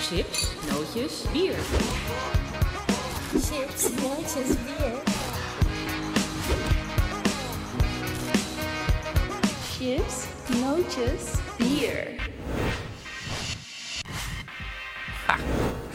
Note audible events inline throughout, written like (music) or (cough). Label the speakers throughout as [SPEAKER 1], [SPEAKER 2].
[SPEAKER 1] Chips, nootjes, bier.
[SPEAKER 2] Chips, nootjes, bier. Chips, nootjes, bier.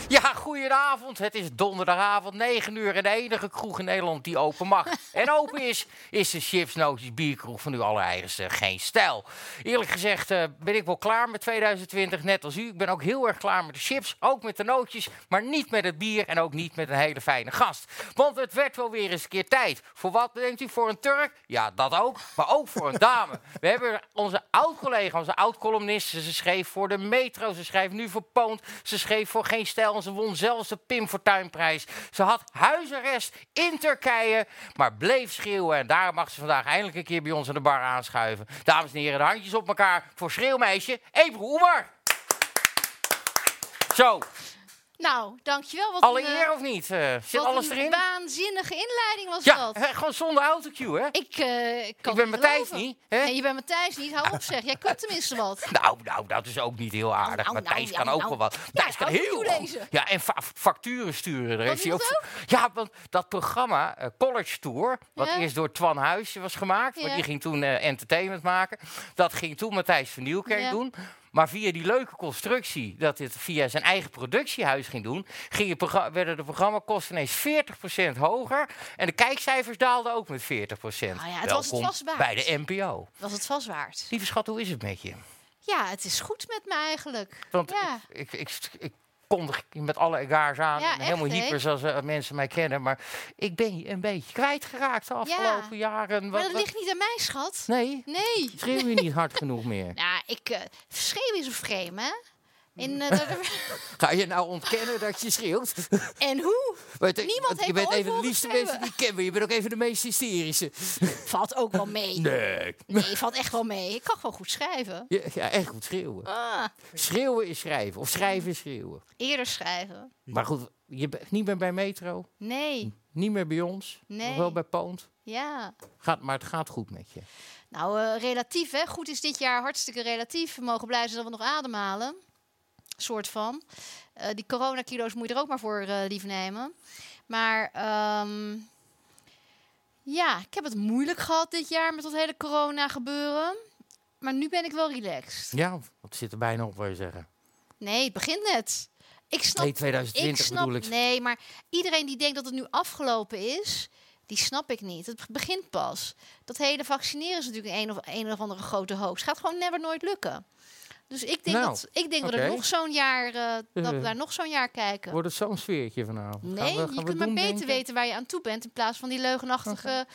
[SPEAKER 3] Ja, goedenavond. Het is donderdagavond, 9 uur. En de enige kroeg in Nederland die open mag en open is, is de Chips Nootjes Bierkroeg van uw allereigenste Geen Stijl. Eerlijk gezegd eh, ben ik wel klaar met 2020, net als u. Ik ben ook heel erg klaar met de chips, ook met de nootjes, maar niet met het bier en ook niet met een hele fijne gast. Want het werd wel weer eens een keer tijd. Voor wat denkt u? Voor een Turk? Ja, dat ook. Maar ook voor een dame. We hebben onze oud-collega, onze oud-columnist. Ze schreef voor de Metro, ze schreef nu voor Poont. Ze schreef voor Geen Stijl en ze won zelfs de Pim Fortuynprijs. Ze had huisarrest in Turkije, maar bleef schreeuwen. En daar mag ze vandaag eindelijk een keer bij ons aan de bar aanschuiven. Dames en heren, de handjes op elkaar voor schreeuwmeisje Ebru Oemar. Zo,
[SPEAKER 4] Nou, dankjewel. Wat
[SPEAKER 3] alle
[SPEAKER 4] een, eh,
[SPEAKER 3] eer of niet? Eh, zit
[SPEAKER 4] wat
[SPEAKER 3] alles
[SPEAKER 4] een
[SPEAKER 3] erin?
[SPEAKER 4] waanzinnige inleiding was
[SPEAKER 3] Ja,
[SPEAKER 4] dat.
[SPEAKER 3] hè, gewoon zonder autocue, hè?
[SPEAKER 4] Ik, eh, ik kan
[SPEAKER 3] Ik ben
[SPEAKER 4] het
[SPEAKER 3] Matthijs
[SPEAKER 4] geloven.
[SPEAKER 3] niet, hè?
[SPEAKER 4] Nee, je bent Matthijs niet. Hou op zeg. Jij kunt tenminste
[SPEAKER 3] (laughs)
[SPEAKER 4] wat.
[SPEAKER 3] Nou, nou, dat is ook niet heel aardig.
[SPEAKER 4] nou,
[SPEAKER 3] Matthijs
[SPEAKER 4] nou,
[SPEAKER 3] kan ook
[SPEAKER 4] nou.
[SPEAKER 3] wel wat. Matthijs kan
[SPEAKER 4] hou niet
[SPEAKER 3] heel
[SPEAKER 4] toe
[SPEAKER 3] goed.
[SPEAKER 4] deze.
[SPEAKER 3] Ja, en fa- facturen sturen. Daar heeft hij
[SPEAKER 4] doet
[SPEAKER 3] ook. voor- Ja, want dat programma eh, College Tour, wat
[SPEAKER 4] Ja.
[SPEAKER 3] eerst door Twan Huisje was gemaakt, want
[SPEAKER 4] Ja.
[SPEAKER 3] die ging toen eh, entertainment maken. Dat ging toen Matthijs van Nieuwkerk
[SPEAKER 4] Ja.
[SPEAKER 3] doen. Maar via die leuke constructie, dat dit via zijn eigen productiehuis ging doen, ging het progra- werden de programmakosten ineens 40% hoger. En de kijkcijfers daalden ook met 40%.
[SPEAKER 4] Nou ja, het was het
[SPEAKER 3] Welkom
[SPEAKER 4] vast waard.
[SPEAKER 3] bij de NPO.
[SPEAKER 4] Was het vast waard.
[SPEAKER 3] Lieve schat, hoe is het met je?
[SPEAKER 4] Ja, het is goed met me eigenlijk.
[SPEAKER 3] Want
[SPEAKER 4] ja.
[SPEAKER 3] ik, ik, ik, ik kondig je met alle egaars aan.
[SPEAKER 4] Ja,
[SPEAKER 3] en helemaal
[SPEAKER 4] echt, hè?
[SPEAKER 3] hyper zoals eh, mensen mij kennen. Maar ik ben je een beetje kwijtgeraakt de afgelopen jaren.
[SPEAKER 4] Maar
[SPEAKER 3] Wat,
[SPEAKER 4] dat
[SPEAKER 3] wat-
[SPEAKER 4] ligt niet aan mij, schat.
[SPEAKER 3] Nee,
[SPEAKER 4] Nee.
[SPEAKER 3] schreeuw je niet hard genoeg meer.
[SPEAKER 4] Nou, ik... eh schreeuw is een frame, hè?
[SPEAKER 3] (laughs)
[SPEAKER 4] En, eh, dat- (laughs)
[SPEAKER 3] Ga je nou ontkennen dat je schreeuwt? (laughs)
[SPEAKER 4] en hoe?
[SPEAKER 3] Want, eh,
[SPEAKER 4] Niemand heeft
[SPEAKER 3] je
[SPEAKER 4] me
[SPEAKER 3] bent
[SPEAKER 4] ooit
[SPEAKER 3] een van de
[SPEAKER 4] horen
[SPEAKER 3] liefste
[SPEAKER 4] schreeuwen.
[SPEAKER 3] mensen die ik ken, maar je bent ook even de meest hysterische.
[SPEAKER 4] Valt ook wel mee.
[SPEAKER 3] Nee.
[SPEAKER 4] Nee, valt echt wel mee. Ik kan gewoon goed schrijven.
[SPEAKER 3] Ja, ja, echt goed schreeuwen.
[SPEAKER 4] Ah,
[SPEAKER 3] Schreeuwen is schrijven, of schrijven is schreeuwen.
[SPEAKER 4] eerder schrijven.
[SPEAKER 3] Maar goed, je bent niet meer bij Metro,
[SPEAKER 4] Nee.
[SPEAKER 3] niet meer bij ons, nog
[SPEAKER 4] Nee.
[SPEAKER 3] wel bij Poont.
[SPEAKER 4] Ja.
[SPEAKER 3] Gaat, maar het gaat goed met je.
[SPEAKER 4] Nou, eh, relatief, hè. Goed is dit jaar hartstikke relatief. We mogen blij zijn dat we nog ademhalen. Soort van. Eh, die coronakilo's moet je er ook maar voor eh, lief nemen. Maar ehm, ja, ik heb het moeilijk gehad dit jaar met dat hele corona gebeuren. Maar nu ben ik wel relaxed.
[SPEAKER 3] Ja, wat zit er bijna op, wil je zeggen.
[SPEAKER 4] Nee, het begint net. Ik snap,
[SPEAKER 3] Nee,
[SPEAKER 4] ik
[SPEAKER 3] 2020
[SPEAKER 4] snap,
[SPEAKER 3] bedoel ik.
[SPEAKER 4] nee, maar iedereen die denkt dat het nu afgelopen is, die snap ik niet. Het begint pas. Dat hele vaccineren is natuurlijk een of, een of andere grote hoax. Gaat gewoon never nooit lukken. Dus ik denk
[SPEAKER 3] Nou,
[SPEAKER 4] dat, ik denk dat
[SPEAKER 3] oké.
[SPEAKER 4] er nog zo'n jaar, eh, dat we
[SPEAKER 3] Eh.
[SPEAKER 4] daar nog zo'n jaar kijken.
[SPEAKER 3] Wordt het zo'n sfeertje vanavond? Gaan
[SPEAKER 4] Nee,
[SPEAKER 3] we- gaan
[SPEAKER 4] je
[SPEAKER 3] we
[SPEAKER 4] kunt maar
[SPEAKER 3] doen
[SPEAKER 4] beter
[SPEAKER 3] denken?
[SPEAKER 4] weten waar je aan toe bent. In plaats van die leugenachtige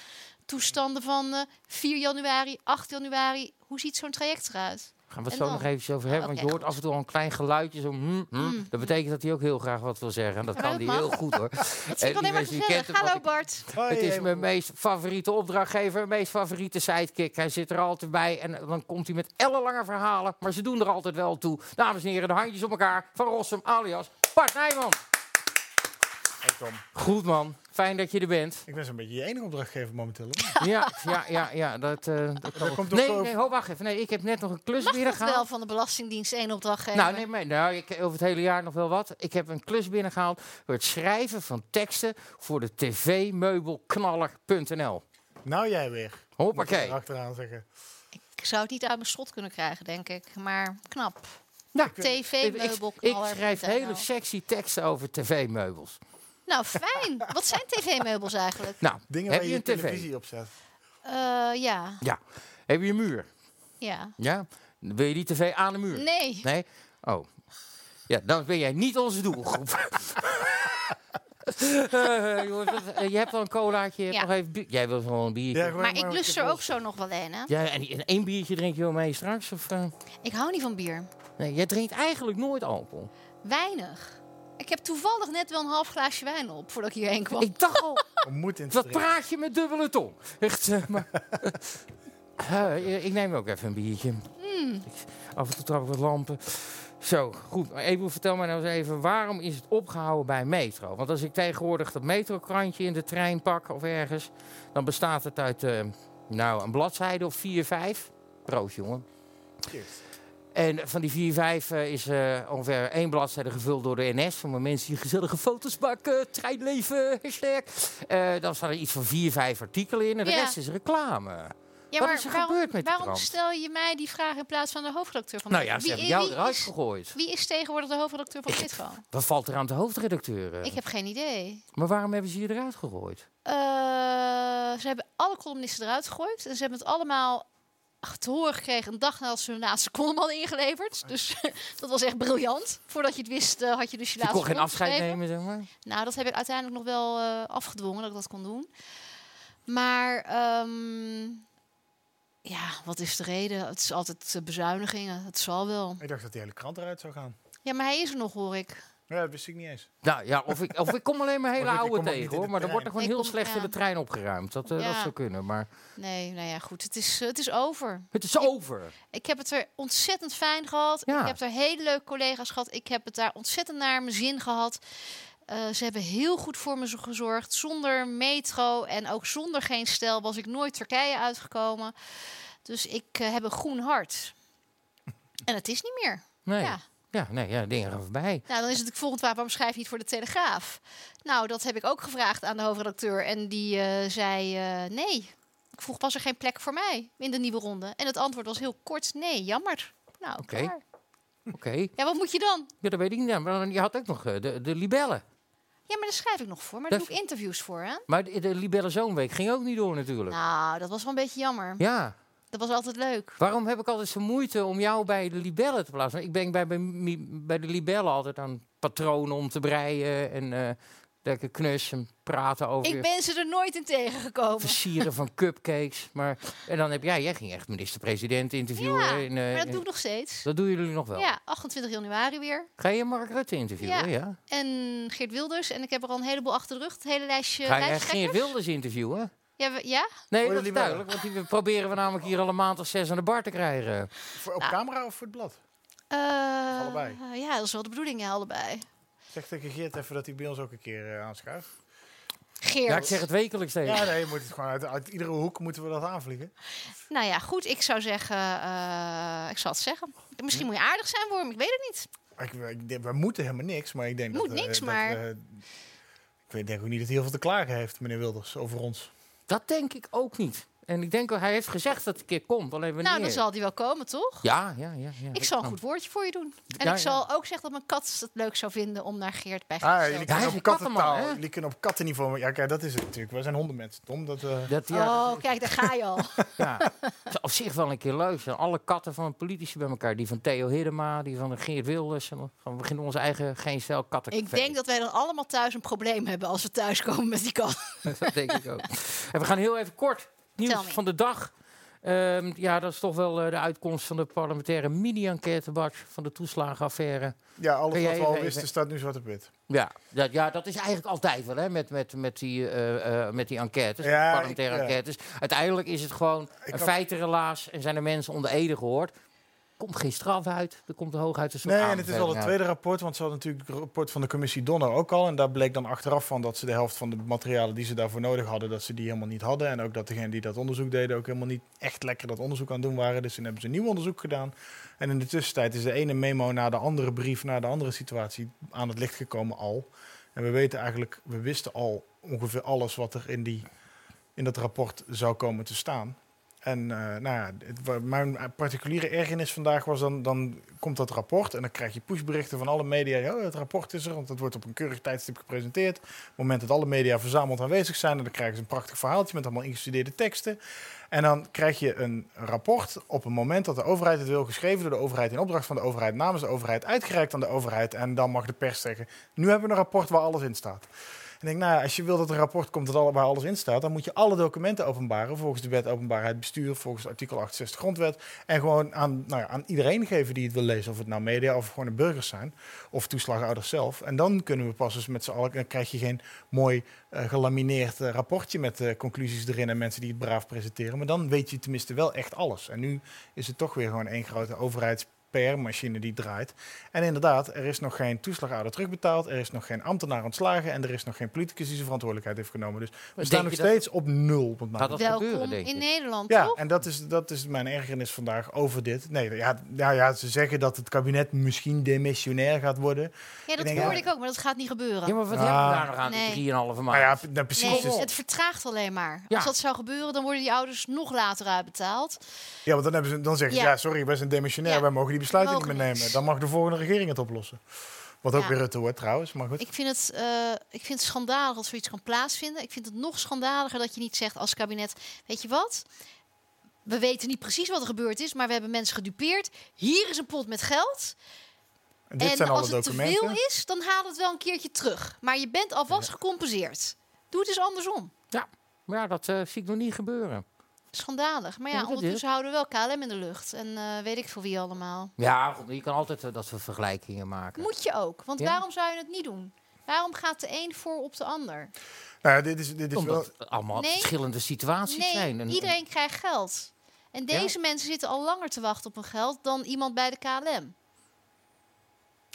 [SPEAKER 4] toestanden van eh, 4 januari, 8 januari. Hoe ziet zo'n traject eruit?
[SPEAKER 3] Gaan we het
[SPEAKER 4] En
[SPEAKER 3] zo
[SPEAKER 4] dan?
[SPEAKER 3] nog even over hebben.
[SPEAKER 4] Ah,
[SPEAKER 3] want je
[SPEAKER 4] oké,
[SPEAKER 3] hoort af en toe al een klein geluidje. Zo, hmm, hmm.
[SPEAKER 4] Mm.
[SPEAKER 3] Dat betekent dat hij ook heel graag wat wil zeggen. En dat
[SPEAKER 4] Ja,
[SPEAKER 3] kan
[SPEAKER 4] dat
[SPEAKER 3] hij
[SPEAKER 4] mag.
[SPEAKER 3] heel goed
[SPEAKER 4] (laughs)
[SPEAKER 3] hoor.
[SPEAKER 4] Dat
[SPEAKER 3] Eh,
[SPEAKER 4] vind ik
[SPEAKER 3] die
[SPEAKER 4] alleen maar
[SPEAKER 3] mensen die kent
[SPEAKER 4] gezellig.
[SPEAKER 3] hem, want
[SPEAKER 4] Hallo Oh,
[SPEAKER 3] ik-
[SPEAKER 4] Bart.
[SPEAKER 5] Oh,
[SPEAKER 3] Het is mijn meest favoriete opdrachtgever, mijn meest favoriete sidekick. Hij zit er altijd bij en dan komt hij met ellenlange verhalen. Maar ze doen er altijd wel toe. Dames en heren, de handjes op elkaar van Rossum alias Bart Nijman.
[SPEAKER 5] Hey Tom,
[SPEAKER 3] Goed man, fijn dat je er bent.
[SPEAKER 5] ik ben zo'n beetje je enige opdrachtgever momenteel. hè?
[SPEAKER 3] Ja, ja, ja, ja dat, eh, dat kan
[SPEAKER 5] Dat
[SPEAKER 3] wel.
[SPEAKER 5] komt ook
[SPEAKER 3] Nee,
[SPEAKER 5] over-
[SPEAKER 3] nee, ho, wacht even. Nee, ik heb net nog een klus
[SPEAKER 4] Mag dat
[SPEAKER 3] binnengehaald.
[SPEAKER 4] wel van de Belastingdienst één opdracht geven?
[SPEAKER 3] Nou, nee, maar, nou, ik over het hele jaar nog wel wat. Ik heb een klus binnengehaald voor het schrijven van teksten voor de tvmeubelknaller.nl.
[SPEAKER 5] Nou jij weer. Moet
[SPEAKER 3] Hoppakee.
[SPEAKER 5] ik Achteraan zeggen.
[SPEAKER 4] Ik zou het niet uit mijn schot kunnen krijgen, denk ik. Maar knap.
[SPEAKER 3] Nou, ik, ik- ik
[SPEAKER 4] TV-meubelknaller.
[SPEAKER 3] schrijf hele sexy teksten over tv-meubels.
[SPEAKER 4] Nou, fijn. Wat zijn tv-meubels eigenlijk?
[SPEAKER 3] Nou,
[SPEAKER 5] Dingen
[SPEAKER 3] heb
[SPEAKER 5] waar
[SPEAKER 3] je,
[SPEAKER 5] je
[SPEAKER 3] een tv?
[SPEAKER 5] televisie op zet.
[SPEAKER 4] Eh, ja,
[SPEAKER 3] Ja. Heb je een muur?
[SPEAKER 4] ja.
[SPEAKER 3] Ja. Wil je die tv aan de muur?
[SPEAKER 4] Nee.
[SPEAKER 3] Nee? Oh. Ja, dan ben jij niet onze doelgroep. Eh, jongens, wat- eh, je hebt al een colaatje, je hebt
[SPEAKER 4] Ja.
[SPEAKER 3] nog even bier. Jij wil gewoon een biertje.
[SPEAKER 5] Ja, gewoon
[SPEAKER 4] Maar ik lust
[SPEAKER 5] een
[SPEAKER 4] er ook
[SPEAKER 5] keer
[SPEAKER 4] zo nog wel een, hè?
[SPEAKER 3] Ja, en, en één biertje drink je wel mee straks? Of, eh?
[SPEAKER 4] Ik hou niet van bier.
[SPEAKER 3] Nee, jij drinkt eigenlijk nooit alcohol.
[SPEAKER 4] Weinig. Ik heb toevallig net wel een half glaasje wijn op voordat ik hierheen kwam.
[SPEAKER 3] Ik dacht al,
[SPEAKER 5] om moed in te
[SPEAKER 3] wat
[SPEAKER 5] drinken.
[SPEAKER 3] praat je met dubbele tong? Echt, eh, maar... (laughs) Eh, ik neem ook even een biertje. Ik- af en toe trap ik wat lampen. Zo, goed. Maar Ebru, vertel mij nou eens even, waarom is het opgehouden bij Metro? Want als ik tegenwoordig dat metrokrantje in de trein pak of ergens... dan bestaat het uit, eh, nou, een bladzijde of vier, vijf. Proost, jongen.
[SPEAKER 5] Cheers.
[SPEAKER 3] Eh, En van die 4, 5 is eh, ongeveer één bladzijde gevuld door de NS. Van de mensen die gezellige foto's maken, treinleven, hashtag. Eh, dan staan er iets van 4, 5 artikelen in. En de
[SPEAKER 4] Ja.
[SPEAKER 3] rest is reclame.
[SPEAKER 4] Ja,
[SPEAKER 3] Wat
[SPEAKER 4] maar
[SPEAKER 3] is er
[SPEAKER 4] waarom,
[SPEAKER 3] gebeurd met die
[SPEAKER 4] waarom
[SPEAKER 3] krant?
[SPEAKER 4] stel je mij die vraag in plaats van de hoofdredacteur van
[SPEAKER 3] Nou
[SPEAKER 4] de
[SPEAKER 3] ja, ze
[SPEAKER 4] Wie-
[SPEAKER 3] hebben jou
[SPEAKER 4] wie
[SPEAKER 3] eruit
[SPEAKER 4] is-
[SPEAKER 3] gegooid.
[SPEAKER 4] Wie is tegenwoordig de hoofdredacteur van Fitgo?
[SPEAKER 3] Wat valt er aan de hoofdredacteur? eh?
[SPEAKER 4] Ik heb geen idee.
[SPEAKER 3] Maar waarom hebben ze je eruit gegooid?
[SPEAKER 4] Eh, ze hebben alle columnisten eruit gegooid. En ze hebben het allemaal te horen gekregen een dag nadat ze hun laatste column hadden ingeleverd. Dus (laughs) dat was echt briljant. Voordat je het wist, eh, had je dus je
[SPEAKER 3] Je
[SPEAKER 4] laatste
[SPEAKER 3] kon geen
[SPEAKER 4] column
[SPEAKER 3] afscheid
[SPEAKER 4] geschreven.
[SPEAKER 3] nemen, zeg maar.
[SPEAKER 4] Nou, dat heb ik uiteindelijk nog wel eh, afgedwongen dat ik dat kon doen. Maar ehm, ja, wat is de reden? Het is altijd eh, bezuinigingen. Het zal wel.
[SPEAKER 5] Ik dacht dat die hele krant eruit zou gaan.
[SPEAKER 4] Ja, maar hij is er nog, hoor ik.
[SPEAKER 5] Ja, dat wist ik niet eens.
[SPEAKER 3] Nou ja, of ik, of ik kom alleen
[SPEAKER 5] (laughs)
[SPEAKER 3] maar hele
[SPEAKER 5] Of ik- ik
[SPEAKER 3] oude
[SPEAKER 5] kom ook niet
[SPEAKER 3] tegen
[SPEAKER 5] in
[SPEAKER 3] hoor.
[SPEAKER 5] de
[SPEAKER 3] Maar dan wordt er gewoon
[SPEAKER 5] trein.
[SPEAKER 4] Ik
[SPEAKER 3] heel
[SPEAKER 4] kom-
[SPEAKER 3] slecht in
[SPEAKER 4] ja.
[SPEAKER 3] de trein opgeruimd. Dat, eh, dat
[SPEAKER 4] Ja.
[SPEAKER 3] zou kunnen. Maar
[SPEAKER 4] Nee, nou ja, goed. Het is, eh, het is over.
[SPEAKER 3] het is over.
[SPEAKER 4] Ik heb het er ontzettend fijn gehad.
[SPEAKER 3] Ja.
[SPEAKER 4] Ik heb er hele leuke collega's gehad. Ik heb het daar ontzettend naar mijn zin gehad. Eh, ze hebben heel goed voor me zo- gezorgd. Zonder metro en ook zonder geen stel was ik nooit Turkije uitgekomen. Dus ik eh, heb een groen hart. En het is niet meer.
[SPEAKER 3] Nee.
[SPEAKER 4] Ja.
[SPEAKER 3] Ja. nee, ja, dingen gaan voorbij.
[SPEAKER 4] Nou, dan is het de volgende vraag, waarom schrijf je niet voor de Telegraaf? Nou, dat heb ik ook gevraagd aan de hoofdredacteur. En die eh, zei eh, nee. Ik vroeg, was er geen plek voor mij in de nieuwe ronde? En het antwoord was heel kort, nee, jammer. Nou,
[SPEAKER 3] Oké.
[SPEAKER 4] klaar.
[SPEAKER 3] Oké,
[SPEAKER 4] Ja, wat moet je dan?
[SPEAKER 3] ja, dat weet ik niet. Ja, maar je had ook nog eh, de, de libellen.
[SPEAKER 4] Ja, maar daar schrijf ik nog voor. Maar daar doe ik interviews voor, hè?
[SPEAKER 3] Maar de, de libellen zoonweek ging ook niet door natuurlijk.
[SPEAKER 4] Nou, dat was wel een beetje jammer.
[SPEAKER 3] Ja,
[SPEAKER 4] Dat was altijd leuk.
[SPEAKER 3] waarom heb ik altijd zo'n moeite om jou bij de libellen te plaatsen? Ik ben bij, bij, mi- bij de libellen altijd aan patronen om te breien en eh lekker knus en praten over
[SPEAKER 4] Ik ben ze er nooit in tegengekomen.
[SPEAKER 3] versieren van cupcakes. Maar, en dan heb jij, jij ging echt minister-president interviewen.
[SPEAKER 4] Ja,
[SPEAKER 3] in, eh,
[SPEAKER 4] Maar dat
[SPEAKER 3] in-
[SPEAKER 4] doe ik nog steeds.
[SPEAKER 3] dat doen jullie nog wel.
[SPEAKER 4] Ja, 28 januari weer.
[SPEAKER 3] Ga je Mark Rutte interviewen? Ja.
[SPEAKER 4] En Geert Wilders. En ik heb er al een heleboel achter de rug. Het hele lijstje.
[SPEAKER 3] Ga je
[SPEAKER 4] lijsttrekkers.
[SPEAKER 3] Geert Wilders interviewen?
[SPEAKER 4] Ja, we- ja?
[SPEAKER 3] Nee,
[SPEAKER 5] Voor de
[SPEAKER 3] dat is
[SPEAKER 5] Libellen.
[SPEAKER 3] duidelijk. Want die proberen we namelijk hier al een maand of zes aan de bar te krijgen.
[SPEAKER 5] Voor, op
[SPEAKER 4] Nou.
[SPEAKER 5] camera of voor het blad?
[SPEAKER 4] Eh,
[SPEAKER 5] allebei.
[SPEAKER 4] Ja, dat is wel de bedoeling, ja, allebei.
[SPEAKER 5] Zeg tegen Geert even dat hij bij ons ook een keer eh, aanschuift.
[SPEAKER 4] Geert.
[SPEAKER 3] Ja, ik zeg het wekelijks tegen.
[SPEAKER 5] Ja, nee, je moet het gewoon uit, uit iedere hoek moeten we dat aanvliegen.
[SPEAKER 4] Nou ja, goed. Ik zou zeggen... eh, ik zal het zeggen. Misschien
[SPEAKER 3] Hm?
[SPEAKER 4] moet je aardig zijn voor hem. Ik weet het niet.
[SPEAKER 5] Ik, ik denk, we moeten helemaal niks, maar ik denk
[SPEAKER 4] Moet
[SPEAKER 5] dat... eh,
[SPEAKER 4] niks,
[SPEAKER 5] dat,
[SPEAKER 4] maar-
[SPEAKER 5] eh, ik weet- denk ook niet dat hij heel veel te klagen heeft, meneer Wilders, over ons.
[SPEAKER 3] Dat denk ik ook niet. En ik denk, wel, hij heeft gezegd dat het een keer komt. Alleen wanneer?
[SPEAKER 4] Nou, dan zal die wel komen, toch?
[SPEAKER 3] Ja, ja, ja. ja
[SPEAKER 4] Ik zal een goed woordje voor je doen. En
[SPEAKER 3] Ja, ja.
[SPEAKER 4] ik zal ook zeggen dat mijn kat het leuk zou vinden om naar Geert bij Geert
[SPEAKER 5] Ah,
[SPEAKER 4] te
[SPEAKER 5] jullie
[SPEAKER 4] lopen.
[SPEAKER 3] hij
[SPEAKER 5] kunnen
[SPEAKER 3] is
[SPEAKER 5] op
[SPEAKER 3] een kattenman,
[SPEAKER 5] kattentaal.
[SPEAKER 3] hè?
[SPEAKER 5] Jullie kunnen op katteniveau... Ja, kijk, dat is het natuurlijk. We zijn hondenmensen, Tom. Dat, eh,
[SPEAKER 3] Dat, ja, dat-
[SPEAKER 4] Oh, kijk, daar ga je
[SPEAKER 3] (laughs)
[SPEAKER 4] al.
[SPEAKER 3] Ja, het is op zich wel een keer leuk. zijn alle katten van politici bij elkaar. Die van Theo Hiddema, die van Geert Wilders. En dan gaan we beginnen onze eigen geen stel katten.
[SPEAKER 4] ik denk dat wij dan allemaal thuis een probleem hebben als we thuiskomen met die kat.
[SPEAKER 3] dat denk ik ook. En we gaan heel even kort
[SPEAKER 4] Tell
[SPEAKER 3] nieuws
[SPEAKER 4] me.
[SPEAKER 3] van de dag. Ehm, ja, dat is toch wel eh, de uitkomst van de parlementaire mini-enquête, Bart, van de toeslagenaffaire.
[SPEAKER 5] ja, alles
[SPEAKER 3] Kun
[SPEAKER 5] wat
[SPEAKER 3] jij
[SPEAKER 5] we al
[SPEAKER 3] even-
[SPEAKER 5] wisten staat nu zwart op wit.
[SPEAKER 3] Ja dat, ja, dat is eigenlijk altijd wel, hè, met, met, met, die, eh, eh, met die enquêtes,
[SPEAKER 5] Ja,
[SPEAKER 3] met parlementaire
[SPEAKER 5] ik, ja.
[SPEAKER 3] enquêtes. Uiteindelijk is het gewoon een
[SPEAKER 5] had-
[SPEAKER 3] feitenrelaas en zijn er mensen onder ede gehoord. komt geen straf uit, er komt de hooguit een soort
[SPEAKER 5] Nee, en het is al het
[SPEAKER 3] aanbeveling uit.
[SPEAKER 5] tweede rapport, want ze hadden natuurlijk het rapport van de commissie Donner ook al. En daar bleek dan achteraf van dat ze de helft van de materialen die ze daarvoor nodig hadden, dat ze die helemaal niet hadden. En ook dat degenen die dat onderzoek deden ook helemaal niet echt lekker dat onderzoek aan het doen waren. Dus toen hebben ze een nieuw onderzoek gedaan. En in de tussentijd is de ene memo naar de andere brief, naar de andere situatie aan het licht gekomen al. En we weten eigenlijk, we wisten al ongeveer alles wat er in, die, in dat rapport zou komen te staan. En eh, nou ja, het, wa- mijn particuliere ergernis vandaag was dan, dan komt dat rapport en dan krijg je pushberichten van alle media. Oh, het rapport is er, want het wordt op een keurig tijdstip gepresenteerd. Op het moment dat alle media verzameld aanwezig zijn, en dan krijgen ze een prachtig verhaaltje met allemaal ingestudeerde teksten. En dan krijg je een rapport op een moment dat de overheid het wil, geschreven door de overheid in opdracht van de overheid, namens de overheid, uitgereikt aan de overheid. En dan mag de pers zeggen, nu hebben we een rapport waar alles in staat. En ik denk, nou, ja, als je wil dat er een rapport komt dat alle- waar alles in staat, dan moet je alle documenten openbaren. Volgens de wet openbaarheid bestuur, volgens artikel 68 grondwet. En gewoon aan, nou ja, aan iedereen geven die het wil lezen. Of het nou media of gewoon de burgers zijn. Of toeslagauders zelf. En dan kunnen we pas eens met z'n allen. Dan krijg je geen mooi eh, gelamineerd eh, rapportje met eh, conclusies erin en mensen die het braaf presenteren. Maar dan weet je tenminste wel echt alles. En nu is het toch weer gewoon één grote overheids PR-machine die draait. En inderdaad, er is nog geen toeslagouder terugbetaald, er is nog geen ambtenaar ontslagen en er is nog geen politicus die zijn verantwoordelijkheid heeft genomen. Dus we
[SPEAKER 3] Denk
[SPEAKER 5] staan
[SPEAKER 3] je
[SPEAKER 5] nog
[SPEAKER 3] dat-
[SPEAKER 5] steeds op nul. op het
[SPEAKER 3] Dat
[SPEAKER 5] moment.
[SPEAKER 3] dat
[SPEAKER 4] Welkom
[SPEAKER 3] gebeuren, denk ik.
[SPEAKER 4] in Nederland,
[SPEAKER 5] ja,
[SPEAKER 4] toch?
[SPEAKER 5] en dat is, dat is mijn ergernis vandaag over dit. Nee, ja, nou ja, ze zeggen dat het kabinet misschien demissionair gaat worden.
[SPEAKER 4] Ja, dat
[SPEAKER 5] ik denk,
[SPEAKER 4] hoorde
[SPEAKER 5] ja.
[SPEAKER 4] ik ook, maar dat gaat niet gebeuren.
[SPEAKER 3] Ja, maar wat
[SPEAKER 5] Ah.
[SPEAKER 3] hebben we daar nog aan,
[SPEAKER 4] Nee.
[SPEAKER 3] die 3,5 maand?
[SPEAKER 5] Maar ja, nou, precies.
[SPEAKER 4] Nee,
[SPEAKER 5] dus-
[SPEAKER 4] het vertraagt alleen maar.
[SPEAKER 3] Ja.
[SPEAKER 4] Als dat zou gebeuren, dan worden die ouders nog later uitbetaald.
[SPEAKER 5] Ja, want dan, hebben ze, dan zeggen ze,
[SPEAKER 4] Ja.
[SPEAKER 5] ja, sorry, wij zijn demissionair,
[SPEAKER 4] Ja.
[SPEAKER 5] wij mogen die besluiten
[SPEAKER 4] Mogen
[SPEAKER 5] niet meer
[SPEAKER 4] niet.
[SPEAKER 5] nemen. Dan mag de volgende regering het oplossen. Wat ook
[SPEAKER 4] Ja.
[SPEAKER 5] weer Rutte wordt trouwens, maar goed.
[SPEAKER 4] Ik vind, het, eh, ik vind het schandalig dat zoiets kan plaatsvinden. Ik vind het nog schandaliger dat je niet zegt als kabinet... weet je wat, we weten niet precies wat er gebeurd is... maar we hebben mensen gedupeerd. Hier is een pot met geld.
[SPEAKER 5] En dit
[SPEAKER 4] en
[SPEAKER 5] zijn alle
[SPEAKER 4] als het te
[SPEAKER 5] documenten.
[SPEAKER 4] veel is, dan haal het wel een keertje terug. Maar je bent alvast gecompenseerd. Doe het eens andersom.
[SPEAKER 3] Ja, maar ja, dat eh, zie ik nog niet gebeuren.
[SPEAKER 4] Schandalig. Maar ja,
[SPEAKER 3] Ja, dat is.
[SPEAKER 4] ondertussen houden we wel KLM in de lucht. En eh, weet ik veel wie allemaal.
[SPEAKER 3] Ja, goed, je kan altijd eh, dat soort vergelijkingen maken.
[SPEAKER 4] Moet je ook. Want
[SPEAKER 3] Ja.
[SPEAKER 4] waarom zou je het niet doen? Waarom gaat de een voor op de ander?
[SPEAKER 5] Nou ja, dit is, dit is wel...
[SPEAKER 3] Omdat het allemaal
[SPEAKER 4] Nee.
[SPEAKER 3] verschillende situaties
[SPEAKER 4] Nee,
[SPEAKER 3] zijn. En-
[SPEAKER 4] iedereen krijgt geld. En
[SPEAKER 3] Ja.
[SPEAKER 4] deze mensen zitten al langer te wachten op hun geld dan iemand bij de KLM.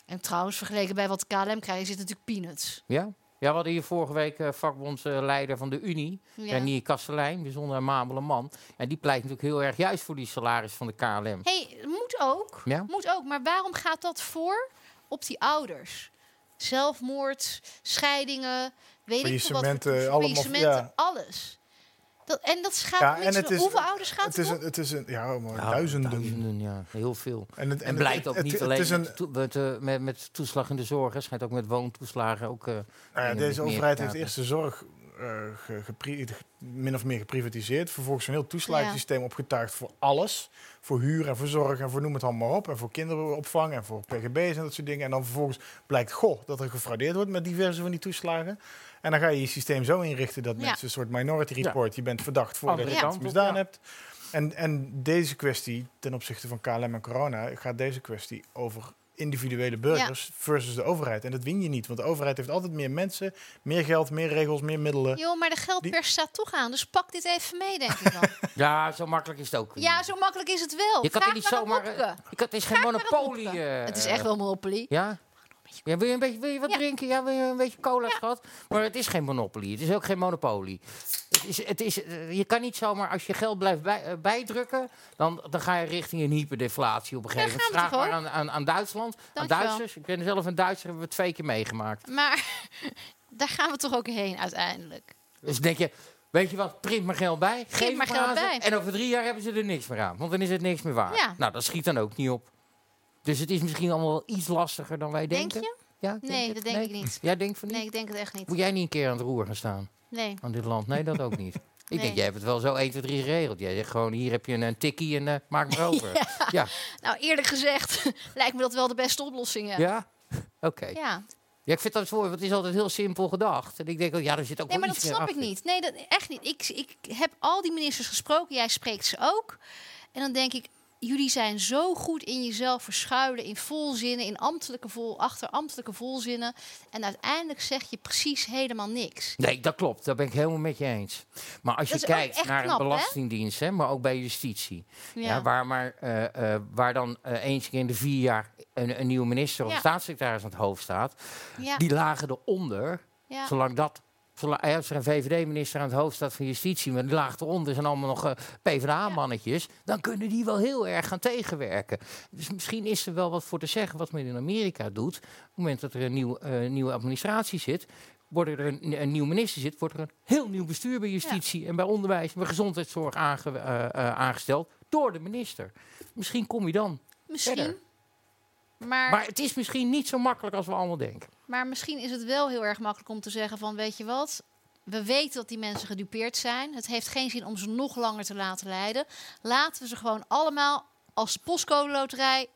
[SPEAKER 4] En trouwens, vergeleken bij wat de KLM krijgt, zit natuurlijk peanuts.
[SPEAKER 3] Ja? ja, we hadden hier vorige week eh, vakbondsleider van de Unie,
[SPEAKER 4] Ja.
[SPEAKER 3] Renier Kastelein, bijzonder amabele man. En die pleit natuurlijk heel erg juist voor die salaris van de KLM.
[SPEAKER 4] hey, moet ook.
[SPEAKER 3] Ja?
[SPEAKER 4] Moet ook. Maar waarom gaat dat voor op die ouders? Zelfmoord, scheidingen, weet ik veel wat. voor
[SPEAKER 5] Faillissementen,
[SPEAKER 4] toestand-
[SPEAKER 5] allemaal-
[SPEAKER 4] faillissementen,
[SPEAKER 5] ja.
[SPEAKER 4] alles. Dat, en dat gaat
[SPEAKER 5] Ja,
[SPEAKER 4] om
[SPEAKER 5] en
[SPEAKER 4] niks
[SPEAKER 5] het
[SPEAKER 4] doen.
[SPEAKER 5] is-
[SPEAKER 4] Hoeveel ouders gaat het,
[SPEAKER 5] Het is
[SPEAKER 4] om?
[SPEAKER 5] een, het is een ja, maar
[SPEAKER 3] Ja,
[SPEAKER 5] duizenden.
[SPEAKER 3] Nou, duizenden. Ja, heel veel.
[SPEAKER 5] En, het,
[SPEAKER 3] En,
[SPEAKER 5] het-
[SPEAKER 3] blijkt ook
[SPEAKER 5] het-
[SPEAKER 3] niet
[SPEAKER 5] het-
[SPEAKER 3] alleen
[SPEAKER 5] Het is een,
[SPEAKER 3] met, toe- met, eh, met, met toeslag in de zorg. Het schijnt ook met woontoeslagen. Ook, eh,
[SPEAKER 5] nou ja,
[SPEAKER 3] dingen
[SPEAKER 5] deze
[SPEAKER 3] met meer
[SPEAKER 5] overheid heeft
[SPEAKER 3] te
[SPEAKER 5] eerst de zorg eh, ge- gepri- ge- min of meer geprivatiseerd. Vervolgens een heel toeslagensysteem opgetuigd voor alles. Voor huur en voor zorg en voor noem het allemaal maar op. En voor kinderopvang en voor pgb's en dat soort dingen. En dan vervolgens blijkt, goh, dat er gefraudeerd wordt met diverse van die toeslagen. En dan ga je je systeem zo inrichten dat
[SPEAKER 4] Ja.
[SPEAKER 5] mensen een soort minority report... je bent verdacht voordat
[SPEAKER 3] Andere
[SPEAKER 5] je
[SPEAKER 4] kant
[SPEAKER 5] iets
[SPEAKER 3] op,
[SPEAKER 5] misdaan
[SPEAKER 3] ja.
[SPEAKER 5] hebt. En, en deze kwestie ten opzichte van KLM en corona gaat deze kwestie over individuele burgers versus de overheid. En dat win je niet, want de overheid heeft altijd meer mensen, meer geld, meer regels, meer middelen.
[SPEAKER 4] Joh, maar de geldpers staat toch aan. Dus pak dit even mee, denk ik dan.
[SPEAKER 3] maken. Ja, zo makkelijk is het ook.
[SPEAKER 4] Ja,
[SPEAKER 3] niet.
[SPEAKER 4] zo makkelijk is het wel.
[SPEAKER 3] je kan
[SPEAKER 4] Vraag
[SPEAKER 3] het niet
[SPEAKER 4] maar aan
[SPEAKER 3] zomaar. eh,
[SPEAKER 4] Wopke.
[SPEAKER 3] je kan, het is geen
[SPEAKER 4] maar aan
[SPEAKER 3] monopolie.
[SPEAKER 4] Wopke.
[SPEAKER 3] eh,
[SPEAKER 4] Het is echt wel monopolie.
[SPEAKER 3] Ja? ja wil je een beetje, wil je wat
[SPEAKER 4] Ja.
[SPEAKER 3] drinken? Ja, wil je een beetje cola, schat? Maar het is geen monopolie. Het is ook geen monopolie. Het is, het is, eh, je kan niet zomaar, als je geld blijft bij, eh, bijdrukken, dan, dan ga je richting een hyperdeflatie op een
[SPEAKER 4] Ja,
[SPEAKER 3] gegeven moment.
[SPEAKER 4] gaan we
[SPEAKER 3] Vraag maar
[SPEAKER 4] toch
[SPEAKER 3] aan, aan, aan Duitsland, aan
[SPEAKER 4] Dankjewel.
[SPEAKER 3] Duitsers. Ik ben zelf een Duitser, hebben we twee keer meegemaakt.
[SPEAKER 4] Maar (laughs) daar gaan we toch ook heen uiteindelijk.
[SPEAKER 3] Dus denk je, weet je wat, print maar geld bij. Geef het
[SPEAKER 4] maar geld
[SPEAKER 3] aan ze,
[SPEAKER 4] bij.
[SPEAKER 3] En over drie jaar hebben ze er niks meer aan. Want dan is het niks meer waard.
[SPEAKER 4] Ja.
[SPEAKER 3] Nou, dat schiet dan ook niet op. Dus het is misschien allemaal wel iets lastiger dan wij
[SPEAKER 4] Denk
[SPEAKER 3] denken.
[SPEAKER 4] je?
[SPEAKER 3] Ja, ik
[SPEAKER 4] Nee,
[SPEAKER 3] het.
[SPEAKER 4] dat denk ik niet.
[SPEAKER 3] Jij denkt van (laughs) niet?
[SPEAKER 4] Nee, ik denk het echt niet.
[SPEAKER 3] Moet jij niet een keer aan het roer gaan staan
[SPEAKER 4] Nee.
[SPEAKER 3] aan dit land? Nee, dat ook
[SPEAKER 4] (laughs)
[SPEAKER 3] niet. Ik
[SPEAKER 4] Nee.
[SPEAKER 3] denk, jij hebt het wel zo 1, 2, 3 geregeld. Jij zegt gewoon, hier heb je een, eh, tikkie en eh, maak
[SPEAKER 4] (laughs)
[SPEAKER 3] maar over. ja. Ja?
[SPEAKER 4] Nou, eerlijk gezegd (laughs) lijkt me dat wel de beste oplossing. Ja.
[SPEAKER 3] Oké. Ja. (laughs)
[SPEAKER 4] ja.
[SPEAKER 3] ik vind dat voor, want het is altijd heel simpel gedacht. En ik denk, oh ja, er zit ook
[SPEAKER 4] Nee,
[SPEAKER 3] wel
[SPEAKER 4] maar dat
[SPEAKER 3] iets meer
[SPEAKER 4] snap ik
[SPEAKER 3] achter.
[SPEAKER 4] niet. Nee, dat, echt niet. Ik, ik heb al die ministers gesproken. Jij spreekt ze ook. En dan denk ik, jullie zijn zo goed in jezelf verschuilen. In volzinnen, in ambtelijke vol, achter ambtelijke volzinnen. En uiteindelijk zeg je precies helemaal niks.
[SPEAKER 3] Nee, dat klopt. Daar ben ik helemaal met je eens. Maar als
[SPEAKER 4] Dat
[SPEAKER 3] je
[SPEAKER 4] is ook
[SPEAKER 3] kijkt
[SPEAKER 4] echt
[SPEAKER 3] naar
[SPEAKER 4] knap,
[SPEAKER 3] de
[SPEAKER 4] hè?
[SPEAKER 3] Belastingdienst, hè? maar ook bij justitie.
[SPEAKER 4] Ja.
[SPEAKER 3] Ja, waar, maar, eh, eh, waar dan eh, eens keer in de vier jaar een, een nieuwe minister of
[SPEAKER 4] Ja.
[SPEAKER 3] staatssecretaris aan het hoofd staat.
[SPEAKER 4] ja.
[SPEAKER 3] Die lagen eronder.
[SPEAKER 4] ja.
[SPEAKER 3] Zolang dat. Zolang, eh, als er een VVD-minister aan het hoofd staat van Justitie, maar die laag eronder zijn allemaal nog eh, PvdA-mannetjes, dan kunnen die wel heel erg gaan tegenwerken. Dus misschien is er wel wat voor te zeggen wat men in Amerika doet. Op het moment dat er een nieuw, eh, nieuwe administratie zit, wordt er een, een nieuw minister zit, wordt er een heel nieuw bestuur bij Justitie en bij Onderwijs en bij Gezondheidszorg aange- eh, eh, aangesteld door de minister. Misschien kom je dan.
[SPEAKER 4] Misschien.
[SPEAKER 3] verder.
[SPEAKER 4] Maar
[SPEAKER 3] Maar het is misschien niet zo makkelijk als we allemaal denken.
[SPEAKER 4] Maar misschien is het wel heel erg makkelijk om te zeggen van, weet je wat? We weten dat die mensen gedupeerd zijn. Het heeft geen zin om ze nog langer te laten lijden. Laten we ze gewoon allemaal als de postcode loterij.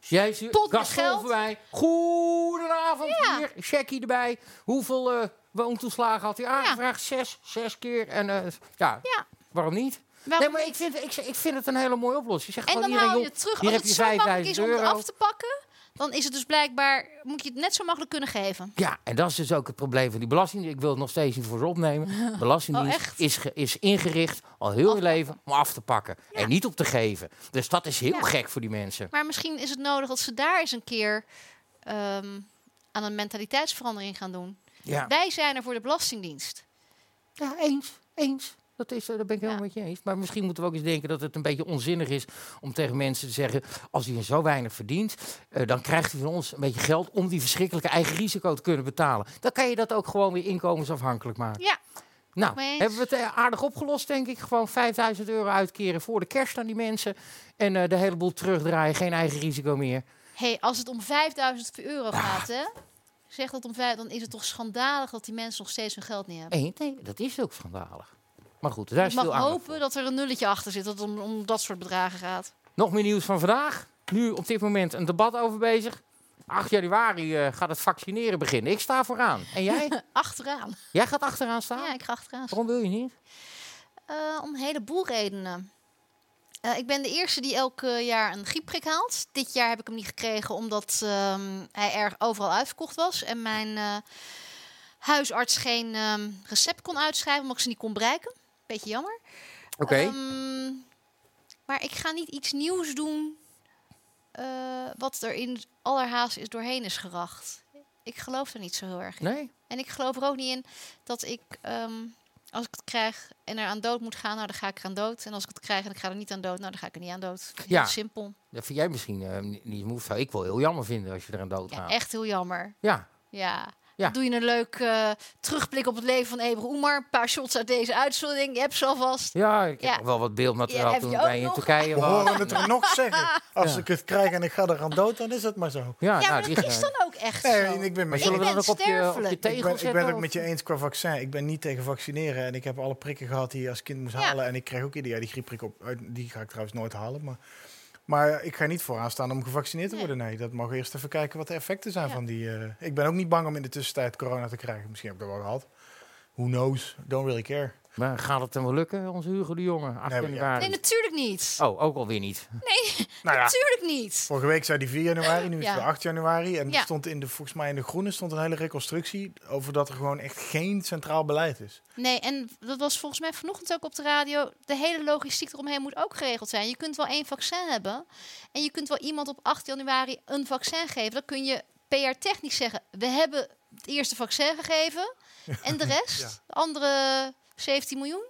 [SPEAKER 3] Jij ziet
[SPEAKER 4] Pot met
[SPEAKER 3] Gaston
[SPEAKER 4] geld.
[SPEAKER 3] voorbij. Goedenavond
[SPEAKER 4] Ja.
[SPEAKER 3] hier. Checkie erbij. Hoeveel eh, woontoeslagen had hij aangevraagd? Zes, zes keer. En eh, ja,
[SPEAKER 4] Ja.
[SPEAKER 3] waarom niet?
[SPEAKER 4] Waarom
[SPEAKER 3] nee, maar
[SPEAKER 4] niet?
[SPEAKER 3] ik vind, ik, ik vind het een hele mooie oplossing. Zeg
[SPEAKER 4] en
[SPEAKER 3] gewoon
[SPEAKER 4] dan
[SPEAKER 3] hier,
[SPEAKER 4] haal je
[SPEAKER 3] joh,
[SPEAKER 4] het terug.
[SPEAKER 3] hier
[SPEAKER 4] Als
[SPEAKER 3] heb
[SPEAKER 4] het
[SPEAKER 3] je
[SPEAKER 4] zo makkelijk is
[SPEAKER 3] 5000
[SPEAKER 4] om het
[SPEAKER 3] euro.
[SPEAKER 4] af te pakken, dan dan is het dus blijkbaar, moet je het net zo makkelijk kunnen geven.
[SPEAKER 3] Ja, en dat is dus ook het probleem van die belasting. Ik wil het nog steeds niet voor ze
[SPEAKER 4] (laughs)
[SPEAKER 3] opnemen. Belastingdienst
[SPEAKER 4] Oh, echt?
[SPEAKER 3] is, ge- is ingericht al heel je leven om af te pakken en niet op te geven. Dus dat is heel
[SPEAKER 4] Ja.
[SPEAKER 3] gek voor die mensen.
[SPEAKER 4] Maar misschien is het nodig dat ze daar eens een keer ehm, aan een mentaliteitsverandering gaan doen.
[SPEAKER 3] Ja,
[SPEAKER 4] Wij zijn er voor de Belastingdienst.
[SPEAKER 3] ja eens, eens. Dat is, eh, daar ben ik helemaal
[SPEAKER 4] Ja.
[SPEAKER 3] met je eens. Maar misschien moeten we ook eens denken dat het een beetje onzinnig is om tegen mensen te zeggen: als u zo weinig verdient, eh, dan krijgt u van ons een beetje geld om die verschrikkelijke eigen risico te kunnen betalen. Dan kan je dat ook gewoon weer inkomensafhankelijk maken.
[SPEAKER 4] Ja,
[SPEAKER 3] Nou,
[SPEAKER 4] Mee eens.
[SPEAKER 3] hebben we het eh, aardig opgelost, denk ik. Gewoon 5000 euro uitkeren voor de kerst aan die mensen. En eh, de hele boel terugdraaien, geen eigen risico meer.
[SPEAKER 4] hey, als het om 5000 euro
[SPEAKER 3] Ah.
[SPEAKER 4] gaat, hè? Zeg dat om vijf, dan is het toch schandalig dat die mensen nog steeds hun geld niet hebben.
[SPEAKER 3] Eén, nee, dat is ook schandalig. Maar goed, daar
[SPEAKER 4] Ik
[SPEAKER 3] is
[SPEAKER 4] mag
[SPEAKER 3] veel aandacht voor.
[SPEAKER 4] hopen dat er een nulletje achter zit, dat het om, om dat soort bedragen gaat.
[SPEAKER 3] Nog meer nieuws van vandaag. Nu op dit moment een debat over bezig. 8 januari eh, gaat het vaccineren beginnen. Ik sta vooraan. En
[SPEAKER 4] (laughs)
[SPEAKER 3] jij?
[SPEAKER 4] Achteraan.
[SPEAKER 3] jij gaat achteraan staan?
[SPEAKER 4] Ja, ik ga achteraan.
[SPEAKER 3] Waarom wil je niet?
[SPEAKER 4] Eh, om een heleboel redenen. Eh, ik ben de eerste die elk eh, jaar een griepprik haalt. Dit jaar heb ik hem niet gekregen omdat ehm, hij erg overal uitverkocht was. En mijn eh, huisarts geen ehm, recept kon uitschrijven omdat ik ze niet kon bereiken. Beetje jammer.
[SPEAKER 3] Oké.
[SPEAKER 4] Ehm, maar ik ga niet iets nieuws doen eh, wat er in allerhaast is doorheen is geracht. Ik geloof er niet zo heel erg in.
[SPEAKER 3] nee?
[SPEAKER 4] En ik geloof er ook niet in dat ik, ehm, als ik het krijg en er aan dood moet gaan, nou dan ga ik er aan dood. En als ik het krijg en ik ga er niet aan dood, nou dan ga ik er niet aan dood. Heel
[SPEAKER 3] Ja.
[SPEAKER 4] simpel.
[SPEAKER 3] Dat vind jij misschien eh, ni- niet moe. Zou ik wel heel jammer vinden als je eraan
[SPEAKER 4] Ja,
[SPEAKER 3] doodgaat.
[SPEAKER 4] Echt heel jammer.
[SPEAKER 3] ja.
[SPEAKER 4] Ja.
[SPEAKER 3] Ja.
[SPEAKER 4] Doe je een leuk eh, terugblik op het leven van Ebru Oemar. Een paar shots uit deze uitzending. Je hebt ze alvast.
[SPEAKER 3] Ja, ik heb
[SPEAKER 4] Ja.
[SPEAKER 3] nog wel wat beeldmateriaal
[SPEAKER 4] Ja, heb
[SPEAKER 3] toen
[SPEAKER 4] je ook
[SPEAKER 3] wij in
[SPEAKER 4] nog?
[SPEAKER 3] Turkije
[SPEAKER 5] We
[SPEAKER 3] was.
[SPEAKER 5] horen het er nog zeggen. Als
[SPEAKER 3] Ja.
[SPEAKER 5] ik het krijg en ik ga eraan dood, dan is dat maar zo.
[SPEAKER 3] Ja,
[SPEAKER 4] Ja,
[SPEAKER 3] nou,
[SPEAKER 4] maar
[SPEAKER 3] die
[SPEAKER 4] dat
[SPEAKER 3] gaan-
[SPEAKER 4] is dan ook echt
[SPEAKER 5] Nee,
[SPEAKER 4] zo.
[SPEAKER 5] ik ben met
[SPEAKER 3] Maar
[SPEAKER 5] je
[SPEAKER 3] zullen we
[SPEAKER 4] ben
[SPEAKER 3] dat ook op je, op je
[SPEAKER 4] sterfelijk.
[SPEAKER 3] tegel
[SPEAKER 5] Ik ben, ik ben
[SPEAKER 3] zetten,
[SPEAKER 5] het
[SPEAKER 3] of-
[SPEAKER 5] met je eens qua vaccin. Ik ben niet tegen vaccineren. En ik heb alle prikken gehad die je als kind moest
[SPEAKER 4] Ja.
[SPEAKER 5] halen. En ik kreeg ook ieder jaar die griepprik op. Uit- Die ga ik trouwens nooit halen. Maar, maar ik ga niet vooraan staan om gevaccineerd te
[SPEAKER 4] Nee.
[SPEAKER 5] worden. Nee, dat mag eerst even kijken wat de effecten zijn
[SPEAKER 4] Ja.
[SPEAKER 5] van die... eh, ik ben ook niet bang om in de tussentijd corona te krijgen. Misschien heb ik dat wel gehad. Who knows? Don't really care.
[SPEAKER 3] Maar gaat het hem wel lukken, onze Hugo de Jonge? 8
[SPEAKER 5] Nee, maar ja.
[SPEAKER 3] januari.
[SPEAKER 4] Nee, natuurlijk niet.
[SPEAKER 3] Oh, ook alweer niet.
[SPEAKER 5] Nou ja,
[SPEAKER 4] Natuurlijk niet.
[SPEAKER 5] vorige week zei die 4 januari. Nu is
[SPEAKER 4] Ja.
[SPEAKER 5] het weer 8 januari. En er
[SPEAKER 4] Ja.
[SPEAKER 5] stond in de, volgens mij in de groene stond een hele reconstructie... over dat er gewoon echt geen centraal beleid is.
[SPEAKER 4] Nee, en dat was volgens mij vanochtend ook op de radio. De hele logistiek eromheen moet ook geregeld zijn. Je kunt wel één vaccin hebben. En je kunt wel iemand op 8 januari een vaccin geven. Dan kun je PR-technisch zeggen: We hebben het eerste vaccin gegeven. En de rest,
[SPEAKER 5] Ja.
[SPEAKER 4] de andere 17 miljoen.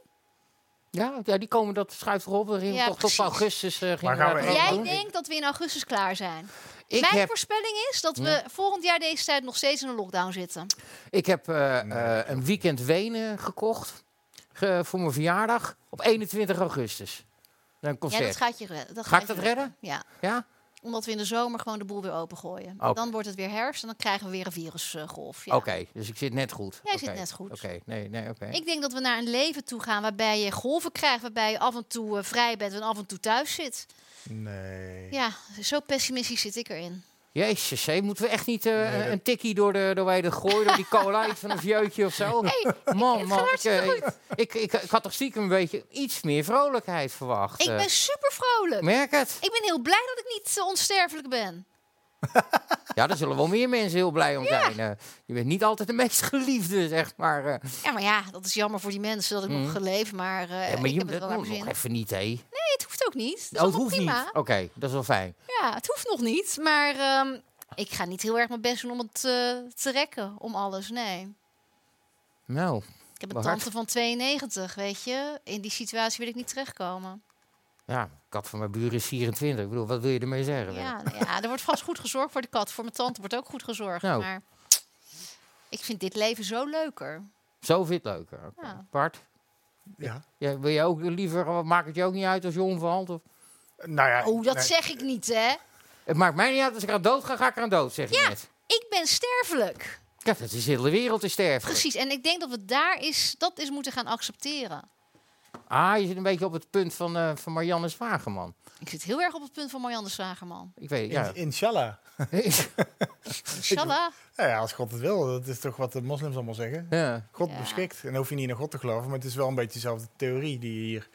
[SPEAKER 3] Ja, ja die komen, dat schuift erop. We gingen
[SPEAKER 4] Ja,
[SPEAKER 3] toch tot
[SPEAKER 4] precies.
[SPEAKER 3] augustus. eh, gingen
[SPEAKER 5] gaan we
[SPEAKER 3] dat
[SPEAKER 5] één
[SPEAKER 3] allemaal
[SPEAKER 4] Jij
[SPEAKER 3] doen.
[SPEAKER 4] denkt dat we in augustus klaar zijn.
[SPEAKER 3] Ik
[SPEAKER 4] Mijn
[SPEAKER 3] heb,
[SPEAKER 4] voorspelling is dat we volgend jaar deze tijd nog steeds in een lockdown zitten.
[SPEAKER 3] ik heb eh, eh, een weekend Wenen gekocht ge- voor mijn verjaardag op 21 augustus. Een
[SPEAKER 4] Ja, dat
[SPEAKER 3] concert.
[SPEAKER 4] gaat je redden.
[SPEAKER 3] Ga ik
[SPEAKER 4] gaat je
[SPEAKER 3] dat redden?
[SPEAKER 4] Ja.
[SPEAKER 3] Ja?
[SPEAKER 4] Omdat we in de zomer gewoon de boel weer opengooien.
[SPEAKER 3] Oké.
[SPEAKER 4] Dan wordt het weer herfst en dan krijgen we weer een virusgolf. Ja.
[SPEAKER 3] Oké, dus ik zit net goed.
[SPEAKER 4] Jij
[SPEAKER 3] Oké,
[SPEAKER 4] zit net goed.
[SPEAKER 3] Oké, nee, nee, oké.
[SPEAKER 4] Ik denk dat we naar een leven toe gaan waarbij je golven krijgt, waarbij je af en toe eh, vrij bent en af en toe thuis zit.
[SPEAKER 5] Nee.
[SPEAKER 4] Ja, zo pessimistisch zit ik erin.
[SPEAKER 3] Jezus, hé, moeten we echt niet eh,
[SPEAKER 5] Nee, dat-
[SPEAKER 3] een tikkie door de, door wij de gooi, door die cola, iets van een vieutje of
[SPEAKER 4] (laughs)
[SPEAKER 3] zo? man, man, ik, eh, ik, ik, ik had toch stiekem een beetje iets meer vrolijkheid verwacht.
[SPEAKER 4] Ik
[SPEAKER 3] eh.
[SPEAKER 4] ben super vrolijk.
[SPEAKER 3] Merk het.
[SPEAKER 4] Ik ben heel blij dat ik niet eh, onsterfelijk ben.
[SPEAKER 3] Ja, daar zullen wel meer mensen heel blij om zijn. eh. je bent niet altijd de meest geliefde, zeg maar. eh.
[SPEAKER 4] Ja, maar ja, dat is jammer voor die mensen dat ik nog geleef, maar, eh,
[SPEAKER 3] Mhm. Ja, maar
[SPEAKER 4] ik
[SPEAKER 3] je
[SPEAKER 4] heb
[SPEAKER 3] moet
[SPEAKER 4] het
[SPEAKER 3] dat
[SPEAKER 4] wel naar
[SPEAKER 3] nog
[SPEAKER 4] mijn zin.
[SPEAKER 3] nog
[SPEAKER 4] Nee,
[SPEAKER 3] even niet, hé.
[SPEAKER 4] het hoeft ook niet. Dat is
[SPEAKER 3] Oh, het
[SPEAKER 4] allemaal
[SPEAKER 3] hoeft
[SPEAKER 4] prima.
[SPEAKER 3] niet. Oké, dat is wel fijn.
[SPEAKER 4] Ja, het hoeft nog niet, maar ehm, ik ga niet heel erg mijn best doen om het eh, te rekken, om alles, nee.
[SPEAKER 3] Nou,
[SPEAKER 4] Ik heb
[SPEAKER 3] Maar
[SPEAKER 4] een
[SPEAKER 3] hard.
[SPEAKER 4] tante van 92, weet je. In die situatie wil ik niet terechtkomen.
[SPEAKER 3] ja, kat van mijn buren is 24. Ik bedoel, wat wil je ermee zeggen?
[SPEAKER 4] Ja, nou ja, er wordt vast goed gezorgd voor de kat. Voor mijn tante wordt ook goed gezorgd.
[SPEAKER 3] Nou.
[SPEAKER 4] Maar ik vind dit leven zo leuker.
[SPEAKER 3] Zo vind je het leuker. Oké.
[SPEAKER 4] Ja.
[SPEAKER 3] Bart,
[SPEAKER 5] Ja.
[SPEAKER 3] jij- wil je ook liever, eh, maakt het je ook niet uit als je omvalt? Of?
[SPEAKER 5] Nou ja,
[SPEAKER 4] Oh, dat
[SPEAKER 5] nee.
[SPEAKER 4] zeg ik niet, hè.
[SPEAKER 3] Het maakt mij niet uit, als ik aan dood ga, ga ik aan dood, zeg je
[SPEAKER 4] Ja.
[SPEAKER 3] net.
[SPEAKER 4] Ik ben sterfelijk.
[SPEAKER 3] Ja, dat is de hele wereld te sterven.
[SPEAKER 4] Precies. En ik denk dat we daar is, dat is moeten gaan accepteren.
[SPEAKER 3] Ah, je zit een beetje op het punt van, eh, van Marianne Zwageman.
[SPEAKER 4] Ik zit heel erg op het punt van Marianne
[SPEAKER 5] (laughs)
[SPEAKER 4] Zwagerman.
[SPEAKER 3] Ik weet
[SPEAKER 5] In-
[SPEAKER 3] ja.
[SPEAKER 5] Inshallah.
[SPEAKER 4] Inshallah.
[SPEAKER 5] Nou ja, als God het wil. Dat is toch wat de moslims allemaal zeggen.
[SPEAKER 3] (laughs) ja.
[SPEAKER 5] God
[SPEAKER 4] Ja.
[SPEAKER 5] beschikt. En dan hoef je niet naar God te geloven. Maar het is wel een beetje dezelfde theorie die je hier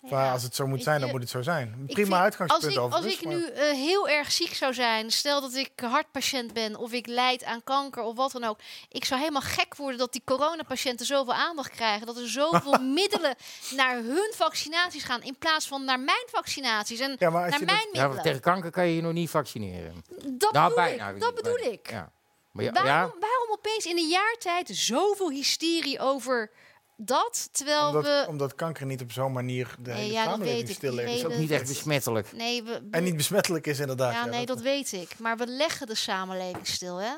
[SPEAKER 5] Maar
[SPEAKER 4] Ja.
[SPEAKER 5] als het zo moet
[SPEAKER 4] Ik,
[SPEAKER 5] zijn, dan
[SPEAKER 4] eh,
[SPEAKER 5] moet het zo zijn. Een
[SPEAKER 4] Ik
[SPEAKER 5] Prima
[SPEAKER 4] vind-
[SPEAKER 5] uitgangspunt
[SPEAKER 4] Als ik, als
[SPEAKER 5] overigens,
[SPEAKER 4] ik
[SPEAKER 5] maar-
[SPEAKER 4] nu eh, heel erg ziek zou zijn, stel dat ik hartpatiënt ben of ik lijd aan kanker of wat dan ook. Ik zou helemaal gek worden dat die coronapatiënten zoveel aandacht krijgen. Dat er
[SPEAKER 5] (laughs)
[SPEAKER 4] zoveel middelen naar hun vaccinaties gaan in plaats van naar mijn vaccinaties en
[SPEAKER 5] Ja, maar als
[SPEAKER 4] naar
[SPEAKER 5] je dat-
[SPEAKER 4] mijn
[SPEAKER 3] Ja, maar
[SPEAKER 4] middelen.
[SPEAKER 3] tegen kanker kan je je nog niet vaccineren.
[SPEAKER 4] dat
[SPEAKER 3] Nou,
[SPEAKER 4] bedoel
[SPEAKER 3] bijna.
[SPEAKER 4] ik. Dat bedoel
[SPEAKER 3] Bijna.
[SPEAKER 4] ik.
[SPEAKER 3] Ja. Maar ja, ja,
[SPEAKER 4] Waarom, waarom opeens in een jaar tijd zoveel hysterie over dat, terwijl we...
[SPEAKER 5] Omdat, omdat kanker niet op zo'n manier de
[SPEAKER 4] eh, Nee,
[SPEAKER 5] hele
[SPEAKER 4] ja, dat
[SPEAKER 5] samenleving
[SPEAKER 4] weet ik.
[SPEAKER 5] stillegt.
[SPEAKER 4] Die
[SPEAKER 5] Is ook
[SPEAKER 4] hele-
[SPEAKER 3] niet echt besmettelijk.
[SPEAKER 4] Nee, we,
[SPEAKER 5] En niet besmettelijk is inderdaad.
[SPEAKER 4] Ja,
[SPEAKER 5] ja,
[SPEAKER 4] nee, dat weet ik. Maar we leggen de samenleving stil, hè?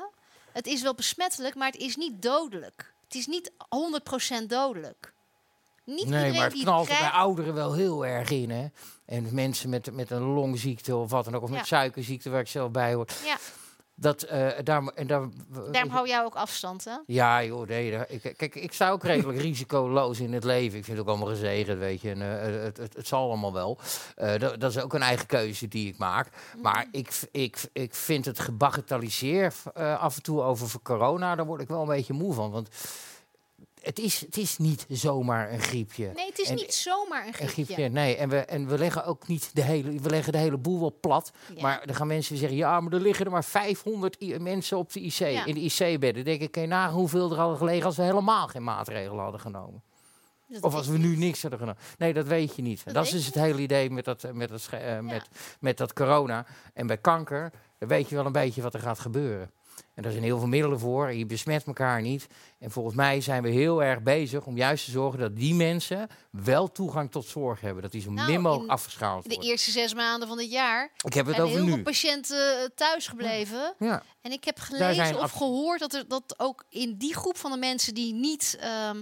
[SPEAKER 4] Het is wel besmettelijk, maar het is niet dodelijk. Het is niet 100% dodelijk. Niet
[SPEAKER 3] Nee,
[SPEAKER 4] iedereen
[SPEAKER 3] maar het
[SPEAKER 4] die
[SPEAKER 3] knalt er
[SPEAKER 4] krijgt...
[SPEAKER 3] bij ouderen wel heel erg in, hè. En mensen met, met een longziekte of wat dan ook, of
[SPEAKER 4] Ja.
[SPEAKER 3] met suikerziekte, waar ik zelf bij hoor.
[SPEAKER 4] Ja,
[SPEAKER 3] Dat, eh daar, en daar, eh,
[SPEAKER 4] daarom hou jij ook afstand, hè?
[SPEAKER 3] Ja, joh, nee, daar- ik, kijk, ik sta ook
[SPEAKER 4] (laughs)
[SPEAKER 3] redelijk risicoloos in het leven. Ik vind het ook allemaal gezegend, weet je. En, eh, het, het, het zal allemaal wel. Eh, da- dat is ook een eigen keuze die ik maak. Maar
[SPEAKER 4] Mm.
[SPEAKER 3] ik, v- ik, v- ik vind het gebagatelliseer eh, af en toe over v- corona, daar word ik wel een beetje moe van. Want het is, het is niet zomaar een griepje.
[SPEAKER 4] Nee, het is
[SPEAKER 3] En-
[SPEAKER 4] niet zomaar een
[SPEAKER 3] een
[SPEAKER 4] griepje.
[SPEAKER 3] griepje, nee. En we, en we leggen ook niet de hele, we leggen de hele boel wel plat.
[SPEAKER 4] Ja.
[SPEAKER 3] Maar dan gaan mensen zeggen, ja, maar er liggen er maar 500 i- mensen op de IC,
[SPEAKER 4] Ja.
[SPEAKER 3] in de IC-bedden. denk ik, kan je nagaan hoeveel er hadden gelegen als we helemaal geen maatregelen hadden genomen.
[SPEAKER 4] Dat
[SPEAKER 3] of als we
[SPEAKER 4] weet
[SPEAKER 3] nu niks hadden genomen. Nee, dat weet je niet.
[SPEAKER 4] Dat
[SPEAKER 3] Dat, is
[SPEAKER 4] weet
[SPEAKER 3] dus
[SPEAKER 4] je
[SPEAKER 3] het hele idee met dat, eh, met, dat, sche- eh, met, met dat corona. En bij kanker, dan weet je wel een beetje wat er gaat gebeuren. En daar zijn heel veel middelen voor. En je besmet elkaar niet. En volgens mij zijn we heel erg bezig om juist te zorgen dat die mensen wel toegang tot zorg hebben. Dat die zo
[SPEAKER 4] Nou,
[SPEAKER 3] min mogelijk
[SPEAKER 4] in
[SPEAKER 3] afgeschaald
[SPEAKER 4] De
[SPEAKER 3] worden.
[SPEAKER 4] eerste zes maanden van dit jaar
[SPEAKER 3] Ik heb het
[SPEAKER 4] zijn
[SPEAKER 3] over
[SPEAKER 4] heel veel
[SPEAKER 3] nu.
[SPEAKER 4] patiënten eh, thuis gebleven.
[SPEAKER 3] Ja.
[SPEAKER 4] En ik heb
[SPEAKER 3] zijn
[SPEAKER 4] gelezen of
[SPEAKER 3] af-
[SPEAKER 4] gehoord dat er dat ook in die groep van de mensen die niet ehm,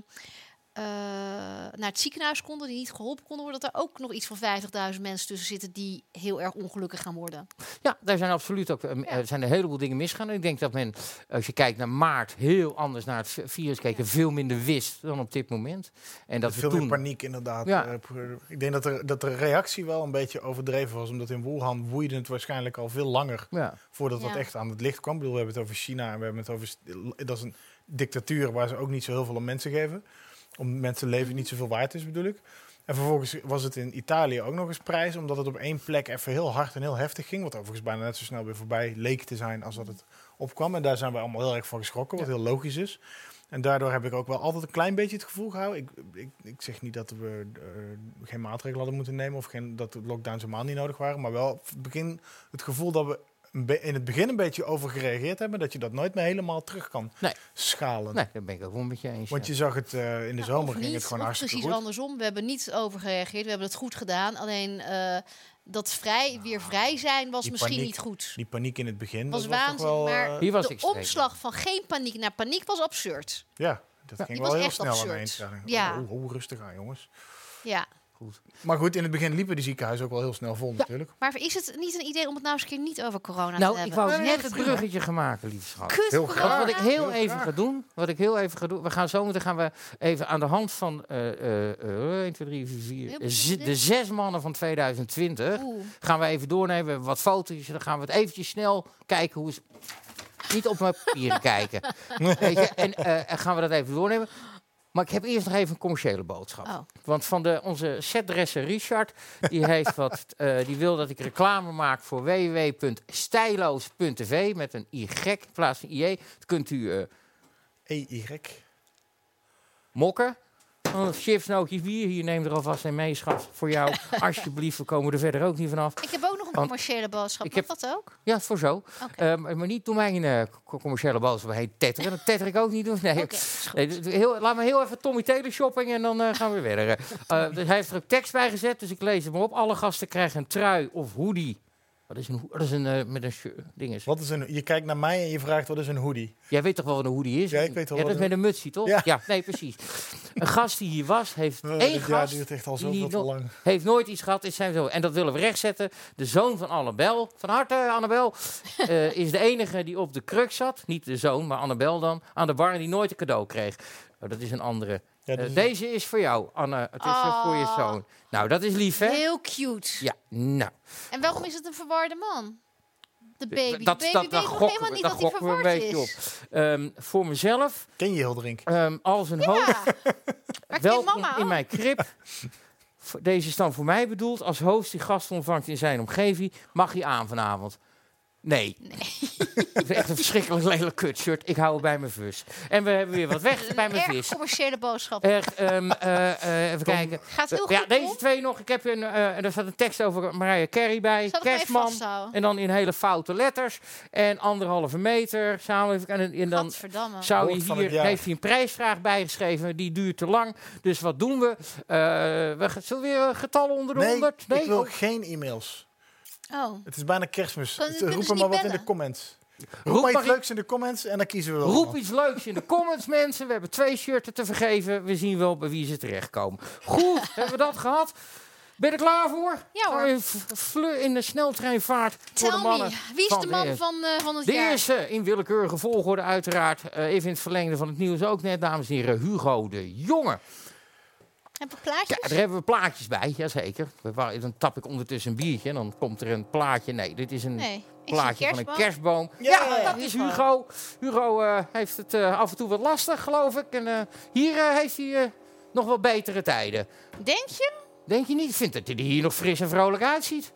[SPEAKER 4] eh, naar het ziekenhuis konden, die niet geholpen konden worden, dat er ook nog iets van 50.000 mensen tussen zitten die heel erg ongelukkig gaan worden.
[SPEAKER 3] ja, daar zijn absoluut ook eh, m- eh, zijn een heleboel dingen misgaan. En ik denk dat men, als je kijkt naar maart, heel anders naar het vi- virus keek. En veel minder wist dan op dit moment. En dat we
[SPEAKER 5] veel meer
[SPEAKER 3] toen...
[SPEAKER 5] paniek inderdaad.
[SPEAKER 3] Ja.
[SPEAKER 5] Eh, pr- ik denk dat, er, dat de reactie wel een beetje overdreven was. Omdat in Wuhan woeide het waarschijnlijk al veel langer
[SPEAKER 3] Ja.
[SPEAKER 5] voordat dat
[SPEAKER 4] Ja.
[SPEAKER 5] echt aan het licht kwam. Ik bedoel, we hebben het over China en we hebben het over... st- Dat is een dictatuur waar ze ook niet zo heel veel om mensen geven. Om mensenleven niet zoveel waard is, bedoel ik. En vervolgens was het in Italië ook nog eens prijs, omdat het op één plek even heel hard en heel heftig ging. Wat overigens bijna net zo snel weer voorbij leek te zijn als dat het opkwam. En daar zijn wij allemaal heel erg van geschrokken, wat heel logisch is. En daardoor heb ik ook wel altijd een klein beetje het gevoel gehouden. Ik, ik, ik zeg niet dat we eh, geen maatregelen hadden moeten nemen of geen, dat de lockdowns helemaal niet nodig waren. Maar wel op het begin het gevoel dat we een be- in het begin een beetje over gereageerd hebben. Dat je dat nooit meer helemaal terug kan
[SPEAKER 3] Nee.
[SPEAKER 5] schalen.
[SPEAKER 3] Nee, dat ben ik ook wel met je eens.
[SPEAKER 5] Want
[SPEAKER 3] ja.
[SPEAKER 5] je zag het eh, in de zomer
[SPEAKER 4] of
[SPEAKER 5] ging
[SPEAKER 4] niet,
[SPEAKER 5] het gewoon
[SPEAKER 4] of
[SPEAKER 5] hartstikke
[SPEAKER 4] precies
[SPEAKER 5] goed.
[SPEAKER 4] andersom. We hebben niet overgereageerd, we hebben het goed gedaan. Alleen eh, dat vrij, weer vrij zijn was
[SPEAKER 5] Nou, die
[SPEAKER 4] misschien
[SPEAKER 5] paniek
[SPEAKER 4] niet goed.
[SPEAKER 5] Die paniek in het begin.
[SPEAKER 4] was
[SPEAKER 5] dat was toch
[SPEAKER 4] waanzin,
[SPEAKER 5] wel,
[SPEAKER 4] maar
[SPEAKER 5] eh,
[SPEAKER 3] Hier was
[SPEAKER 4] de
[SPEAKER 3] extreem, ja.
[SPEAKER 4] omslag van geen paniek naar paniek was absurd.
[SPEAKER 5] ja, dat
[SPEAKER 4] die
[SPEAKER 5] ging
[SPEAKER 4] was
[SPEAKER 5] wel heel
[SPEAKER 4] echt
[SPEAKER 5] snel
[SPEAKER 4] absurd.
[SPEAKER 5] ineens. Ja,
[SPEAKER 4] Ja.
[SPEAKER 5] Hoe, hoe Oh, rustig aan, jongens.
[SPEAKER 4] Ja.
[SPEAKER 5] Maar goed, in het begin liepen de ziekenhuizen ook wel heel snel vol natuurlijk.
[SPEAKER 4] Maar is het niet een idee om het nou eens een keer niet over corona
[SPEAKER 3] Nou,
[SPEAKER 4] te
[SPEAKER 3] ik
[SPEAKER 4] hebben?
[SPEAKER 3] wou
[SPEAKER 5] Nee,
[SPEAKER 3] net
[SPEAKER 5] dat
[SPEAKER 3] het
[SPEAKER 5] is goed,
[SPEAKER 3] bruggetje gemaakt, lieve schat.
[SPEAKER 4] Kut,
[SPEAKER 5] Heel
[SPEAKER 4] corona.
[SPEAKER 5] graag.
[SPEAKER 3] Wat ik heel
[SPEAKER 5] Heel
[SPEAKER 3] even
[SPEAKER 5] graag.
[SPEAKER 3] ga doen, wat ik heel even ga doen, we gaan zo meteen gaan we even aan de hand van eh, eh, eh, 1, 2, 3, 4,
[SPEAKER 4] Heel
[SPEAKER 3] 4,
[SPEAKER 4] goed,
[SPEAKER 3] ze-
[SPEAKER 4] dit.
[SPEAKER 3] de zes mannen van 2020,
[SPEAKER 4] Oeh.
[SPEAKER 3] gaan we even doornemen, we hebben wat foto's, dan gaan we het eventjes snel kijken hoe ze... Niet op mijn papieren kijken. Weet je? En eh, en gaan we dat even doornemen. Maar ik heb eerst nog even een commerciële boodschap.
[SPEAKER 4] Oh.
[SPEAKER 3] Want van de, onze setdresser Richard, die, heeft wat, eh, die wil dat ik reclame maak voor www.stijloos.tv met een Y in plaats van IE. Dat kunt u eh,
[SPEAKER 5] EY.
[SPEAKER 3] mokken. Oh, chips, nootjes, bier, hier neem er alvast een mee, schat. Voor jou, alsjeblieft, we komen er verder ook niet vanaf.
[SPEAKER 4] Ik heb ook nog een
[SPEAKER 3] Want
[SPEAKER 4] commerciële boodschap.
[SPEAKER 3] ik
[SPEAKER 4] Mag
[SPEAKER 3] heb-
[SPEAKER 4] dat ook?
[SPEAKER 3] Ja, voor zo. Eh, maar maar niet door mijn eh, co- commerciële boodschap heen tetteren. Dat tetter ik ook niet. Doen. Nee,
[SPEAKER 4] Oké,
[SPEAKER 3] ik-
[SPEAKER 4] is goed.
[SPEAKER 3] nee, dit- heel, laat me heel even Tommy Taylor shopping en dan eh, gaan we weer verder.
[SPEAKER 4] (laughs)
[SPEAKER 3] Eh, dus hij heeft er ook tekst bij gezet, dus ik lees hem op. Alle gasten krijgen een trui of hoodie. Dat is een, ho- dat is een eh, met een shirt- ding is.
[SPEAKER 5] Wat is een, je kijkt naar mij en je vraagt wat is een hoodie?
[SPEAKER 3] Jij weet toch wel wat een hoodie is?
[SPEAKER 5] Ja, ik weet wel
[SPEAKER 3] ja,
[SPEAKER 5] wat
[SPEAKER 3] dat is
[SPEAKER 5] een-
[SPEAKER 3] met een mutsie, toch?
[SPEAKER 5] Ja.
[SPEAKER 3] nee, precies. Een gast die hier was, heeft
[SPEAKER 5] Eh,
[SPEAKER 3] één
[SPEAKER 5] dit
[SPEAKER 3] gast...
[SPEAKER 5] jaar duurt echt al
[SPEAKER 3] die
[SPEAKER 5] zoveel te
[SPEAKER 3] nog-
[SPEAKER 5] lang.
[SPEAKER 3] Heeft nooit iets gehad, is zijn zo. En dat willen we rechtzetten. De zoon van Annabel, van harte
[SPEAKER 4] (laughs)
[SPEAKER 3] Annabel, eh, is de enige die op de kruk zat. Niet de zoon, maar Annabel dan. Aan de bar en die nooit een cadeau kreeg. Oh, dat is een andere.
[SPEAKER 5] Ja,
[SPEAKER 3] Eh,
[SPEAKER 5] dus-
[SPEAKER 3] deze is voor jou, Anne. Het is eh, voor je
[SPEAKER 4] Ah.
[SPEAKER 3] zoon. Nou, dat is lief, hè?
[SPEAKER 4] Heel cute.
[SPEAKER 3] Ja, nou.
[SPEAKER 4] En waarom is het een verwarde man? De baby.
[SPEAKER 3] dat,
[SPEAKER 4] de baby
[SPEAKER 3] dat,
[SPEAKER 4] weet
[SPEAKER 3] dat
[SPEAKER 4] nog
[SPEAKER 3] gokken
[SPEAKER 4] helemaal
[SPEAKER 3] we-
[SPEAKER 4] niet
[SPEAKER 3] dat
[SPEAKER 4] dat hij
[SPEAKER 3] gokken we
[SPEAKER 4] verward
[SPEAKER 3] een beetje
[SPEAKER 4] is.
[SPEAKER 3] op. Ehm, voor mezelf,
[SPEAKER 5] Ken je Hildrink?
[SPEAKER 3] ehm, als een hoofd.
[SPEAKER 4] Ja. Maar ik ken
[SPEAKER 3] Welkom
[SPEAKER 4] mama
[SPEAKER 3] in
[SPEAKER 4] ook.
[SPEAKER 3] mijn krip. Voor- Deze is dan voor mij bedoeld. Als host die gasten ontvangt in zijn omgeving, mag hij aan vanavond. Nee. (laughs) Het is echt een verschrikkelijk lelijk kutshirt. Ik hou het bij mijn vis. En we hebben weer wat weg bij mijn
[SPEAKER 4] Erg
[SPEAKER 3] vis.
[SPEAKER 4] commerciële boodschap.
[SPEAKER 3] Echt, ehm, eh, eh, even kijken.
[SPEAKER 4] Gaat heel goed
[SPEAKER 3] Ja,
[SPEAKER 4] om.
[SPEAKER 3] deze twee nog. Ik heb een, eh, en daar staat een tekst over Mariah Carey bij.
[SPEAKER 4] Zal ik hem even
[SPEAKER 3] Kerstman.
[SPEAKER 4] vasthouden?
[SPEAKER 3] En dan in hele foute letters. En anderhalve meter. Samenleving. En, en dan
[SPEAKER 4] Gadverdamme.
[SPEAKER 3] zou
[SPEAKER 5] Woord
[SPEAKER 3] je
[SPEAKER 5] van
[SPEAKER 3] hier,
[SPEAKER 5] het jaar.
[SPEAKER 3] heeft hij een prijsvraag bijgeschreven. Die duurt te lang. Dus wat doen we? Eh, we ge- zullen we weer getallen onder de
[SPEAKER 5] Nee,
[SPEAKER 3] 100?
[SPEAKER 5] ik wil
[SPEAKER 3] Oh,
[SPEAKER 5] geen e-mails.
[SPEAKER 4] Oh.
[SPEAKER 5] Het is bijna kerstmis.
[SPEAKER 4] Kan-
[SPEAKER 5] Het-
[SPEAKER 4] kunnen
[SPEAKER 5] Roep
[SPEAKER 4] ze
[SPEAKER 5] er
[SPEAKER 4] niet
[SPEAKER 5] maar wat in
[SPEAKER 4] bellen?
[SPEAKER 5] de comments. Roep,
[SPEAKER 3] dus Roep
[SPEAKER 5] maar
[SPEAKER 3] maar
[SPEAKER 5] iets
[SPEAKER 3] in-
[SPEAKER 5] leuks in de comments en dan kiezen we wel.
[SPEAKER 3] Roep
[SPEAKER 5] wat.
[SPEAKER 3] iets leuks in de comments, (laughs) mensen. We hebben twee shirten te vergeven. We zien wel bij wie ze terechtkomen. Goed, (laughs) hebben we dat gehad? Ben je er klaar voor?
[SPEAKER 4] Ja, hoor.
[SPEAKER 3] Ga je v- vleur in de sneltreinvaart voor de
[SPEAKER 4] Tell
[SPEAKER 3] mannen.
[SPEAKER 4] me, wie is
[SPEAKER 3] van
[SPEAKER 4] de
[SPEAKER 3] de
[SPEAKER 4] man
[SPEAKER 3] eer.
[SPEAKER 4] van, eh, van het
[SPEAKER 3] De
[SPEAKER 4] jaar?
[SPEAKER 3] eerste, in willekeurige volgorde uiteraard. eh, even in het verlengde van het nieuws ook net, dames en heren. Hugo de Jonge.
[SPEAKER 4] Heb ik plaatjes?
[SPEAKER 3] Ja, daar hebben we plaatjes bij, jazeker. We wa- Dan tap ik ondertussen een biertje en dan komt er een plaatje. Nee, dit is een
[SPEAKER 4] nee. Ik
[SPEAKER 3] plaatje
[SPEAKER 4] zie
[SPEAKER 3] van een kerstboom. Ja, dat is
[SPEAKER 4] Hugo.
[SPEAKER 3] Hugo. Hugo eh, heeft het eh, af en toe wat lastig, geloof ik. En eh, hier eh, heeft hij eh, nog wel betere tijden.
[SPEAKER 4] Denk je?
[SPEAKER 3] Denk je niet? Ik vind dat hij er hier nog fris en vrolijk uitziet.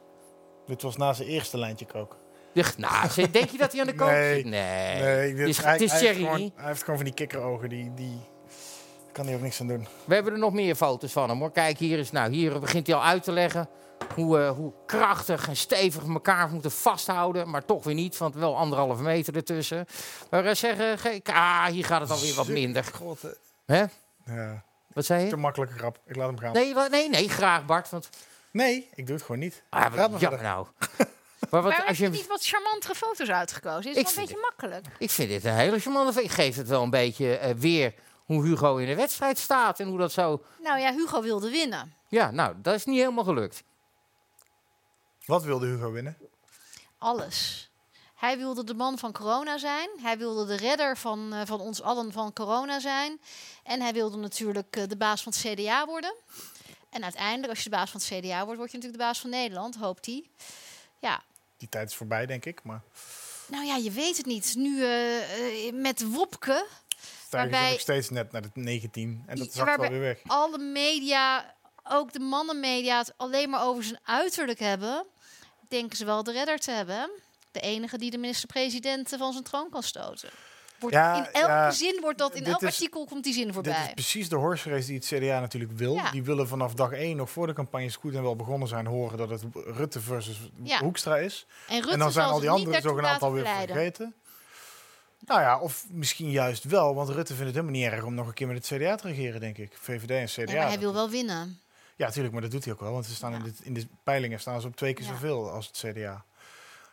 [SPEAKER 5] Dit was na zijn eerste lijntje kook.
[SPEAKER 3] Ech, Nou, zeg, denk je dat hij aan de kant
[SPEAKER 5] Nee.
[SPEAKER 3] zit? Nee.
[SPEAKER 5] Nee,
[SPEAKER 3] het
[SPEAKER 5] dit,
[SPEAKER 3] is,
[SPEAKER 5] hij,
[SPEAKER 3] het is
[SPEAKER 5] hij heeft
[SPEAKER 3] Thierry.
[SPEAKER 5] gewoon, hij heeft gewoon van die kikkerogen. Die, die daar kan hij ook niks aan doen.
[SPEAKER 3] We hebben er nog meer foto's van hem hoor. Kijk, hier is nou, hier begint hij al uit te leggen hoe, eh, hoe krachtig en stevig we elkaar moeten vasthouden. Maar toch weer niet, want wel anderhalve meter ertussen. Maar eh, zeggen, ge- ah, hier gaat het alweer wat minder.
[SPEAKER 5] God, eh,
[SPEAKER 3] Hè?
[SPEAKER 5] ja,
[SPEAKER 3] Wat zei
[SPEAKER 5] te
[SPEAKER 3] je?
[SPEAKER 5] makkelijke grap. Ik laat hem gaan. Nee,
[SPEAKER 3] Nee, wa- nee, nee, graag Bart. Want,
[SPEAKER 5] ik doe het gewoon niet.
[SPEAKER 3] ah,
[SPEAKER 5] Praat
[SPEAKER 3] wat
[SPEAKER 5] maar
[SPEAKER 3] jammer
[SPEAKER 5] verder. (laughs)
[SPEAKER 3] nou. Maar wat,
[SPEAKER 4] Waarom
[SPEAKER 3] als
[SPEAKER 4] heb je
[SPEAKER 3] je,
[SPEAKER 4] niet wat charmantere foto's uitgekozen? Is
[SPEAKER 3] Ik
[SPEAKER 4] wel een
[SPEAKER 3] vind
[SPEAKER 4] beetje makkelijk.
[SPEAKER 3] ik vind dit een hele charmante... v- Ik geef het wel een beetje eh, weer hoe Hugo in de wedstrijd staat. En hoe dat zo...
[SPEAKER 4] Nou ja, Hugo wilde winnen.
[SPEAKER 3] Ja, nou, dat is niet helemaal gelukt.
[SPEAKER 5] Wat wilde Hugo winnen?
[SPEAKER 4] Alles. Hij wilde de man van corona zijn. Hij wilde de redder van, eh, van ons allen van corona zijn. En hij wilde natuurlijk eh, de baas van het CDA worden. En uiteindelijk, als je de baas van het CDA wordt, word je natuurlijk de baas van Nederland, hoopt hij. Ja,
[SPEAKER 5] Die tijd is voorbij, denk ik. Maar
[SPEAKER 4] nou ja, je weet het niet. Nu eh, eh, met Wopke,
[SPEAKER 5] Stijgen
[SPEAKER 4] Waarbij-
[SPEAKER 5] is nog steeds net naar de 19. En dat
[SPEAKER 4] Ja,
[SPEAKER 5] zakt
[SPEAKER 4] waarbij-
[SPEAKER 5] wel weer weg.
[SPEAKER 4] alle media, ook de mannenmedia, het alleen maar over zijn uiterlijk hebben, denken ze wel de redder te hebben. hè? De enige die de minister-president eh, van zijn troon kan stoten. Wordt
[SPEAKER 5] Ja,
[SPEAKER 4] in elke
[SPEAKER 5] ja,
[SPEAKER 4] zin wordt dat, in
[SPEAKER 5] dit
[SPEAKER 4] elk
[SPEAKER 5] is-
[SPEAKER 4] artikel komt die zin
[SPEAKER 5] Dit is
[SPEAKER 4] voorbij.
[SPEAKER 5] precies de horse race die het CDA natuurlijk wil.
[SPEAKER 4] Ja.
[SPEAKER 5] Die willen vanaf dag 1, nog voor de campagnes goed en wel begonnen zijn, horen dat het Rutte versus
[SPEAKER 4] Ja.
[SPEAKER 5] Hoekstra is.
[SPEAKER 4] En Rutte
[SPEAKER 5] en dan zijn
[SPEAKER 4] zal
[SPEAKER 5] al die
[SPEAKER 4] zich niet
[SPEAKER 5] anderen
[SPEAKER 4] daartoe
[SPEAKER 5] zogenaamd
[SPEAKER 4] laten
[SPEAKER 5] alweer
[SPEAKER 4] verleiden.
[SPEAKER 5] vergeten. Nou ja, of misschien juist wel, want Rutte vindt het helemaal niet erg om nog een keer met het CDA te regeren, denk ik. VVD en CDA.
[SPEAKER 4] Nee, maar hij
[SPEAKER 5] dat-
[SPEAKER 4] wil wel winnen.
[SPEAKER 5] Ja, natuurlijk, maar dat doet hij ook wel. Want ze staan in,
[SPEAKER 4] Ja.
[SPEAKER 5] dit, in de peilingen staan ze op twee keer
[SPEAKER 4] Ja.
[SPEAKER 5] zoveel als het CDA.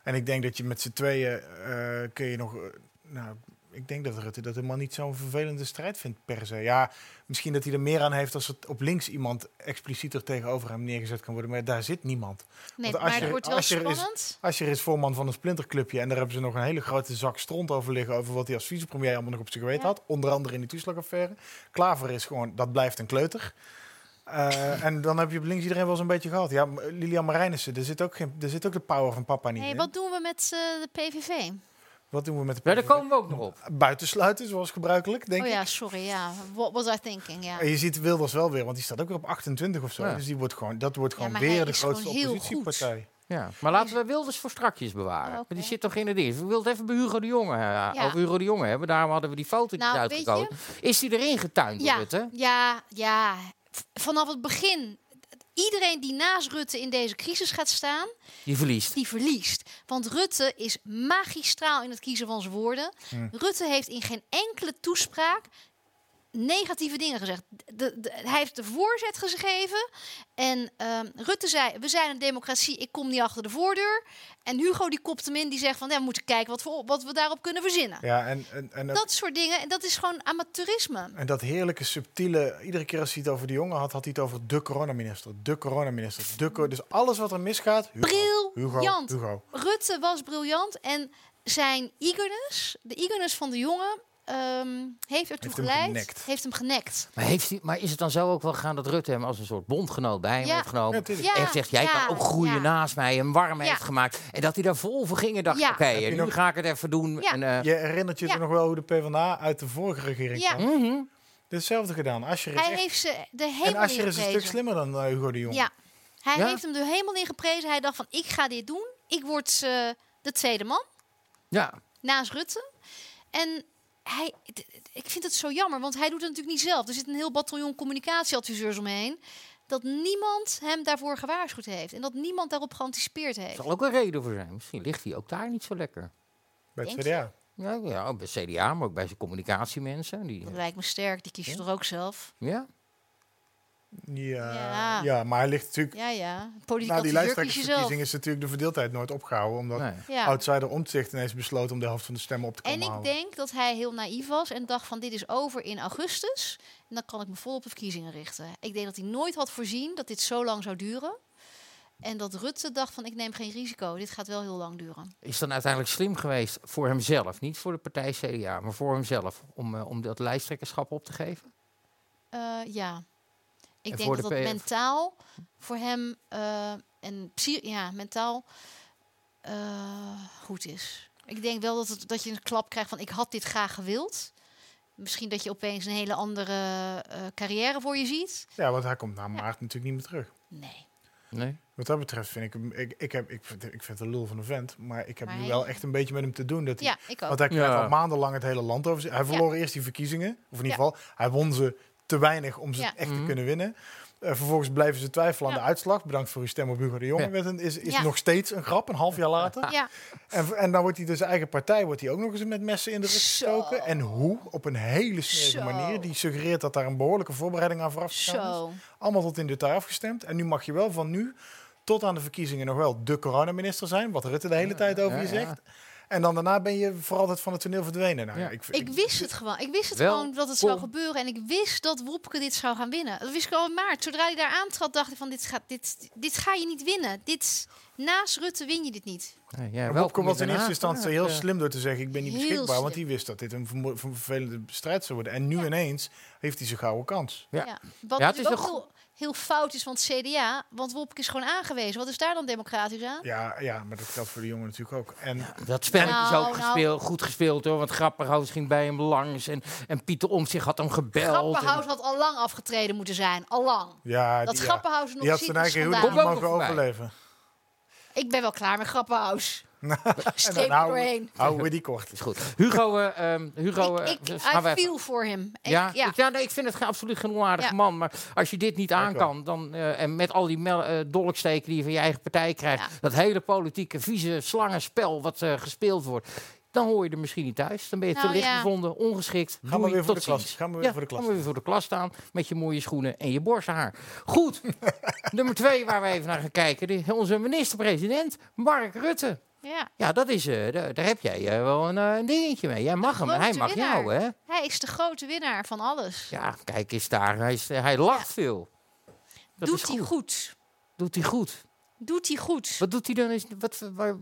[SPEAKER 5] En ik denk dat je met z'n tweeën eh, kun je nog. eh, nou, ik denk dat Rutte dat helemaal niet zo'n vervelende strijd vindt per se. Ja, misschien dat hij er meer aan heeft als het op links iemand explicieter tegenover hem neergezet kan worden. Maar daar zit niemand.
[SPEAKER 4] Nee,
[SPEAKER 5] als
[SPEAKER 4] maar
[SPEAKER 5] je-
[SPEAKER 4] het wordt wel
[SPEAKER 5] als je er is-
[SPEAKER 4] spannend.
[SPEAKER 5] Als je er is voorman van een splinterclubje en daar hebben ze nog een hele grote zak stront over liggen over wat hij als vicepremier allemaal nog op zijn geweten
[SPEAKER 4] Ja.
[SPEAKER 5] had. Onder andere in die toeslagaffaire. Klaver is gewoon, dat blijft een kleuter. Eh, en dan heb je op links iedereen wel zo'n beetje gehad. Ja, m- Lilian Marijnissen, er zit ook, geen, er zit ook de power van papa niet
[SPEAKER 4] Hey,
[SPEAKER 5] in.
[SPEAKER 4] wat doen we met eh, de PVV?
[SPEAKER 5] Wat doen we met de
[SPEAKER 3] Ja, daar
[SPEAKER 5] PVV?
[SPEAKER 3] komen we ook nog op.
[SPEAKER 5] Buitensluiten, zoals gebruikelijk, denk
[SPEAKER 4] oh
[SPEAKER 5] ik.
[SPEAKER 4] ja, sorry. Ja. What was I thinking? Ja.
[SPEAKER 5] En je ziet Wilders wel weer, want die staat ook weer op 28 of zo.
[SPEAKER 3] Ja.
[SPEAKER 5] Dus die wordt gewoon, dat wordt
[SPEAKER 4] Ja,
[SPEAKER 5] gewoon
[SPEAKER 4] maar hij
[SPEAKER 5] weer de
[SPEAKER 4] is gewoon
[SPEAKER 5] grootste
[SPEAKER 4] heel
[SPEAKER 5] oppositiepartij.
[SPEAKER 3] Ja. Maar laten we Wilders voor strakjes bewaren.
[SPEAKER 4] Ja,
[SPEAKER 3] Want
[SPEAKER 4] oké.
[SPEAKER 3] Die zit toch in het eerst. We wilden het even bij Hugo de Jonge, eh, over Hugo de Jonge hebben. Daarom hadden we die foto
[SPEAKER 4] Nou, weet
[SPEAKER 3] uitgekozen. Is die erin getuind, door
[SPEAKER 4] Ja,
[SPEAKER 3] Rutte?
[SPEAKER 4] ja, ja. V- Vanaf het begin. Iedereen die naast Rutte in deze crisis gaat staan,
[SPEAKER 3] Die verliest.
[SPEAKER 4] die verliest. Want Rutte is magistraal in het kiezen van zijn woorden. Rutte heeft in geen enkele toespraak negatieve dingen gezegd. De, de- hij heeft de voorzet gegeven. En ehm, Rutte zei, we zijn een democratie, ik kom niet achter de voordeur. En Hugo die kopt hem in, die zegt van, ja, we moeten kijken wat, voor, wat we daarop kunnen verzinnen.
[SPEAKER 5] Ja, en, en, en ook-
[SPEAKER 4] Dat soort dingen, en dat is gewoon amateurisme.
[SPEAKER 5] En dat heerlijke, subtiele... Iedere keer als hij het over de jongen had, had hij het over de coronaminister. De coronaminister. De co- dus alles wat er misgaat... Hugo, Hugo,
[SPEAKER 4] Briljant.
[SPEAKER 5] Hugo.
[SPEAKER 4] Rutte was briljant en zijn eagerness, de eagerness van de jongen, ehm, heeft ertoe
[SPEAKER 5] Heeft hem
[SPEAKER 4] geleid.
[SPEAKER 5] genekt.
[SPEAKER 4] Heeft hem genekt.
[SPEAKER 3] Maar, heeft hij, maar is het dan zo ook wel gegaan dat Rutte hem als een soort bondgenoot bij hem
[SPEAKER 4] Ja.
[SPEAKER 3] heeft genomen?
[SPEAKER 5] Natuurlijk.
[SPEAKER 4] Ja,
[SPEAKER 3] en zegt, jij
[SPEAKER 4] ja,
[SPEAKER 3] kan ook groeien
[SPEAKER 4] ja.
[SPEAKER 3] naast mij en warm
[SPEAKER 4] Ja.
[SPEAKER 3] heeft gemaakt. En dat hij daar vol voor ging en dacht,
[SPEAKER 4] Ja.
[SPEAKER 3] oké,
[SPEAKER 4] Heb
[SPEAKER 3] en
[SPEAKER 5] je
[SPEAKER 3] nu
[SPEAKER 5] nog-
[SPEAKER 3] ga ik het even doen.
[SPEAKER 4] Ja.
[SPEAKER 3] En, eh,
[SPEAKER 5] Je herinnert je
[SPEAKER 4] Ja.
[SPEAKER 5] er nog wel hoe de PvdA uit de vorige regering
[SPEAKER 4] Ja. Hm?
[SPEAKER 5] kwam?
[SPEAKER 3] mhm.
[SPEAKER 5] Hetzelfde gedaan. Asher is
[SPEAKER 4] Hij
[SPEAKER 5] echt-
[SPEAKER 4] heeft ze de
[SPEAKER 5] en
[SPEAKER 4] hemel
[SPEAKER 5] Asher is een stuk
[SPEAKER 4] ingeprezen.
[SPEAKER 5] slimmer dan eh, Hugo de Jong.
[SPEAKER 4] Ja, hij
[SPEAKER 3] Ja?
[SPEAKER 4] heeft hem de hemel ingeprezen. Hij dacht van, ik ga dit doen. Ik word eh, de tweede man.
[SPEAKER 3] Ja,
[SPEAKER 4] naast Rutte. En hij, d- d- ik vind het zo jammer, want hij doet het natuurlijk niet zelf. Er zit een heel bataljon communicatieadviseurs omheen. Dat niemand hem daarvoor gewaarschuwd heeft. En dat niemand daarop geanticipeerd
[SPEAKER 3] er
[SPEAKER 4] heeft.
[SPEAKER 3] zal ook een reden voor zijn. Misschien ligt hij ook daar niet zo lekker.
[SPEAKER 5] Bij het
[SPEAKER 4] Denk
[SPEAKER 5] tweede jaar.
[SPEAKER 3] Ja, ja bij CDA, maar ook bij zijn communicatiemensen. Die,
[SPEAKER 4] Dat lijkt me sterk, die kies je
[SPEAKER 3] Ja.
[SPEAKER 4] toch ook zelf?
[SPEAKER 3] ja?
[SPEAKER 5] Ja,
[SPEAKER 4] Ja.
[SPEAKER 5] eh, ja. maar hij ligt natuurlijk...
[SPEAKER 4] Ja, ja. Politiek
[SPEAKER 5] Na Nou, die
[SPEAKER 4] adviseur kies je zelf.
[SPEAKER 5] lijsttrekkersverkiezing is natuurlijk de verdeeldheid nooit opgehouden. Omdat
[SPEAKER 3] Nee.
[SPEAKER 4] Ja.
[SPEAKER 5] outsider omzicht ineens besloot om de helft van de stemmen op te komen
[SPEAKER 4] En ik
[SPEAKER 5] halen.
[SPEAKER 4] denk dat hij heel naïef was en dacht van dit is over in augustus. En dan kan ik me vol op de verkiezingen richten. Ik denk dat hij nooit had voorzien dat dit zo lang zou duren. En dat Rutte dacht van ik neem geen risico. Dit gaat wel heel lang duren.
[SPEAKER 3] Is dan uiteindelijk slim geweest voor hemzelf, niet voor de partij CDA, maar voor hemzelf, om, eh, om dat lijsttrekkerschap op te geven?
[SPEAKER 4] Eh, ja. Ik
[SPEAKER 3] En
[SPEAKER 4] denk
[SPEAKER 3] voor
[SPEAKER 4] dat dat
[SPEAKER 3] de PF?
[SPEAKER 4] mentaal voor hem eh, en psy- ja, mentaal eh, goed is. Ik denk wel dat, het, dat je een klap krijgt van ik had dit graag gewild. Misschien dat je opeens een hele andere eh, carrière voor je ziet.
[SPEAKER 5] Ja, want hij komt na maart natuurlijk niet meer terug.
[SPEAKER 4] Nee.
[SPEAKER 3] Nee.
[SPEAKER 5] Wat dat betreft vind ik hem... Ik, ik, heb, ik, vind, ik vind het een lul van een vent. Maar ik heb
[SPEAKER 4] Maar
[SPEAKER 5] nu
[SPEAKER 4] hij-
[SPEAKER 5] wel echt een beetje met hem te doen. Dat hij,
[SPEAKER 4] Ja, ik ook.
[SPEAKER 5] Want hij krijgt
[SPEAKER 3] Ja.
[SPEAKER 5] al maandenlang het hele land over zich. Hij verloor eerst die verkiezingen. Of in ieder geval, hij won ze te weinig om ze
[SPEAKER 4] Ja.
[SPEAKER 5] echt
[SPEAKER 3] Mhm.
[SPEAKER 5] te kunnen winnen. Eh, vervolgens blijven ze twijfelen aan
[SPEAKER 4] Ja.
[SPEAKER 5] de uitslag. Bedankt voor uw stem op Hugo de Jonge.
[SPEAKER 3] Ja.
[SPEAKER 5] werd een- Is, is
[SPEAKER 4] Ja.
[SPEAKER 5] nog steeds een grap, een half jaar
[SPEAKER 4] (laughs)
[SPEAKER 5] later.
[SPEAKER 4] Ja,
[SPEAKER 5] En, en dan wordt hij door zijn eigen partij wordt hij ook nog eens met messen in de rug
[SPEAKER 4] Zo.
[SPEAKER 5] gestoken. En hoe? Op een hele
[SPEAKER 4] Zo.
[SPEAKER 5] smerige manier. Die suggereert dat daar een behoorlijke voorbereiding aan vooraf gegaan
[SPEAKER 4] zo.
[SPEAKER 5] is. Allemaal tot in detail afgestemd. En nu mag je wel van nu tot aan de verkiezingen nog wel de coronaminister zijn. Wat Rutte de hele tijd over
[SPEAKER 3] ja,
[SPEAKER 5] je
[SPEAKER 3] ja.
[SPEAKER 5] zegt. En dan daarna ben je voor altijd van het toneel verdwenen. Nou,
[SPEAKER 3] Ja.
[SPEAKER 5] ik,
[SPEAKER 4] Ik wist het gewoon. Ik wist het
[SPEAKER 3] Wel
[SPEAKER 4] gewoon dat het zou
[SPEAKER 3] kom.
[SPEAKER 4] gebeuren. En ik wist dat Wopke dit zou gaan winnen. Dat wist ik al in maart. Zodra hij daar aantrad, dacht ik van dit, gaat, dit, dit ga je niet winnen. Dit, naast Rutte win je dit niet.
[SPEAKER 3] Nee, ja,
[SPEAKER 5] En
[SPEAKER 3] welkom
[SPEAKER 5] Wopke was in
[SPEAKER 3] Den
[SPEAKER 5] eerste
[SPEAKER 3] Haag,
[SPEAKER 5] instantie
[SPEAKER 3] maar,
[SPEAKER 5] heel
[SPEAKER 3] eh,
[SPEAKER 5] slim door te zeggen: Ik ben niet
[SPEAKER 4] heel
[SPEAKER 5] beschikbaar. Want
[SPEAKER 4] slim.
[SPEAKER 5] hij wist dat dit een vermo- ver- vervelende strijd zou worden. En nu ineens heeft hij zijn gouden kans.
[SPEAKER 3] Ja.
[SPEAKER 4] Wat
[SPEAKER 3] Ja, het
[SPEAKER 4] natuurlijk
[SPEAKER 3] is
[SPEAKER 4] ook
[SPEAKER 3] een
[SPEAKER 4] heel, heel fout is van het CDA. Want Wopke is gewoon aangewezen. Wat is daar dan democratisch aan?
[SPEAKER 5] Ja, ja, maar dat geldt voor de jongen natuurlijk ook. En
[SPEAKER 3] Dat spelletje is ook
[SPEAKER 4] Nou, nou.
[SPEAKER 3] gespeeld, goed gespeeld hoor. Want Grapperhaus ging bij hem langs en, en Pieter Omtzigt had hem gebeld.
[SPEAKER 4] Grappenhuis had al lang afgetreden moeten zijn. Al lang.
[SPEAKER 5] ja,
[SPEAKER 4] Dat
[SPEAKER 5] die, ja,
[SPEAKER 4] Grappenhuis nog
[SPEAKER 5] die had
[SPEAKER 4] ziet
[SPEAKER 5] zijn
[SPEAKER 4] is
[SPEAKER 5] eigen
[SPEAKER 4] schandaal.
[SPEAKER 5] huwelijk
[SPEAKER 3] Komt ook
[SPEAKER 5] mogen
[SPEAKER 3] nog voorbij.
[SPEAKER 5] overleven.
[SPEAKER 4] Ik ben wel klaar met
[SPEAKER 5] (laughs)
[SPEAKER 4] Grappenhuis. Streep er
[SPEAKER 5] Nou, En dan houden-
[SPEAKER 4] doorheen.
[SPEAKER 5] Houden we die kort.
[SPEAKER 3] Is goed. Hugo, eh, ehm, Hugo eh,
[SPEAKER 4] Ik, ik,
[SPEAKER 3] dus gaan wij
[SPEAKER 4] I
[SPEAKER 3] even-
[SPEAKER 4] feel voor hem. Ik-
[SPEAKER 3] Ja,
[SPEAKER 4] ja.
[SPEAKER 3] ik, ja nee, ik vind het geen- absoluut geen onaardig
[SPEAKER 4] Ja.
[SPEAKER 3] man. Maar als je dit niet aan
[SPEAKER 5] wel.
[SPEAKER 3] kan, dan, eh, en met al die mel- eh, dolksteken die je van je eigen partij krijgt,
[SPEAKER 4] Ja.
[SPEAKER 3] dat hele politieke, vieze slangenspel wat eh, gespeeld wordt, dan hoor je er misschien niet thuis. Dan ben je
[SPEAKER 4] Nou,
[SPEAKER 3] te licht
[SPEAKER 4] ja.
[SPEAKER 3] gevonden, ongeschikt.
[SPEAKER 5] Ga maar
[SPEAKER 3] Doei,
[SPEAKER 5] weer voor de
[SPEAKER 3] tot
[SPEAKER 5] klas.
[SPEAKER 3] ziens.
[SPEAKER 5] Ga maar
[SPEAKER 3] Ja,
[SPEAKER 5] weer voor de
[SPEAKER 3] ga
[SPEAKER 5] klas.
[SPEAKER 3] maar weer voor de klas staan met je mooie schoenen en je borstenhaar.
[SPEAKER 5] (laughs)
[SPEAKER 3] Goed, nummer twee waar we even naar gaan kijken. die- onze minister-president, Mark Rutte.
[SPEAKER 4] ja.
[SPEAKER 3] Ja, dat is, eh, da- daar heb jij eh, wel een, eh, een dingetje mee. Jij mag hem en hij
[SPEAKER 4] grote
[SPEAKER 3] mag
[SPEAKER 4] winnaar.
[SPEAKER 3] jou, hè?
[SPEAKER 4] Hij is de grote winnaar van alles.
[SPEAKER 3] Ja, kijk eens daar. Hij, is- eh, hij lacht veel. Dat is
[SPEAKER 4] Doet hij goed.
[SPEAKER 3] Doet hij goed.
[SPEAKER 4] Doet hij goed.
[SPEAKER 3] Wat doet hij dan? Is, wat, waar,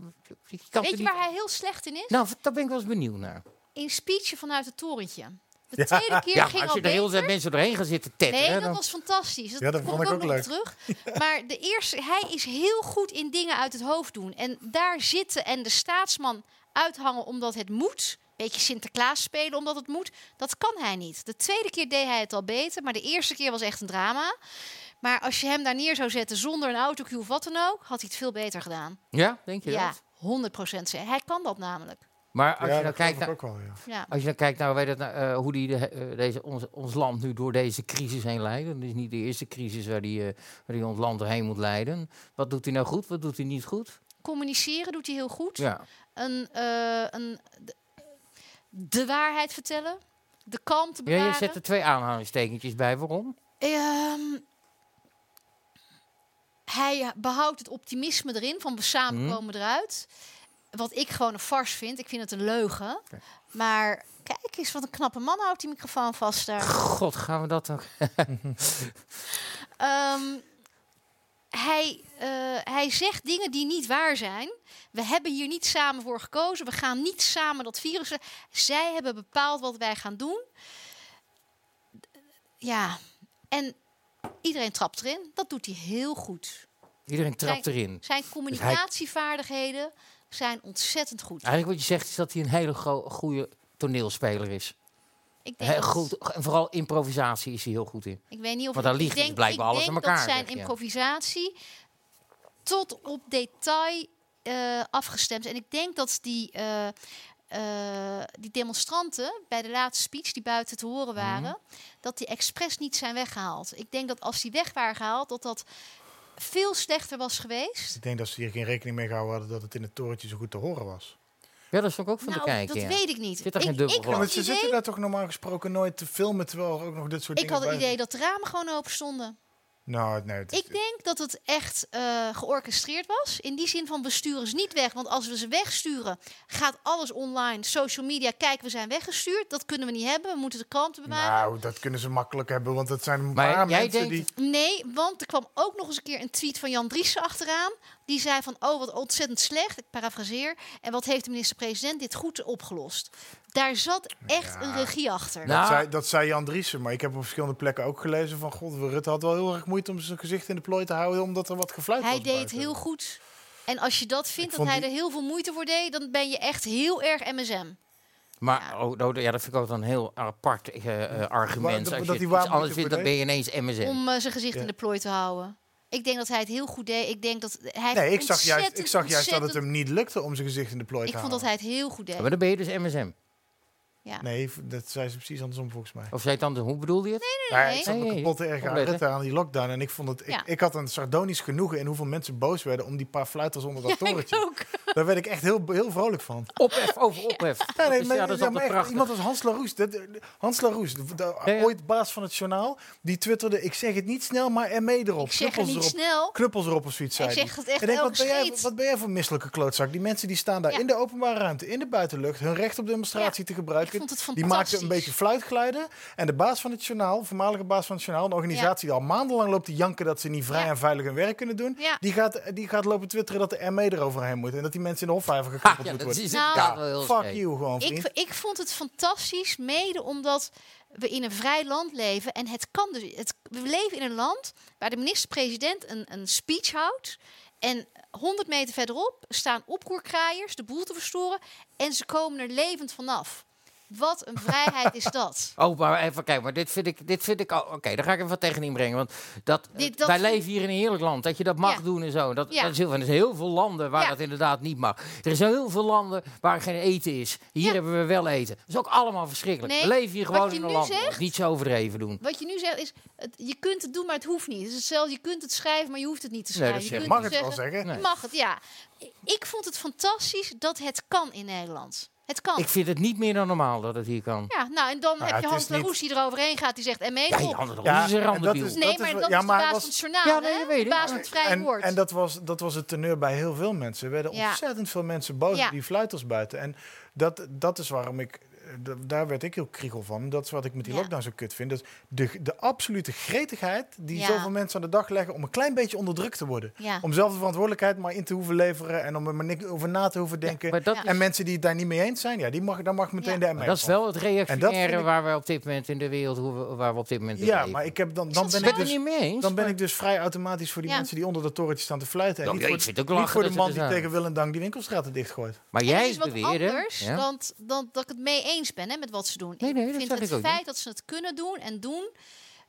[SPEAKER 3] ik kan
[SPEAKER 4] Weet
[SPEAKER 3] het
[SPEAKER 4] je
[SPEAKER 3] niet-
[SPEAKER 4] waar hij heel slecht in is?
[SPEAKER 3] Nou, daar ben ik wel eens benieuwd naar.
[SPEAKER 4] In speechen vanuit het torentje. De tweede keer
[SPEAKER 3] Nou- ja, maar
[SPEAKER 4] ging
[SPEAKER 3] als
[SPEAKER 4] al
[SPEAKER 3] je de hele
[SPEAKER 4] beter.
[SPEAKER 3] tijd mensen doorheen gaat zitten tetteren...
[SPEAKER 4] Nee, dat
[SPEAKER 3] dan,
[SPEAKER 4] was fantastisch. Dat,
[SPEAKER 5] Ja, dat
[SPEAKER 4] kom
[SPEAKER 5] vond ik
[SPEAKER 4] ook
[SPEAKER 5] ook
[SPEAKER 4] nog
[SPEAKER 5] leuk. (laughs)
[SPEAKER 4] terug. Maar de eerste, hij is heel goed in dingen uit het hoofd doen. En daar zitten en de staatsman uithangen omdat het moet. Beetje Sinterklaas spelen omdat het moet. Dat kan hij niet. De tweede keer deed hij het al beter. Maar de eerste keer was echt een drama. Maar als je hem daar neer zou zetten zonder een autocue of wat dan ook... had hij het veel beter gedaan.
[SPEAKER 3] Ja, denk je
[SPEAKER 4] Ja,
[SPEAKER 3] dat?
[SPEAKER 4] 100 procent. Hij kan dat namelijk.
[SPEAKER 3] Maar als,
[SPEAKER 5] ja,
[SPEAKER 3] je, dan
[SPEAKER 5] dat
[SPEAKER 3] kijkt
[SPEAKER 5] geloof ik
[SPEAKER 3] naar,
[SPEAKER 5] ook wel, ja.
[SPEAKER 4] Ja.
[SPEAKER 3] als je dan kijkt naar, weet het, nou, eh, hoe die de, eh, deze, ons, ons land nu door deze crisis heen leidt... dat is niet de eerste crisis waar die, eh, waar die ons land doorheen moet leiden. Wat doet hij nou goed? Wat doet hij niet goed?
[SPEAKER 4] Communiceren doet hij heel goed.
[SPEAKER 3] Ja.
[SPEAKER 4] een, eh, een de, de waarheid vertellen, de kalmte
[SPEAKER 3] ja,
[SPEAKER 4] bewaren.
[SPEAKER 3] je zet er twee aanhalingstekentjes bij. Waarom?
[SPEAKER 4] Ehm, hij behoudt het optimisme erin, van we samen
[SPEAKER 3] Mhm.
[SPEAKER 4] komen eruit. Wat ik gewoon een fars vind. Ik vind het een leugen. Maar kijk eens, wat een knappe man houdt die microfoon vast daar.
[SPEAKER 3] God, gaan we dat ook...
[SPEAKER 4] Ehm, hij, eh, hij zegt dingen die niet waar zijn. We hebben hier niet samen voor gekozen. We gaan niet samen dat virus. Zij hebben bepaald wat wij gaan doen. Ja, en iedereen trapt erin. Dat doet hij heel goed.
[SPEAKER 3] Iedereen trapt
[SPEAKER 4] Kijk.
[SPEAKER 3] erin.
[SPEAKER 4] Zijn communicatievaardigheden zijn ontzettend goed.
[SPEAKER 3] Eigenlijk wat je zegt is dat hij een hele goede toneelspeler is.
[SPEAKER 4] Ik denk
[SPEAKER 3] Heel
[SPEAKER 4] dat-
[SPEAKER 3] goed, en vooral improvisatie is hij heel goed in.
[SPEAKER 4] Ik weet niet of
[SPEAKER 3] Want daar
[SPEAKER 4] ik
[SPEAKER 3] liegt dus
[SPEAKER 4] denk,
[SPEAKER 3] blijkbaar
[SPEAKER 4] ik
[SPEAKER 3] alles
[SPEAKER 4] denk
[SPEAKER 3] aan elkaar,
[SPEAKER 4] dat zijn
[SPEAKER 3] zeg je.
[SPEAKER 4] improvisatie tot op detail eh, afgestemd. is. En ik denk dat die, eh, eh, die demonstranten bij de laatste speech die buiten te
[SPEAKER 3] Mhm.
[SPEAKER 4] horen waren, dat die expres niet zijn weggehaald. Ik denk dat als die weg waren gehaald, dat dat veel slechter was geweest.
[SPEAKER 5] Ik denk dat ze hier geen rekening mee gehouden hadden dat het in het torentje zo goed te horen was.
[SPEAKER 3] Ja, dat is ook ook van
[SPEAKER 4] nou,
[SPEAKER 3] te kijken.
[SPEAKER 4] dat
[SPEAKER 3] ja.
[SPEAKER 4] weet ik niet.
[SPEAKER 3] Zit er
[SPEAKER 4] ik,
[SPEAKER 3] geen dubbel
[SPEAKER 4] ik
[SPEAKER 3] glas?
[SPEAKER 4] had
[SPEAKER 5] Ja, want
[SPEAKER 4] het
[SPEAKER 5] ze
[SPEAKER 4] idee,
[SPEAKER 5] zitten daar toch normaal gesproken nooit te filmen, terwijl er ook nog dit soort
[SPEAKER 4] ik
[SPEAKER 5] dingen
[SPEAKER 4] had het
[SPEAKER 5] bij
[SPEAKER 4] idee dat de ramen gewoon open stonden.
[SPEAKER 5] Nou, nee. Het is-
[SPEAKER 4] Ik denk dat het echt eh, georchestreerd was. In die zin van we sturen ze niet weg. Want als we ze wegsturen, gaat alles online. Social media, kijk, we zijn weggestuurd. Dat kunnen we niet hebben. We moeten de kranten bewaren.
[SPEAKER 5] nou, dat kunnen ze makkelijk hebben, want dat zijn een
[SPEAKER 3] Maar
[SPEAKER 5] paar
[SPEAKER 3] jij
[SPEAKER 5] mensen
[SPEAKER 3] denkt-
[SPEAKER 5] die...
[SPEAKER 4] Nee, want er kwam ook nog eens een keer een tweet van Jan Driessen achteraan. Die zei van, oh wat ontzettend slecht. Ik parafraseer. En wat heeft de minister-president dit goed opgelost? Daar zat echt
[SPEAKER 5] Ja.
[SPEAKER 4] een regie achter.
[SPEAKER 3] Nou,
[SPEAKER 5] Dat, zei, dat zei Jan Driessen, maar ik heb op verschillende plekken ook gelezen van... God, Rutte had wel heel erg moeite om zijn gezicht in de plooi te houden, omdat er wat gefluit was
[SPEAKER 4] hij deed het
[SPEAKER 5] buiten.
[SPEAKER 4] heel goed. En als je dat vindt, dat
[SPEAKER 5] vond
[SPEAKER 4] hij
[SPEAKER 5] die-
[SPEAKER 4] er heel veel moeite voor deed... dan ben je echt heel erg MSM.
[SPEAKER 3] Maar
[SPEAKER 4] Ja.
[SPEAKER 3] oh, nou, ja, dat vind ik ook een heel apart eh, eh,
[SPEAKER 5] Maar
[SPEAKER 3] argument.
[SPEAKER 5] dat-
[SPEAKER 3] Als je het
[SPEAKER 5] dat die
[SPEAKER 3] iets
[SPEAKER 5] wapen
[SPEAKER 3] anders
[SPEAKER 5] niet
[SPEAKER 3] vindt, dan ben je ineens MSN.
[SPEAKER 4] om eh, zijn gezicht
[SPEAKER 5] Ja.
[SPEAKER 4] in de plooi te houden. Ik denk dat hij het heel goed deed. Ik denk dat hij.
[SPEAKER 5] Nee, ik zag, juist, ik
[SPEAKER 4] ontzettend,
[SPEAKER 5] zag juist dat het
[SPEAKER 4] ontzettend-
[SPEAKER 5] hem niet lukte om zijn gezicht in de plooi te
[SPEAKER 4] Ik vond
[SPEAKER 5] houden.
[SPEAKER 4] dat hij het heel goed deed.
[SPEAKER 3] Maar dan ben je dus MSM.
[SPEAKER 4] Ja.
[SPEAKER 5] Nee, v- dat zei ze precies andersom volgens mij.
[SPEAKER 3] Of zei het anders, hoe bedoelde je het?
[SPEAKER 5] Maar ja,
[SPEAKER 4] nee.
[SPEAKER 5] ik zat me
[SPEAKER 3] Nee,
[SPEAKER 5] kapot te erger aan
[SPEAKER 3] opletten.
[SPEAKER 5] Rutte aan die lockdown. En ik, vond het, ik,
[SPEAKER 4] Ja.
[SPEAKER 5] ik had een sardonisch genoegen in hoeveel mensen boos werden om die paar fluiters onder dat
[SPEAKER 4] ik
[SPEAKER 5] torentje.
[SPEAKER 4] ook.
[SPEAKER 5] Daar werd ik echt heel, heel vrolijk van.
[SPEAKER 3] Ophef over ophef. Dat is- Ja,
[SPEAKER 5] Ja, nee, maar,
[SPEAKER 3] dat is
[SPEAKER 5] ja,
[SPEAKER 3] altijd
[SPEAKER 5] maar echt,
[SPEAKER 3] prachtig.
[SPEAKER 5] iemand als Hans Laroes, dat- eh, Hans Laroes de, de-
[SPEAKER 3] Ja, ja.
[SPEAKER 5] ooit baas van het journaal, die twitterde: Ik zeg het niet snel, maar ME erop.
[SPEAKER 4] Ik zeg het
[SPEAKER 5] knuppels
[SPEAKER 4] niet
[SPEAKER 5] erop.
[SPEAKER 4] snel.
[SPEAKER 5] Knuppels erop of zoiets.
[SPEAKER 4] Ik
[SPEAKER 5] Zei
[SPEAKER 4] zeg
[SPEAKER 5] die.
[SPEAKER 4] het echt
[SPEAKER 5] En denk,
[SPEAKER 4] elke
[SPEAKER 5] wat, ben jij,
[SPEAKER 4] scheet.
[SPEAKER 5] wat ben jij voor misselijke klootzak? Die mensen die staan daar
[SPEAKER 4] Ja.
[SPEAKER 5] in de openbare ruimte, in de buitenlucht, hun recht op demonstratie te
[SPEAKER 4] Ik
[SPEAKER 5] gebruiken.
[SPEAKER 4] vond het
[SPEAKER 5] Die
[SPEAKER 4] fantastisch.
[SPEAKER 5] maakten een beetje fluitgeluiden. En de baas van het journaal, voormalige baas van het journaal, een organisatie die al maandenlang loopt te janken dat ze niet vrij
[SPEAKER 4] Ja.
[SPEAKER 5] en veilig hun werk kunnen doen,
[SPEAKER 4] Ja.
[SPEAKER 5] die, gaat, die gaat lopen twitteren dat de ME eroverheen moet. En dat die mensen in de hofvijver
[SPEAKER 3] Ha, (laughs)
[SPEAKER 5] gekoppeld
[SPEAKER 3] ja,
[SPEAKER 5] moeten
[SPEAKER 3] dat
[SPEAKER 5] worden.
[SPEAKER 3] is
[SPEAKER 4] Nou,
[SPEAKER 3] inderdaad wel heel
[SPEAKER 5] Fuck
[SPEAKER 3] scheef.
[SPEAKER 5] you gewoon, vriend.
[SPEAKER 4] Ik, ik vond het fantastisch, mede omdat we in een vrij land leven. En het kan dus. Het, we leven in een land waar de minister-president een, een speech houdt. En 100 meter verderop staan oproerkraaiers de boel te verstoren. En ze komen er levend vanaf. Wat een vrijheid
[SPEAKER 5] (laughs)
[SPEAKER 4] is dat.
[SPEAKER 3] Oh, maar even kijken, maar dit vind ik, dit vind ik al. Oké, daar ga ik even wat tegen inbrengen. Want dat,
[SPEAKER 4] Dit-
[SPEAKER 3] eh,
[SPEAKER 4] dat
[SPEAKER 3] wij
[SPEAKER 4] vind-
[SPEAKER 3] leven hier in een heerlijk land. Dat je dat mag
[SPEAKER 4] Ja.
[SPEAKER 3] doen en zo. Dat,
[SPEAKER 4] Ja.
[SPEAKER 3] dat is heel, er zijn heel veel landen waar
[SPEAKER 4] Ja.
[SPEAKER 3] dat inderdaad niet mag. Er zijn heel veel landen waar geen eten is. Hier
[SPEAKER 4] Ja.
[SPEAKER 3] hebben we wel eten. Dat is ook allemaal verschrikkelijk.
[SPEAKER 4] Nee,
[SPEAKER 3] we leven hier
[SPEAKER 4] wat
[SPEAKER 3] gewoon
[SPEAKER 4] je
[SPEAKER 3] in een
[SPEAKER 4] nu
[SPEAKER 3] land.
[SPEAKER 4] zegt-
[SPEAKER 3] Niet zo overdreven doen.
[SPEAKER 4] Wat je nu zegt is, het, je kunt het doen, maar het hoeft niet. Het is hetzelfde, je kunt het schrijven, maar je hoeft het niet te
[SPEAKER 3] Nee, dat
[SPEAKER 4] schrijven.
[SPEAKER 3] zeg
[SPEAKER 4] je
[SPEAKER 3] ik.
[SPEAKER 4] kunt
[SPEAKER 5] Mag het wel zeggen?
[SPEAKER 3] Nee.
[SPEAKER 4] Je mag het, ja. I- Ik vond het fantastisch dat het kan in Nederland. Het kan.
[SPEAKER 3] Ik vind het niet meer dan normaal dat het hier kan.
[SPEAKER 4] Ja, nou, en dan
[SPEAKER 5] Nou
[SPEAKER 4] heb
[SPEAKER 5] ja,
[SPEAKER 4] je
[SPEAKER 5] het
[SPEAKER 4] Hans
[SPEAKER 5] is niet-
[SPEAKER 4] Laroes die eroverheen gaat, die zegt, en mee
[SPEAKER 3] Ja,
[SPEAKER 4] op.
[SPEAKER 3] Jan, dat
[SPEAKER 5] Ja,
[SPEAKER 3] is een
[SPEAKER 5] en dat
[SPEAKER 3] randebiel.
[SPEAKER 5] is-
[SPEAKER 4] Nee, maar
[SPEAKER 5] wel-
[SPEAKER 4] dat
[SPEAKER 5] ja,
[SPEAKER 4] is de
[SPEAKER 5] maar
[SPEAKER 4] baas
[SPEAKER 5] was-
[SPEAKER 4] van het journaal,
[SPEAKER 3] Ja, nee,
[SPEAKER 4] hè?
[SPEAKER 3] dat weet
[SPEAKER 4] De
[SPEAKER 3] ik.
[SPEAKER 4] baas van het vrije
[SPEAKER 5] En,
[SPEAKER 4] woord.
[SPEAKER 5] en dat, was, dat was het teneur bij heel veel mensen. Er werden
[SPEAKER 4] Ja.
[SPEAKER 5] ontzettend veel mensen boos
[SPEAKER 4] Ja.
[SPEAKER 5] op die fluiters buiten. En dat, dat is waarom ik... d- Daar werd ik heel kriegel van. Dat is wat ik met die
[SPEAKER 4] Ja.
[SPEAKER 5] lockdown zo kut vind. Dat de, de absolute gretigheid die
[SPEAKER 4] Ja.
[SPEAKER 5] zoveel mensen aan de dag leggen... om een klein beetje onder druk te worden.
[SPEAKER 4] Ja.
[SPEAKER 5] Om zelf de verantwoordelijkheid maar in te hoeven leveren... en om er maar niks over na te hoeven denken.
[SPEAKER 3] Maar dat,
[SPEAKER 4] Ja.
[SPEAKER 3] is-
[SPEAKER 5] En mensen die het daar niet mee eens zijn... Ja, die mag, daar mag meteen de
[SPEAKER 3] maar
[SPEAKER 5] ME
[SPEAKER 3] dat is
[SPEAKER 5] van.
[SPEAKER 3] wel het reactionaire
[SPEAKER 5] ik-
[SPEAKER 3] waar we op dit moment in de wereld, hoe we- waar we op dit moment in
[SPEAKER 5] Ja,
[SPEAKER 3] leven.
[SPEAKER 5] maar ik heb dan,
[SPEAKER 4] Is
[SPEAKER 5] dan
[SPEAKER 4] dat
[SPEAKER 5] ben
[SPEAKER 4] zo?
[SPEAKER 5] ik
[SPEAKER 3] ben het
[SPEAKER 5] dus...
[SPEAKER 3] niet mee eens.
[SPEAKER 5] Dan ben ik dus vrij automatisch voor die
[SPEAKER 4] Ja.
[SPEAKER 5] mensen die onder dat torentje staan te fluiten. En
[SPEAKER 3] Ja,
[SPEAKER 5] niet,
[SPEAKER 3] ja,
[SPEAKER 5] voor,
[SPEAKER 3] ik vind het ook
[SPEAKER 5] niet
[SPEAKER 3] lachen
[SPEAKER 5] voor de
[SPEAKER 3] dat ze
[SPEAKER 5] man
[SPEAKER 3] er
[SPEAKER 5] die
[SPEAKER 3] zijn.
[SPEAKER 5] tegen wil en dank die winkelstraten dichtgooit.
[SPEAKER 3] Maar
[SPEAKER 4] En
[SPEAKER 3] jij
[SPEAKER 4] dat is wat
[SPEAKER 3] beweert, hè?
[SPEAKER 4] anders
[SPEAKER 3] Ja.
[SPEAKER 4] dan, dan dat ik het mee eens ben hè, met wat ze doen.
[SPEAKER 3] Nee, nee, dat
[SPEAKER 4] ik vind
[SPEAKER 3] zeg
[SPEAKER 4] het
[SPEAKER 3] ik ook
[SPEAKER 4] feit
[SPEAKER 3] niet.
[SPEAKER 4] dat ze het kunnen doen en doen, (laughs)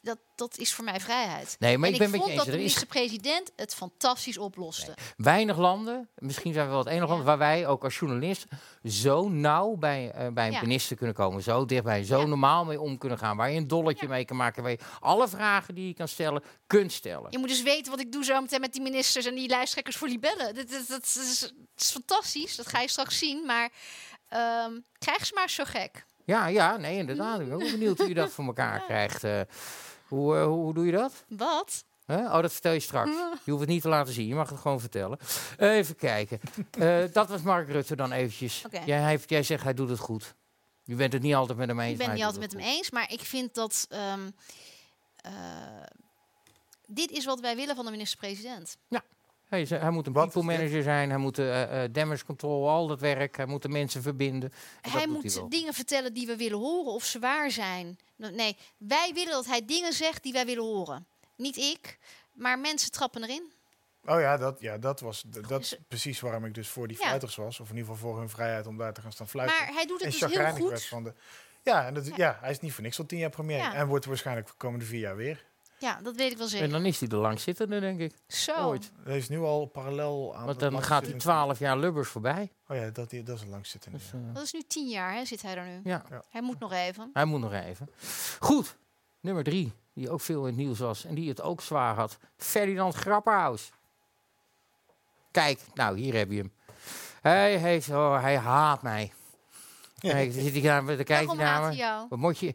[SPEAKER 4] dat, dat is voor mij vrijheid.
[SPEAKER 3] Nee, maar
[SPEAKER 4] en
[SPEAKER 3] ik ben
[SPEAKER 4] ik
[SPEAKER 3] met je
[SPEAKER 4] vond
[SPEAKER 3] eens.
[SPEAKER 4] dat
[SPEAKER 3] Er
[SPEAKER 4] de
[SPEAKER 3] is
[SPEAKER 4] minister-president het fantastisch oploste.
[SPEAKER 3] weinig landen, misschien zijn we wel het enige land waar wij ook als journalist zo nauw bij, eh, bij een
[SPEAKER 4] Ja.
[SPEAKER 3] minister kunnen komen. Zo dichtbij, zo
[SPEAKER 4] Ja.
[SPEAKER 3] normaal mee om kunnen gaan. Waar je een dolletje mee kan maken. Waar je alle vragen die je kan stellen, kunt stellen.
[SPEAKER 4] Je moet dus weten wat ik doe zo meteen met die ministers en die lijsttrekkers voor libellen. Dat, dat, dat, is, dat is fantastisch, dat ga je straks zien. Maar ehm, krijg ze maar zo gek.
[SPEAKER 3] Ja, ja, nee, inderdaad. Ik ben ook benieuwd hoe je dat voor
[SPEAKER 4] (laughs)
[SPEAKER 3] elkaar krijgt. eh. hoe, eh, hoe, hoe doe je dat?
[SPEAKER 4] Wat?
[SPEAKER 3] Hè? Oh, dat vertel je
[SPEAKER 4] (laughs)
[SPEAKER 3] straks. Je hoeft het niet te laten zien, je mag het gewoon vertellen. Even kijken. Eh, dat was Mark Rutte dan eventjes.
[SPEAKER 4] Oké.
[SPEAKER 3] Jij, hij heeft- jij zegt hij doet het goed. Je bent het niet altijd met hem eens.
[SPEAKER 4] Ik ben
[SPEAKER 3] maar
[SPEAKER 4] het niet
[SPEAKER 3] hij
[SPEAKER 4] altijd
[SPEAKER 3] doet
[SPEAKER 4] met
[SPEAKER 3] het
[SPEAKER 4] hem eens, maar ik vind dat... ehm, eh, dit is wat wij willen van de minister-president.
[SPEAKER 3] goed. Hij, is- hij moet een
[SPEAKER 5] Wat is
[SPEAKER 3] people manager zijn, hij moet de eh, eh, damage control, al dat werk, hij moet de mensen verbinden. En
[SPEAKER 4] Hij
[SPEAKER 3] dat doet
[SPEAKER 4] moet
[SPEAKER 3] wel.
[SPEAKER 4] dingen vertellen die we willen horen of ze waar zijn. Nou, Nee, wij willen dat hij dingen zegt die wij willen horen. Niet ik, maar mensen trappen erin.
[SPEAKER 5] Oh ja, dat, ja, dat, was, d- dat is
[SPEAKER 4] Dus-
[SPEAKER 5] precies waarom ik dus voor die
[SPEAKER 4] Ja.
[SPEAKER 5] fluiters was. Of in ieder geval voor hun vrijheid om daar te gaan staan fluiten.
[SPEAKER 4] Maar hij doet het
[SPEAKER 5] en
[SPEAKER 4] dus heel
[SPEAKER 5] chagrijnig werd
[SPEAKER 4] goed.
[SPEAKER 5] van de... Ja, en dat, ja, hij is niet voor niks al tien jaar premier.
[SPEAKER 4] Ja.
[SPEAKER 5] En wordt waarschijnlijk de komende vier jaar weer.
[SPEAKER 4] Ja, dat weet ik wel
[SPEAKER 3] En
[SPEAKER 4] zeker.
[SPEAKER 3] dan is hij de langzittende, denk ik.
[SPEAKER 4] Zo.
[SPEAKER 3] ooit.
[SPEAKER 5] Hij is nu al parallel aan...
[SPEAKER 3] Want
[SPEAKER 5] dat
[SPEAKER 3] dan gaat hij
[SPEAKER 5] langzittende-
[SPEAKER 3] 12 jaar Lubbers voorbij.
[SPEAKER 5] Oh ja, dat, dat is een langzittende.
[SPEAKER 3] Dus, eh,
[SPEAKER 4] Dat is nu tien jaar, hè, zit hij er nu.
[SPEAKER 3] ja,
[SPEAKER 4] Hij moet nog even.
[SPEAKER 3] hij moet nog even. Goed, nummer drie, die ook veel in het nieuws was en die het ook zwaar had. Ferdinand Grapperhaus. Kijk, nou, hier heb je hem. Hij, heeft, oh, hij haat mij.
[SPEAKER 5] Ja.
[SPEAKER 3] Kijk, dan zit hij daar met de kijkje
[SPEAKER 4] Waarom
[SPEAKER 3] naar
[SPEAKER 4] haat
[SPEAKER 3] me.
[SPEAKER 4] hij jou?
[SPEAKER 3] Wat moet je...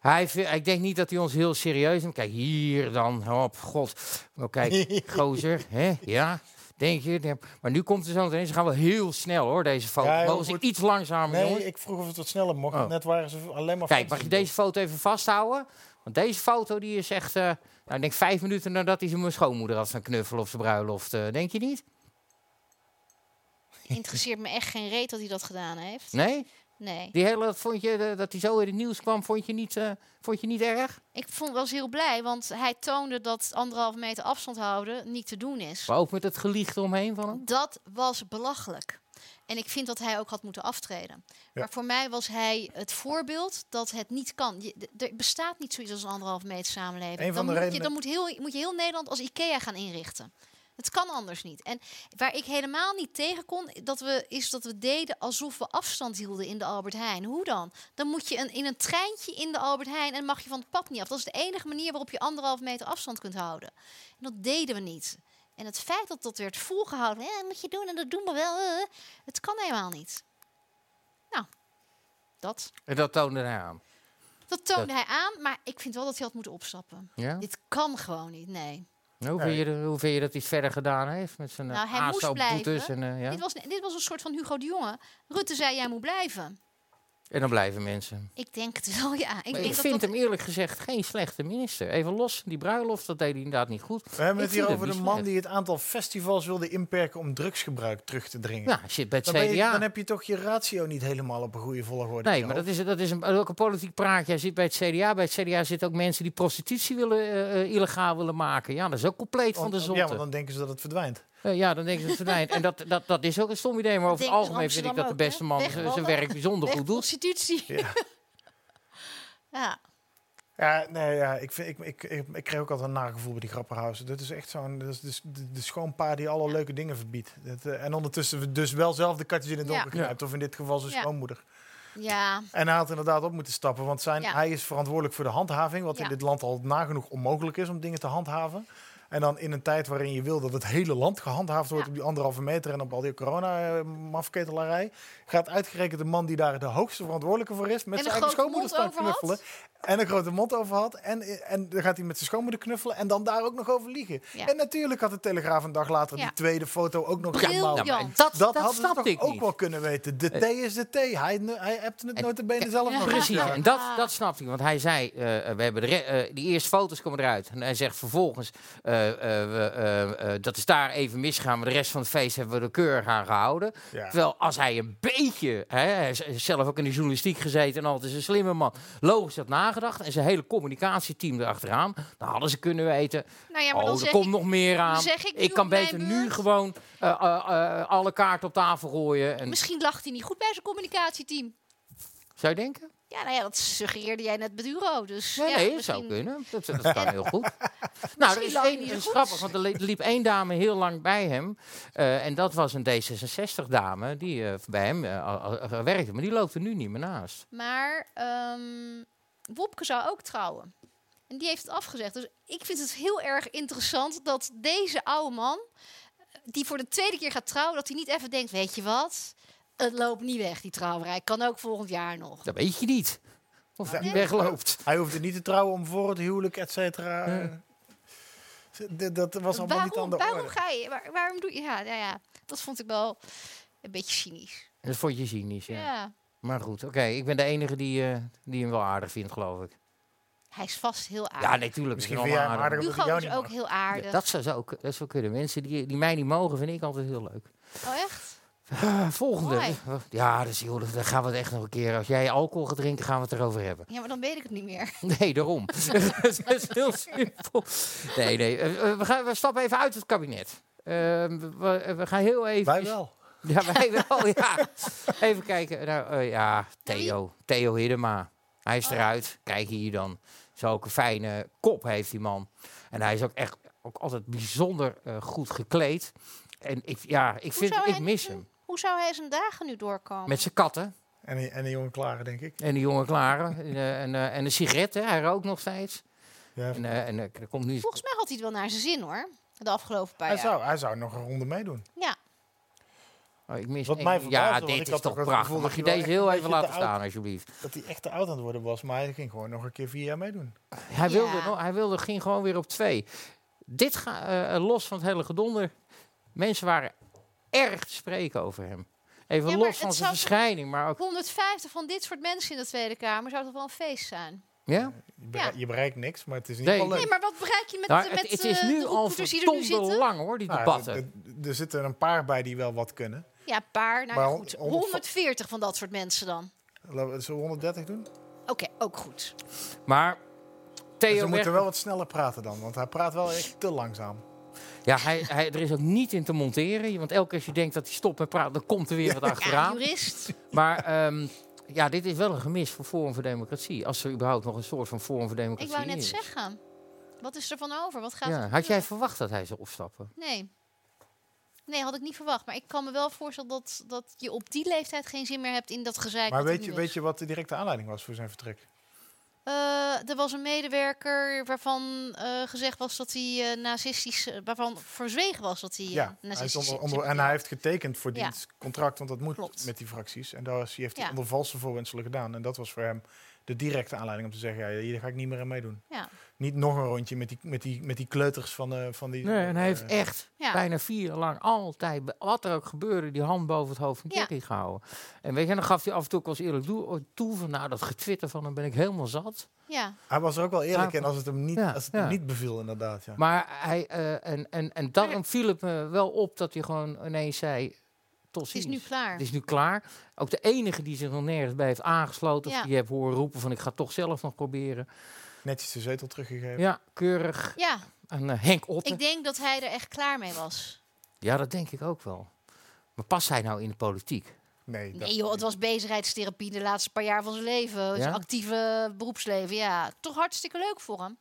[SPEAKER 3] Hij, vi- ik denk niet dat hij ons heel serieus neemt. Kijk, hier dan. Op, god. Nou,
[SPEAKER 5] (laughs)
[SPEAKER 3] kijk, gozer. Hè? Ja, denk je. Ja. Maar nu komt er zo meteen. Ze gaan wel heel snel, hoor, deze foto.
[SPEAKER 5] Ja, joh,
[SPEAKER 3] Mogen ze
[SPEAKER 5] moet-
[SPEAKER 3] iets langzamer,
[SPEAKER 5] Nee,
[SPEAKER 3] eh, jongens?
[SPEAKER 5] ik vroeg of het wat sneller mocht.
[SPEAKER 3] Oh.
[SPEAKER 5] Net waren ze alleen maar...
[SPEAKER 3] Kijk, mag je deze foto even vasthouden? Want deze foto die is echt... eh, nou, ik denk vijf minuten nadat hij zijn schoonmoeder had gaan knuffelen op zijn bruiloft. eh, denk je niet?
[SPEAKER 4] Interesseert me echt geen reet dat hij dat gedaan heeft.
[SPEAKER 3] Nee?
[SPEAKER 4] Nee.
[SPEAKER 3] Die hele, dat vond je, eh, dat hij zo in het nieuws kwam, vond je niet, eh, vond je niet erg?
[SPEAKER 4] Ik vond, was heel blij, want hij toonde dat anderhalve meter afstand houden niet te doen is.
[SPEAKER 3] Maar ook met het gelicht omheen van hem?
[SPEAKER 4] Dat was belachelijk. En ik vind dat hij ook had moeten aftreden. Maar voor mij was hij het voorbeeld dat het niet kan. Je- d- er bestaat niet zoiets als een anderhalve meter
[SPEAKER 5] Een
[SPEAKER 4] samenleving.
[SPEAKER 5] van
[SPEAKER 4] Dan,
[SPEAKER 5] de
[SPEAKER 4] moet, je,
[SPEAKER 5] redenen-
[SPEAKER 4] dan moet, heel, moet je heel Nederland als IKEA gaan inrichten. Het kan anders niet. En waar ik helemaal niet tegen kon, dat we, is dat we deden alsof we afstand hielden in de Albert Heijn. Hoe dan? Dan moet je een, in een treintje in de Albert Heijn en mag je van het pad niet af. Dat is de enige manier waarop je anderhalf meter afstand kunt houden. En dat deden we niet. En het feit dat dat werd volgehouden, hè, moet je doen en dat doen we wel. eh, het kan helemaal niet. Nou, dat.
[SPEAKER 3] En dat toonde hij aan.
[SPEAKER 4] Dat toonde hij aan, maar ik vind wel dat hij had moeten opstappen.
[SPEAKER 3] Ja?
[SPEAKER 4] Dit kan gewoon niet, nee.
[SPEAKER 3] En Hoe, vind je, de- hoe vind je dat hij het verder gedaan heeft met zijn eh,
[SPEAKER 4] Nou, hij moest
[SPEAKER 3] aanstootboetes? En,
[SPEAKER 4] blijven.
[SPEAKER 3] eh, ja?
[SPEAKER 4] Dit, was, dit was een soort van Hugo de Jonge. Rutte zei, jij moet blijven.
[SPEAKER 3] en dan blijven mensen.
[SPEAKER 4] Ik denk het wel, ja. Ik,
[SPEAKER 3] Maar Ik,
[SPEAKER 4] denk dat
[SPEAKER 3] vind
[SPEAKER 4] dat-
[SPEAKER 3] hem eerlijk gezegd geen slechte minister. Even los, van die bruiloft, dat deed hij inderdaad niet goed.
[SPEAKER 5] We hebben
[SPEAKER 3] Ik
[SPEAKER 5] het
[SPEAKER 3] vind
[SPEAKER 5] hier
[SPEAKER 3] hem
[SPEAKER 5] over de
[SPEAKER 3] niet
[SPEAKER 5] man
[SPEAKER 3] slecht.
[SPEAKER 5] die het aantal festivals wilde inperken om drugsgebruik terug te dringen.
[SPEAKER 3] Nou, hij zit bij het
[SPEAKER 5] dan, ben je,
[SPEAKER 3] CDA.
[SPEAKER 5] dan heb je toch je ratio niet helemaal op een goede volgorde.
[SPEAKER 3] Nee, maar dat is, dat is een, ook een politiek praatje. Hij zit bij het CDA. Bij het CDA zitten ook mensen die prostitutie willen, eh, eh, illegaal willen maken. Ja, dat is ook compleet van de
[SPEAKER 5] zon.
[SPEAKER 3] zonde.
[SPEAKER 5] Ja, want dan denken ze dat het verdwijnt.
[SPEAKER 3] Eh, ja, dan denk ik dat het verdwijnt. En dat, dat, dat is ook een stom idee. Maar over het
[SPEAKER 4] denken
[SPEAKER 3] algemeen vind ik
[SPEAKER 4] Amsterdam
[SPEAKER 3] dat de
[SPEAKER 4] ook, hè?
[SPEAKER 3] beste man z- zijn
[SPEAKER 4] Wegwallen.
[SPEAKER 3] werk bijzonder
[SPEAKER 4] Weg
[SPEAKER 3] goed doet.
[SPEAKER 4] prostitutie.
[SPEAKER 5] Ja.
[SPEAKER 4] (laughs) ja.
[SPEAKER 5] Ja, nee, ja ik, vind, ik, ik, ik, ik kreeg ook altijd een nagevoel bij die grappenhuizen. Dat is echt zo'n dat is de, de, de schoonpa die alle leuke dingen verbiedt. Dat, eh, en ondertussen we dus wel zelf de katjes in het
[SPEAKER 4] Ja.
[SPEAKER 5] donker knijpt. Of in dit geval zijn
[SPEAKER 4] Ja.
[SPEAKER 5] schoonmoeder.
[SPEAKER 4] ja,
[SPEAKER 5] En hij had inderdaad op moeten stappen. Want zijn,
[SPEAKER 4] Ja.
[SPEAKER 5] hij is verantwoordelijk voor de handhaving. Wat in
[SPEAKER 4] Ja.
[SPEAKER 5] dit land al nagenoeg onmogelijk is om dingen te handhaven. En dan in een tijd waarin je wil dat het hele land gehandhaafd wordt
[SPEAKER 4] Ja.
[SPEAKER 5] op die anderhalve meter en op al die corona-mafketelarij, gaat uitgerekend de man die daar de hoogste verantwoordelijke voor is, met
[SPEAKER 4] een
[SPEAKER 5] zijn eigen
[SPEAKER 4] grote
[SPEAKER 5] schoonmoeder
[SPEAKER 4] mond
[SPEAKER 5] staan
[SPEAKER 4] over had.
[SPEAKER 5] knuffelen. En een grote mond over had. En, en dan gaat hij met zijn schoonmoeder knuffelen en dan daar ook nog over liegen.
[SPEAKER 4] Ja.
[SPEAKER 5] En natuurlijk had de Telegraaf een dag later
[SPEAKER 4] Ja.
[SPEAKER 5] die tweede foto ook nog
[SPEAKER 4] briljant.
[SPEAKER 5] gebouwd.
[SPEAKER 3] Ja, maar dat,
[SPEAKER 5] Dat,
[SPEAKER 3] dat,
[SPEAKER 5] hadden ze
[SPEAKER 3] snapte
[SPEAKER 5] toch
[SPEAKER 3] ik
[SPEAKER 5] ook
[SPEAKER 3] niet.
[SPEAKER 5] wel kunnen weten. De thee is de thee. Hij, ne- hij appte het
[SPEAKER 3] En-
[SPEAKER 5] notabene zelf nog. eens.
[SPEAKER 3] Precies,
[SPEAKER 5] Ja.
[SPEAKER 3] en dat, dat snapte ik. Want hij zei, eh, we hebben de re- eh, die eerste foto's komen eruit. En hij zegt vervolgens, eh, eh, we, eh, eh, dat is daar even misgaan. Maar de rest van het feest hebben we de keur aan gehouden.
[SPEAKER 5] Ja.
[SPEAKER 3] Terwijl als hij een beetje, hè, hij is eh, zelf ook in de journalistiek gezeten en altijd een slimme man. Logisch had nagedacht en zijn hele communicatieteam erachteraan. Dan hadden ze kunnen weten,
[SPEAKER 4] nou ja, maar dan
[SPEAKER 3] oh, er
[SPEAKER 4] zeg
[SPEAKER 3] komt
[SPEAKER 4] ik,
[SPEAKER 3] nog meer aan.
[SPEAKER 4] zeg ik nu
[SPEAKER 3] kan
[SPEAKER 4] op
[SPEAKER 3] beter
[SPEAKER 4] mijn
[SPEAKER 3] nu
[SPEAKER 4] beurt.
[SPEAKER 3] gewoon eh, eh, eh, alle kaarten op tafel gooien. En,
[SPEAKER 4] misschien lag hij niet goed bij zijn communicatieteam.
[SPEAKER 3] zou je denken?
[SPEAKER 4] Ja, nou ja, dat suggereerde jij net bij Duro. Dus
[SPEAKER 3] Nee,
[SPEAKER 4] ja,
[SPEAKER 3] nee, dat
[SPEAKER 4] misschien-
[SPEAKER 3] zou kunnen. Dat, dat kan heel goed. Nou, er is
[SPEAKER 4] lang
[SPEAKER 3] één,
[SPEAKER 4] niet
[SPEAKER 3] dat is
[SPEAKER 4] goed.
[SPEAKER 3] grappig, want er li- liep één dame heel lang bij hem. eh, en dat was een D66-dame die eh, bij hem eh, al- al- al werkte. Maar die loopt er nu niet meer naast.
[SPEAKER 4] Maar ehm Wopke zou ook trouwen. En die heeft het afgezegd. Dus ik vind het heel erg interessant dat deze oude man, die voor de tweede keer gaat trouwen, dat hij niet even denkt: weet je wat? Het loopt niet weg, die trouwerij. Kan ook volgend jaar nog.
[SPEAKER 3] Dat weet je niet. Of
[SPEAKER 5] Nou,
[SPEAKER 3] die
[SPEAKER 5] nee.
[SPEAKER 3] wegloopt.
[SPEAKER 5] Hij hoefde niet te trouwen om voor het huwelijk, et cetera. eh, d- Dat was allemaal
[SPEAKER 4] waarom,
[SPEAKER 5] niet aan de
[SPEAKER 4] waarom
[SPEAKER 5] orde.
[SPEAKER 4] ga je? waar- waarom doe je? Ja, nou ja, dat vond ik wel een beetje cynisch.
[SPEAKER 3] Dat vond je cynisch,
[SPEAKER 4] Ja.
[SPEAKER 3] ja. Maar goed, oké. ik ben de enige die, eh, die hem wel aardig vindt, geloof ik.
[SPEAKER 4] Hij is vast heel aardig.
[SPEAKER 3] Ja, natuurlijk.
[SPEAKER 5] Misschien vind jij hem aardig omdat hij
[SPEAKER 4] Hugo
[SPEAKER 5] jou
[SPEAKER 4] is
[SPEAKER 5] niet
[SPEAKER 4] ook
[SPEAKER 5] mag.
[SPEAKER 4] heel aardig.
[SPEAKER 3] dat zou, zo, dat zou kunnen. Mensen die, die mij niet mogen, vind ik altijd heel leuk.
[SPEAKER 4] Oh, echt?
[SPEAKER 3] Eh, volgende.
[SPEAKER 4] Mooi.
[SPEAKER 3] Ja, dus, joh, dan gaan we het echt nog een keer. Als jij alcohol gaat drinken, gaan we het erover hebben. (laughs)
[SPEAKER 4] Ja, maar dan weet ik het niet meer.
[SPEAKER 3] Nee, daarom. (laughs) Het is heel simpel. Nee, nee. eh, eh, we, gaan, we stappen even uit het kabinet. Eh, we, eh, we- we gaan heel even.
[SPEAKER 5] Wij
[SPEAKER 3] (laughs)
[SPEAKER 5] wel.
[SPEAKER 3] Ja, wij wel, ja. Even kijken. Nou, eh, ja, Theo. Theo Hiddema. Hij
[SPEAKER 4] Oh.
[SPEAKER 3] is eruit, krijg je hier dan. Zulke fijne kop heeft die man. En hij is ook echt ook altijd bijzonder eh, goed gekleed. En ik, ja, ik, vind,
[SPEAKER 4] zou
[SPEAKER 3] ik
[SPEAKER 4] hij
[SPEAKER 3] mis
[SPEAKER 4] dit doen?
[SPEAKER 3] hem.
[SPEAKER 4] Hoe zou hij zijn dagen nu doorkomen?
[SPEAKER 3] Met zijn katten
[SPEAKER 5] En, die- en die jongen klaren, denk ik.
[SPEAKER 3] en de jonge klaren. en, eh, en, eh, en een sigaret, hè. hij rookt nog steeds.
[SPEAKER 5] Ja,
[SPEAKER 3] En, eh, en eh, er komt nu...
[SPEAKER 4] Volgens mij had hij het wel naar zijn zin hoor. De afgelopen paar
[SPEAKER 5] hij,
[SPEAKER 4] jaar.
[SPEAKER 5] zou, hij zou nog een ronde meedoen.
[SPEAKER 4] Ja.
[SPEAKER 3] Oh, ik mis
[SPEAKER 5] Wat
[SPEAKER 3] één-
[SPEAKER 5] mij
[SPEAKER 3] ja,
[SPEAKER 5] verbaasde, want
[SPEAKER 3] dit
[SPEAKER 5] ik
[SPEAKER 3] is
[SPEAKER 5] had
[SPEAKER 3] toch
[SPEAKER 5] ook het
[SPEAKER 3] prachtig.
[SPEAKER 5] gevoel
[SPEAKER 3] Mag je
[SPEAKER 5] dat hij wel
[SPEAKER 3] deze
[SPEAKER 5] echt
[SPEAKER 3] heel
[SPEAKER 5] een
[SPEAKER 3] even
[SPEAKER 5] beetje
[SPEAKER 3] laten
[SPEAKER 5] te oud-
[SPEAKER 3] staan, alsjeblieft.
[SPEAKER 5] Dat hij echt te oud aan het worden was, maar hij ging gewoon nog een keer vier jaar meedoen.
[SPEAKER 3] Hij,
[SPEAKER 4] Ja.
[SPEAKER 3] wilde, nog- hij wilde, ging gewoon weer op twee. Dit ga, eh, los van het hele gedonder. Mensen waren erg te spreken over hem. Even
[SPEAKER 4] Ja, maar
[SPEAKER 3] los van
[SPEAKER 4] het
[SPEAKER 3] zijn
[SPEAKER 4] zou-
[SPEAKER 3] verschijning, maar ook...
[SPEAKER 4] 150 van dit soort mensen in de Tweede Kamer zou toch wel een feest zijn?
[SPEAKER 3] Ja?
[SPEAKER 5] Je, berei-
[SPEAKER 4] Ja.
[SPEAKER 5] je bereikt niks, maar het is niet
[SPEAKER 3] Nee.
[SPEAKER 5] wel leuk.
[SPEAKER 4] Nee, maar wat bereik je met,
[SPEAKER 3] Nou,
[SPEAKER 4] eh,
[SPEAKER 3] het,
[SPEAKER 4] met
[SPEAKER 3] het is
[SPEAKER 4] eh,
[SPEAKER 3] nu
[SPEAKER 4] de
[SPEAKER 3] al
[SPEAKER 4] opvoeders die er nu
[SPEAKER 3] verdomde
[SPEAKER 4] zitten?
[SPEAKER 3] lang, hoor, die
[SPEAKER 5] Nou,
[SPEAKER 3] debatten.
[SPEAKER 5] d- d- er zitten er een paar bij die wel wat kunnen.
[SPEAKER 4] Ja, een paar. Nou,
[SPEAKER 5] Maar
[SPEAKER 4] ja,
[SPEAKER 5] hon-
[SPEAKER 4] goed.
[SPEAKER 5] honderd-
[SPEAKER 4] 140 van dat soort mensen dan.
[SPEAKER 5] Laten we- Zullen we 130 doen?
[SPEAKER 4] Oké, ook goed.
[SPEAKER 3] maar
[SPEAKER 5] Dus
[SPEAKER 3] Theo
[SPEAKER 5] we moeten
[SPEAKER 3] Berg-
[SPEAKER 5] wel wat sneller praten dan, want hij praat wel echt te langzaam.
[SPEAKER 3] Ja, hij, hij, er is ook niet in te monteren. Want elke keer als je denkt dat hij stopt met praten, dan komt er weer wat
[SPEAKER 4] (laughs) Ja,
[SPEAKER 3] achteraan.
[SPEAKER 4] jurist.
[SPEAKER 3] Maar ehm, ja, dit is wel een gemis voor Forum voor Democratie. Als er überhaupt nog een soort van Forum voor
[SPEAKER 4] Ik
[SPEAKER 3] Democratie
[SPEAKER 4] wou net
[SPEAKER 3] is.
[SPEAKER 4] zeggen. Wat is er van over? Wat gaat er
[SPEAKER 3] Ja, had jij
[SPEAKER 4] gebeuren?
[SPEAKER 3] verwacht dat hij zou opstappen?
[SPEAKER 4] Nee. Nee, had ik niet verwacht. Maar ik kan me wel voorstellen dat, dat je op die leeftijd geen zin meer hebt in dat gezeik.
[SPEAKER 5] Maar
[SPEAKER 4] wat er
[SPEAKER 5] weet je,
[SPEAKER 4] nu is.
[SPEAKER 5] weet je wat de directe aanleiding was voor zijn vertrek?
[SPEAKER 4] Eh, er was een medewerker waarvan eh, gezegd was dat hij eh, nazistisch... eh, waarvan verzwegen was dat hij eh,
[SPEAKER 5] hij is
[SPEAKER 4] nazistisch...
[SPEAKER 5] onder, onder- en hij heeft getekend voor
[SPEAKER 4] Ja.
[SPEAKER 5] dienstcontract, want dat moet
[SPEAKER 4] Klopt.
[SPEAKER 5] met die fracties. En daar is, die heeft hij
[SPEAKER 4] Ja.
[SPEAKER 5] onder valse voorwendselen gedaan. En dat was voor hem de directe aanleiding om te zeggen, ja, hier ga ik niet meer aan meedoen.
[SPEAKER 4] Ja.
[SPEAKER 5] Niet nog een rondje met die, met die, met die kleuters van, eh, van die...
[SPEAKER 3] Nee, en hij heeft
[SPEAKER 5] eh,
[SPEAKER 3] echt
[SPEAKER 4] Ja.
[SPEAKER 3] bijna vier jaar lang altijd, bij wat er ook gebeurde, die hand boven het hoofd van
[SPEAKER 4] Ja.
[SPEAKER 3] Kerry gehouden. En weet je, dan gaf hij af en toe ook als eerlijk toe, toe van nou, dat getwitter van hem ben ik helemaal zat.
[SPEAKER 4] Ja,
[SPEAKER 5] Hij was er ook wel eerlijk
[SPEAKER 3] Ja,
[SPEAKER 5] in als het hem niet,
[SPEAKER 3] ja,
[SPEAKER 5] als het
[SPEAKER 3] ja.
[SPEAKER 5] hem niet beviel, inderdaad. Ja.
[SPEAKER 3] Maar hij, eh, en, en, en daarom viel het me wel op dat hij gewoon ineens zei, tot
[SPEAKER 4] het is
[SPEAKER 3] ziens.
[SPEAKER 4] nu klaar.
[SPEAKER 3] Het is nu klaar. Ook de enige die zich nog nergens bij heeft aangesloten, of
[SPEAKER 4] Ja.
[SPEAKER 3] die heeft horen roepen van ik ga het toch zelf nog proberen.
[SPEAKER 5] Netjes de zetel teruggegeven.
[SPEAKER 3] Ja, keurig.
[SPEAKER 4] Ja,
[SPEAKER 3] En eh, Henk Otten.
[SPEAKER 4] ik denk dat hij er echt klaar mee was.
[SPEAKER 3] Ja, dat denk ik ook wel. Maar past hij nou in de politiek?
[SPEAKER 5] Nee, dat-
[SPEAKER 4] Nee joh, het was bezigheidstherapie de laatste paar jaar van zijn leven.
[SPEAKER 3] Ja?
[SPEAKER 4] Zijn actieve beroepsleven, ja. Toch hartstikke leuk voor hem.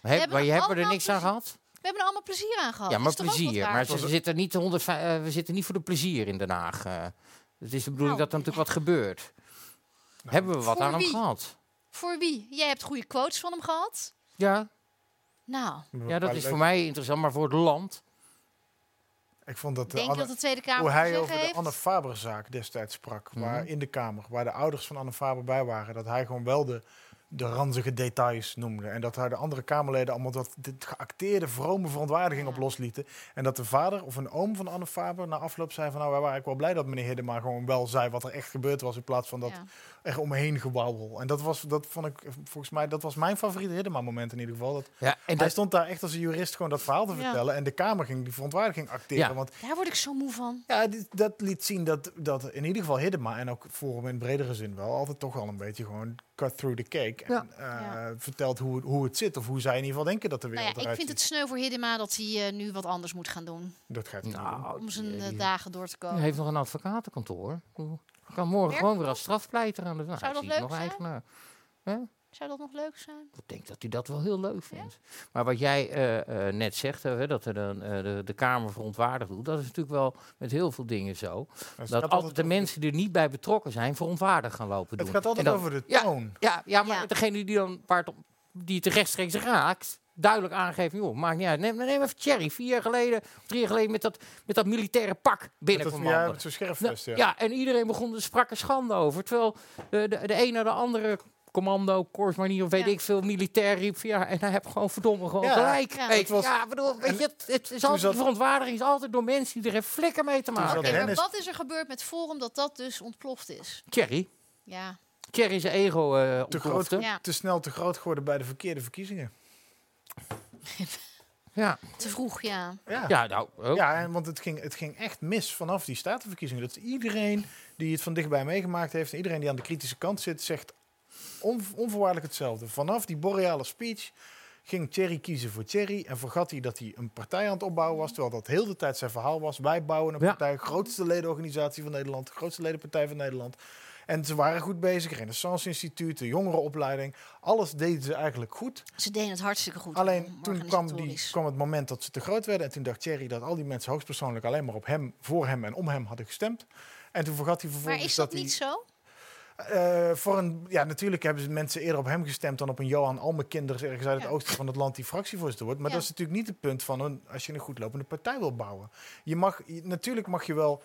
[SPEAKER 3] He-
[SPEAKER 4] hebben
[SPEAKER 3] maar je hebt er
[SPEAKER 4] allemaal
[SPEAKER 3] niks aan
[SPEAKER 4] plezier-
[SPEAKER 3] gehad?
[SPEAKER 4] We hebben er allemaal plezier aan gehad.
[SPEAKER 3] Ja, maar
[SPEAKER 4] Is toch ook wat
[SPEAKER 3] plezier.
[SPEAKER 4] waard?
[SPEAKER 3] Maar ze zitten niet, de 105 eh, we zitten niet voor de plezier in Den Haag. eh. het is de bedoeling
[SPEAKER 4] Nou,
[SPEAKER 3] dat er natuurlijk wat gebeurt. hebben we wat
[SPEAKER 4] Voor
[SPEAKER 3] aan hem
[SPEAKER 4] wie?
[SPEAKER 3] gehad?
[SPEAKER 4] Voor wie? Jij hebt goede quotes van hem gehad.
[SPEAKER 3] Ja,
[SPEAKER 4] Nou,
[SPEAKER 3] ja, dat is
[SPEAKER 5] leuk.
[SPEAKER 3] voor mij interessant, maar voor het land.
[SPEAKER 5] Ik vond dat
[SPEAKER 4] ik
[SPEAKER 5] de
[SPEAKER 4] denk
[SPEAKER 5] Anne-
[SPEAKER 4] dat de Tweede Kamer
[SPEAKER 5] hoe
[SPEAKER 4] te
[SPEAKER 5] hij
[SPEAKER 4] zeggen
[SPEAKER 5] over de
[SPEAKER 4] heeft.
[SPEAKER 5] Anne Faber-zaak destijds sprak, waar
[SPEAKER 3] Mhm.
[SPEAKER 5] in de Kamer, waar de ouders van Anne Faber bij waren, dat hij gewoon wel de, de ranzige details noemde. En dat hij de andere Kamerleden allemaal dat dit geacteerde, vrome verontwaardiging
[SPEAKER 4] Ja.
[SPEAKER 5] op loslieten. En dat de vader of een oom van Anne Faber na afloop zei van nou, wij waren eigenlijk wel blij dat meneer Hiddema gewoon wel zei wat er echt gebeurd was, in plaats van dat
[SPEAKER 4] Ja.
[SPEAKER 5] er omheen gewauwel. En dat was, dat vond ik, eh, volgens mij, dat was mijn favoriete Hiddema-moment in ieder geval. Dat,
[SPEAKER 3] Ja, en
[SPEAKER 5] hij
[SPEAKER 3] dat,
[SPEAKER 5] stond daar echt als een jurist gewoon dat verhaal te
[SPEAKER 4] Ja.
[SPEAKER 5] vertellen en de Kamer ging die verontwaardiging acteren,
[SPEAKER 3] Ja.
[SPEAKER 5] want
[SPEAKER 4] Daar word ik zo moe van.
[SPEAKER 5] ja, dit- dat liet zien dat, dat in ieder geval Hiddema en ook Forum in bredere zin wel altijd toch al een beetje gewoon cut through the cake.
[SPEAKER 3] Ja.
[SPEAKER 5] En eh, vertelt hoe, het- hoe het zit of hoe zij in ieder geval denken dat de
[SPEAKER 4] Nou
[SPEAKER 5] wereld
[SPEAKER 4] ja, ik
[SPEAKER 5] eruit
[SPEAKER 4] vind het sneu voor Hiddema dat hij eh, nu wat anders moet gaan doen.
[SPEAKER 5] Dat gaat hij niet doen.
[SPEAKER 3] nou,
[SPEAKER 4] Om zijn eh,
[SPEAKER 3] die-
[SPEAKER 4] dagen door te
[SPEAKER 3] Hij
[SPEAKER 4] komen.
[SPEAKER 3] heeft nog een advocatenkantoor. Ik bedoel, hij kan morgen
[SPEAKER 4] Werkt
[SPEAKER 3] gewoon weer als strafpleiter aan de nou,
[SPEAKER 4] Zou
[SPEAKER 3] hij
[SPEAKER 4] dat
[SPEAKER 3] is
[SPEAKER 4] leuk
[SPEAKER 3] nog
[SPEAKER 4] zijn?
[SPEAKER 3] eigenaar.
[SPEAKER 4] Zou dat nog leuk zijn?
[SPEAKER 3] Ik denk dat hij dat wel heel leuk vindt. Maar wat jij eh, eh, net zegt, hè, dat er dan, eh, de, de Kamer verontwaardigd doet, dat is natuurlijk wel met heel veel dingen zo. dat
[SPEAKER 5] Het gaat
[SPEAKER 3] altijd de
[SPEAKER 5] altijd,
[SPEAKER 3] mensen die er niet bij betrokken zijn, verontwaardigd gaan lopen doen.
[SPEAKER 5] het gaat altijd
[SPEAKER 3] En dat-
[SPEAKER 5] over de
[SPEAKER 3] Ja,
[SPEAKER 5] toon.
[SPEAKER 3] Ja, ja maar
[SPEAKER 4] Ja.
[SPEAKER 3] degene die dan waar het om- die het rechtstreeks raakt, duidelijk aangeeft, joh, maakt niet uit. Neem, neem even Thierry, vier jaar geleden, of drie jaar geleden, met dat, met dat militaire pak
[SPEAKER 5] dat
[SPEAKER 3] binnenkwam.
[SPEAKER 5] het, ja,
[SPEAKER 3] wandelen.
[SPEAKER 5] met zo'n scherfvest,
[SPEAKER 3] Nou,
[SPEAKER 5] ja.
[SPEAKER 3] ja, en iedereen begon er sprak er schande over. Terwijl eh, de, de een naar de andere commando, korpsmanier of weet
[SPEAKER 4] Ja.
[SPEAKER 3] ik veel, militair riep. van, Ja, en hij heeft gewoon verdomme gewoon
[SPEAKER 5] Ja,
[SPEAKER 3] gelijk.
[SPEAKER 4] ja.
[SPEAKER 3] Weet
[SPEAKER 5] Het
[SPEAKER 3] je,
[SPEAKER 5] was-
[SPEAKER 3] ja, bedoel, weet je, het, het is
[SPEAKER 5] toen
[SPEAKER 3] altijd,
[SPEAKER 5] zat-
[SPEAKER 3] de verontwaardiging is altijd door mensen die er een flikker mee te maken
[SPEAKER 5] zat-
[SPEAKER 4] Oké,
[SPEAKER 3] hebben.
[SPEAKER 5] Hen
[SPEAKER 4] maar
[SPEAKER 5] is-
[SPEAKER 4] wat is er gebeurd met Forum dat dat dus ontploft is?
[SPEAKER 3] Thierry,
[SPEAKER 4] Ja,
[SPEAKER 3] Thierry zijn ego eh
[SPEAKER 5] Te, groot,
[SPEAKER 3] ontplofte.
[SPEAKER 4] Ja.
[SPEAKER 5] te snel te groot geworden bij de verkeerde verkiezingen.
[SPEAKER 3] Ja,
[SPEAKER 4] te vroeg, ja.
[SPEAKER 5] Ja.
[SPEAKER 3] ja, nou, oh.
[SPEAKER 5] Ja, en want het ging, het ging echt mis vanaf die statenverkiezingen. Dat iedereen die het van dichtbij meegemaakt heeft... en iedereen die aan de kritische kant zit, zegt on, onvoorwaardelijk hetzelfde. Vanaf die boreale speech ging Thierry kiezen voor Thierry en vergat hij dat hij een partij aan het opbouwen was, terwijl dat heel de tijd zijn verhaal was. Wij bouwen een
[SPEAKER 6] Ja.
[SPEAKER 5] partij, grootste ledenorganisatie van Nederland, grootste ledenpartij van Nederland. En ze waren goed bezig, Renaissance Instituut, de jongerenopleiding, alles deden ze eigenlijk goed.
[SPEAKER 4] Ze deden het hartstikke goed.
[SPEAKER 5] Alleen
[SPEAKER 4] om-
[SPEAKER 5] toen kwam, die,
[SPEAKER 4] organisatorisch.
[SPEAKER 5] kwam het moment dat ze te groot werden. En toen dacht Thierry dat al die mensen hoogstpersoonlijk alleen maar op hem, voor hem en om hem hadden gestemd. En toen vergat hij
[SPEAKER 4] Maar
[SPEAKER 5] vervolgens
[SPEAKER 4] is dat
[SPEAKER 5] dus hij.
[SPEAKER 4] niet zo?
[SPEAKER 5] eh, voor een, ja, natuurlijk hebben ze mensen eerder op hem gestemd dan op een Johan Almekinders ergens uit het
[SPEAKER 4] Ja.
[SPEAKER 5] oosten van het land die fractievoorzitter wordt. Maar
[SPEAKER 4] Ja.
[SPEAKER 5] dat is natuurlijk niet het punt van een, als je een goed lopende partij wil bouwen. Je mag, je- natuurlijk mag je wel.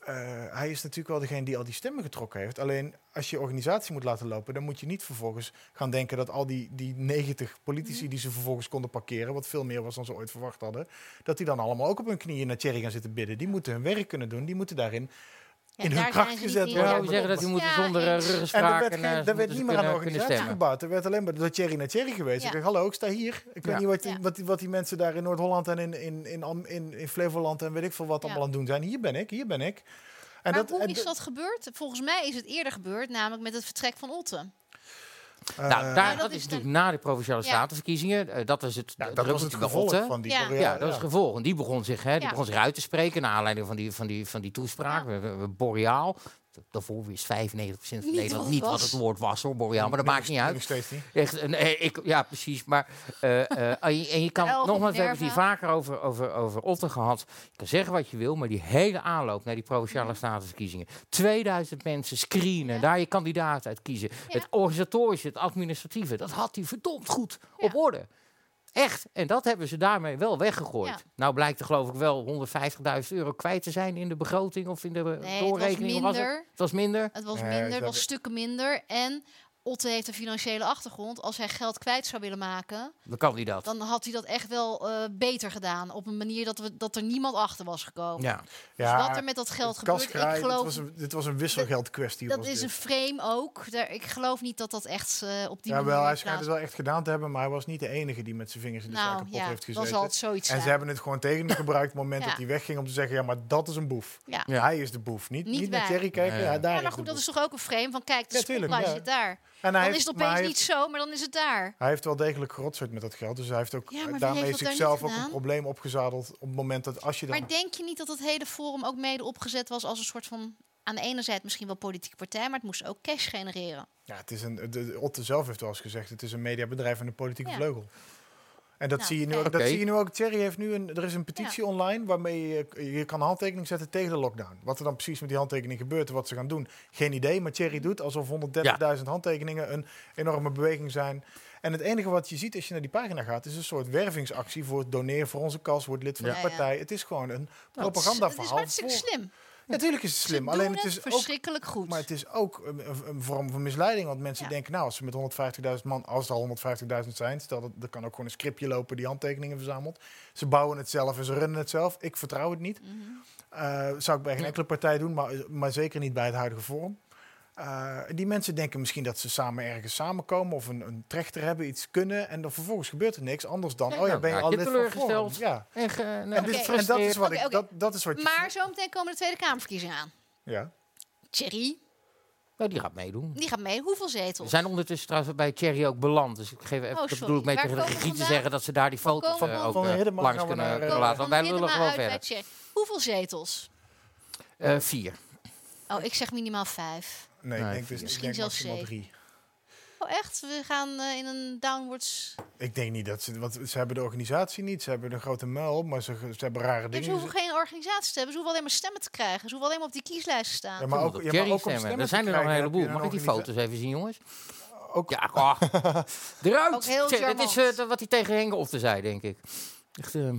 [SPEAKER 5] eh, hij is natuurlijk wel degene die al die stemmen getrokken heeft. Alleen als je organisatie moet laten lopen, dan moet je niet vervolgens gaan denken dat al die, die 90 politici
[SPEAKER 4] Mhm.
[SPEAKER 5] die ze vervolgens konden parkeren, wat veel meer was dan ze ooit verwacht hadden, dat die dan allemaal ook op hun knieën naar Thierry gaan zitten bidden. Die moeten hun werk kunnen doen, die moeten daarin
[SPEAKER 4] Ja,
[SPEAKER 5] in
[SPEAKER 4] daar
[SPEAKER 5] hun
[SPEAKER 4] zijn
[SPEAKER 5] kracht
[SPEAKER 4] ze niet
[SPEAKER 5] gezet
[SPEAKER 4] in.
[SPEAKER 3] Ja,
[SPEAKER 5] worden.
[SPEAKER 4] Ja,
[SPEAKER 3] hoe zeggen dat je moet
[SPEAKER 4] Ja,
[SPEAKER 3] zonder
[SPEAKER 4] eens.
[SPEAKER 3] uh,
[SPEAKER 5] En er werd,
[SPEAKER 3] ruggespraak en
[SPEAKER 5] geen-
[SPEAKER 3] eh,
[SPEAKER 5] er
[SPEAKER 3] ze
[SPEAKER 5] werd
[SPEAKER 3] moeten
[SPEAKER 5] niet
[SPEAKER 3] ze
[SPEAKER 5] meer
[SPEAKER 3] kunnen-
[SPEAKER 5] aan de
[SPEAKER 3] kunnen
[SPEAKER 5] organisatie
[SPEAKER 3] stemmen.
[SPEAKER 5] gebouwd. Er werd alleen maar door Thierry naar Thierry geweest.
[SPEAKER 4] Ja.
[SPEAKER 5] Ik dacht, hallo, ik sta hier. Ik weet
[SPEAKER 6] Ja.
[SPEAKER 5] niet wat, die-
[SPEAKER 4] Ja.
[SPEAKER 5] wat, die, wat die mensen daar in Noord-Holland en in, in, in, Am- in, in Flevoland en weet ik veel
[SPEAKER 4] Ja.
[SPEAKER 5] wat allemaal aan het doen zijn. Hier ben ik, hier ben ik. En
[SPEAKER 4] maar hoe
[SPEAKER 5] en
[SPEAKER 4] is dat gebeurd? Volgens mij is het eerder gebeurd, namelijk met het vertrek van Otte.
[SPEAKER 5] eh,
[SPEAKER 3] Nou, daar,
[SPEAKER 4] dat
[SPEAKER 3] dat
[SPEAKER 4] is
[SPEAKER 3] is
[SPEAKER 4] de-
[SPEAKER 3] natuurlijk na de provinciale
[SPEAKER 4] Ja.
[SPEAKER 3] statenverkiezingen. eh, dat was het,
[SPEAKER 5] ja,
[SPEAKER 3] de
[SPEAKER 5] dat was
[SPEAKER 3] druppeltje
[SPEAKER 5] het
[SPEAKER 3] bij
[SPEAKER 5] gevolg
[SPEAKER 3] Otten.
[SPEAKER 5] van die
[SPEAKER 4] Ja.
[SPEAKER 5] Korea-
[SPEAKER 3] Ja, dat is het gevolg. En die begon zich, hè, die
[SPEAKER 4] Ja.
[SPEAKER 3] begon zich uit te spreken naar aanleiding van die, van die, van die toespraak. We- we- we- Boreaal. Daarvoor wist 95% van
[SPEAKER 4] Niet
[SPEAKER 3] Nederland
[SPEAKER 4] wat
[SPEAKER 3] niet
[SPEAKER 4] was.
[SPEAKER 3] wat het woord was hoor, Boreaal. Maar dat
[SPEAKER 5] Nee,
[SPEAKER 3] maakt niet uit.
[SPEAKER 5] Nog steeds niet.
[SPEAKER 3] Echt, een- eh, ik, ja, precies. Maar, eh, eh, en, je, en je kan,
[SPEAKER 4] Elf op
[SPEAKER 3] nogmaals, we hebben het hier
[SPEAKER 4] Nerva.
[SPEAKER 3] vaker over, over, over Otte gehad. Je kan zeggen wat je wil, maar die hele aanloop naar die provinciale statenverkiezingen. 2000 mensen screenen,
[SPEAKER 4] Ja.
[SPEAKER 3] daar je kandidaat uit kiezen.
[SPEAKER 4] Ja.
[SPEAKER 3] Het organisatorische, het administratieve, dat had hij verdomd goed
[SPEAKER 4] Ja.
[SPEAKER 3] op orde. Echt, en dat hebben ze daarmee wel weggegooid.
[SPEAKER 4] Ja.
[SPEAKER 3] Nou blijkt er geloof ik wel 150.000 euro kwijt te zijn in de begroting of in de
[SPEAKER 4] Nee, het was
[SPEAKER 3] doorrekening. of
[SPEAKER 4] minder.
[SPEAKER 3] het? het was minder.
[SPEAKER 4] Het was
[SPEAKER 5] Nee,
[SPEAKER 4] minder,
[SPEAKER 5] ze
[SPEAKER 4] het was
[SPEAKER 5] hebben-
[SPEAKER 4] stukken minder. En Otte heeft een financiële achtergrond. Als hij geld kwijt zou willen maken,
[SPEAKER 3] Dan kan hij dat.
[SPEAKER 4] dan had hij dat echt wel eh, beter gedaan. Op een manier dat, we, dat er niemand achter was gekomen.
[SPEAKER 3] Ja.
[SPEAKER 5] Ja,
[SPEAKER 4] dus wat er met dat geld
[SPEAKER 5] het
[SPEAKER 4] gebeurt,
[SPEAKER 5] kaskraai,
[SPEAKER 4] ik geloof...
[SPEAKER 5] Dit was een, dit was een wisselgeldkwestie.
[SPEAKER 4] dat
[SPEAKER 5] was
[SPEAKER 4] is
[SPEAKER 5] dit.
[SPEAKER 4] een frame ook. Daar, ik geloof niet dat dat echt eh, op die
[SPEAKER 5] Ja,
[SPEAKER 4] manier...
[SPEAKER 5] wel, hij schijnt
[SPEAKER 4] plaats-
[SPEAKER 5] het wel echt gedaan te hebben, maar hij was niet de enige die met zijn vingers in de zaak
[SPEAKER 4] Nou
[SPEAKER 5] zakkenpot
[SPEAKER 4] ja,
[SPEAKER 5] heeft
[SPEAKER 4] dan
[SPEAKER 5] gezeten.
[SPEAKER 4] zal het zoiets
[SPEAKER 5] En
[SPEAKER 4] zijn.
[SPEAKER 5] ze hebben het gewoon
[SPEAKER 4] (laughs)
[SPEAKER 5] tegen hem gebruikt op het moment
[SPEAKER 4] Ja.
[SPEAKER 5] dat hij wegging om te zeggen, ja, maar dat is een boef.
[SPEAKER 4] Ja.
[SPEAKER 3] Ja.
[SPEAKER 5] Hij is de boef, niet,
[SPEAKER 4] Niet
[SPEAKER 5] niet, naar
[SPEAKER 4] wij.
[SPEAKER 5] Thierry kijken.
[SPEAKER 3] Nee.
[SPEAKER 5] Ja, daar
[SPEAKER 4] Ja,
[SPEAKER 5] is
[SPEAKER 4] maar
[SPEAKER 5] de
[SPEAKER 4] goed, dat
[SPEAKER 5] boef.
[SPEAKER 4] is toch ook een frame van kijk, de
[SPEAKER 5] Ja, tuurlijk,
[SPEAKER 4] spotlight
[SPEAKER 5] ja.
[SPEAKER 4] zit daar.
[SPEAKER 5] En
[SPEAKER 4] Dan
[SPEAKER 5] hij
[SPEAKER 4] is
[SPEAKER 5] heeft-
[SPEAKER 4] het
[SPEAKER 5] maar
[SPEAKER 4] opeens
[SPEAKER 5] hij
[SPEAKER 4] niet
[SPEAKER 5] heeft-
[SPEAKER 4] zo, maar dan is het daar.
[SPEAKER 5] Hij heeft wel degelijk gerotsoord met dat geld, dus hij heeft ook
[SPEAKER 4] Ja, maar wie
[SPEAKER 5] daarmee
[SPEAKER 4] heeft dat daar
[SPEAKER 5] zichzelf
[SPEAKER 4] niet
[SPEAKER 5] ook een
[SPEAKER 4] gedaan?
[SPEAKER 5] probleem opgezadeld op het moment dat als je dan...
[SPEAKER 4] Maar denk je niet dat dat hele forum ook mede opgezet was als een soort van... aan de ene zijde misschien wel politieke partij, maar het moest ook cash genereren.
[SPEAKER 5] Ja, het is een, de, de- Otte zelf heeft wel eens gezegd, het is een mediabedrijf en een politieke
[SPEAKER 4] Ja.
[SPEAKER 5] vleugel. En dat,
[SPEAKER 4] Nou,
[SPEAKER 5] zie je nu,
[SPEAKER 4] kijk.
[SPEAKER 5] ook- dat
[SPEAKER 3] Oké.
[SPEAKER 5] zie je nu ook. Thierry heeft nu een, er is een petitie online waarmee je, je kan een handtekening zetten tegen de lockdown. Wat er dan precies met die handtekening gebeurt en wat ze gaan doen, geen idee. Maar Thierry doet alsof 130.000 handtekeningen een enorme beweging zijn. En het enige wat je ziet als je naar die pagina gaat, is een soort wervingsactie voor het doneren voor onze kas, word lid van
[SPEAKER 4] Ja,
[SPEAKER 5] de
[SPEAKER 4] ja.
[SPEAKER 5] partij. Het is gewoon een
[SPEAKER 4] Het is
[SPEAKER 5] propagandaverhaal.
[SPEAKER 4] hartstikke
[SPEAKER 5] voor-
[SPEAKER 4] slim.
[SPEAKER 5] Natuurlijk is het slim,
[SPEAKER 4] Ze
[SPEAKER 5] alleen
[SPEAKER 4] doen
[SPEAKER 5] het is ook
[SPEAKER 4] verschrikkelijk goed.
[SPEAKER 5] maar het is ook een, een- een vorm van misleiding. Want mensen
[SPEAKER 4] Ja.
[SPEAKER 5] denken, nou, als ze met 150.000 man, als er al 150.000 zijn, stel dat er kan ook gewoon een scriptje lopen die handtekeningen verzamelt. Ze bouwen het zelf en ze runnen het zelf. Ik vertrouw het niet.
[SPEAKER 4] Mhm.
[SPEAKER 5] Eh, zou ik bij geen
[SPEAKER 3] Ja.
[SPEAKER 5] enkele partij doen, maar, maar zeker niet bij het huidige vorm. Eh, die mensen denken misschien dat ze samen ergens samenkomen of een, een trechter hebben, iets kunnen. En dan vervolgens gebeurt er niks anders dan,
[SPEAKER 3] Ja,
[SPEAKER 5] oh ja,
[SPEAKER 3] dan
[SPEAKER 5] ben je
[SPEAKER 3] raak
[SPEAKER 5] al
[SPEAKER 3] je
[SPEAKER 5] lid van
[SPEAKER 3] teleurgesteld.
[SPEAKER 5] Forum. Ja.
[SPEAKER 3] En, eh, ge- nee,
[SPEAKER 5] En, dit-
[SPEAKER 4] Oké.
[SPEAKER 5] en dat is wat,
[SPEAKER 4] Oké,
[SPEAKER 5] ik,
[SPEAKER 4] oké.
[SPEAKER 5] dat, dat is wat je
[SPEAKER 4] Maar zometeen komen de Tweede Kamerverkiezingen aan.
[SPEAKER 5] Ja.
[SPEAKER 4] Thierry,
[SPEAKER 3] Nou, die gaat meedoen.
[SPEAKER 4] die gaat mee. Hoeveel
[SPEAKER 3] We
[SPEAKER 4] zetels?
[SPEAKER 3] zijn ondertussen trouwens bij Thierry ook beland. Dus ik geef even, dat
[SPEAKER 4] Oh, sorry.
[SPEAKER 3] bedoel ik mee
[SPEAKER 4] Waar
[SPEAKER 3] tegen de
[SPEAKER 4] komen we
[SPEAKER 3] regie te
[SPEAKER 4] vandaan?
[SPEAKER 3] zeggen dat ze daar die foto's
[SPEAKER 4] komen
[SPEAKER 3] eh,
[SPEAKER 4] we
[SPEAKER 3] ook
[SPEAKER 5] Van
[SPEAKER 3] eh,
[SPEAKER 5] Hiddema
[SPEAKER 3] langs
[SPEAKER 5] gaan we
[SPEAKER 3] kunnen,
[SPEAKER 5] naar,
[SPEAKER 3] kunnen
[SPEAKER 5] eh,
[SPEAKER 3] laten. Want wij
[SPEAKER 4] Hiddema
[SPEAKER 3] lullen gewoon
[SPEAKER 4] uit bij
[SPEAKER 3] verder.
[SPEAKER 4] Thierry. Hoeveel zetels?
[SPEAKER 3] Eh, vier.
[SPEAKER 4] Oh, ik zeg minimaal vijf.
[SPEAKER 5] Nee,
[SPEAKER 3] Nee,
[SPEAKER 5] ik denk, dus, ik
[SPEAKER 4] misschien
[SPEAKER 5] denk
[SPEAKER 4] zelfs
[SPEAKER 5] maximaal
[SPEAKER 4] zeven.
[SPEAKER 5] drie.
[SPEAKER 4] Oh, echt? We gaan eh, in een downwards...
[SPEAKER 5] Ik denk niet dat ze, want ze hebben de organisatie niet, ze hebben een grote muil, maar ze, ze hebben rare
[SPEAKER 4] Ja,
[SPEAKER 5] dingen.
[SPEAKER 4] ze hoeven geen organisatie te hebben. Ze hoeven alleen maar stemmen te krijgen. Ze hoeven alleen maar op die kieslijsten te staan.
[SPEAKER 5] Ja, maar ook,
[SPEAKER 3] Op
[SPEAKER 5] ja, maar
[SPEAKER 3] Thierry
[SPEAKER 5] ook om
[SPEAKER 3] stemmen.
[SPEAKER 5] stemmen
[SPEAKER 3] Er
[SPEAKER 5] te
[SPEAKER 3] zijn er nog een
[SPEAKER 5] krijgen heb je
[SPEAKER 3] heleboel. Mag ik die
[SPEAKER 5] organisa-
[SPEAKER 3] foto's even zien, jongens?
[SPEAKER 5] Ook,
[SPEAKER 3] Ja, ah.
[SPEAKER 5] (laughs)
[SPEAKER 3] eruit.
[SPEAKER 4] Ook heel
[SPEAKER 3] Zeg, dat is
[SPEAKER 4] charmant.
[SPEAKER 3] eh, wat hij tegen Henk op te zei, denk ik. Echt, eh,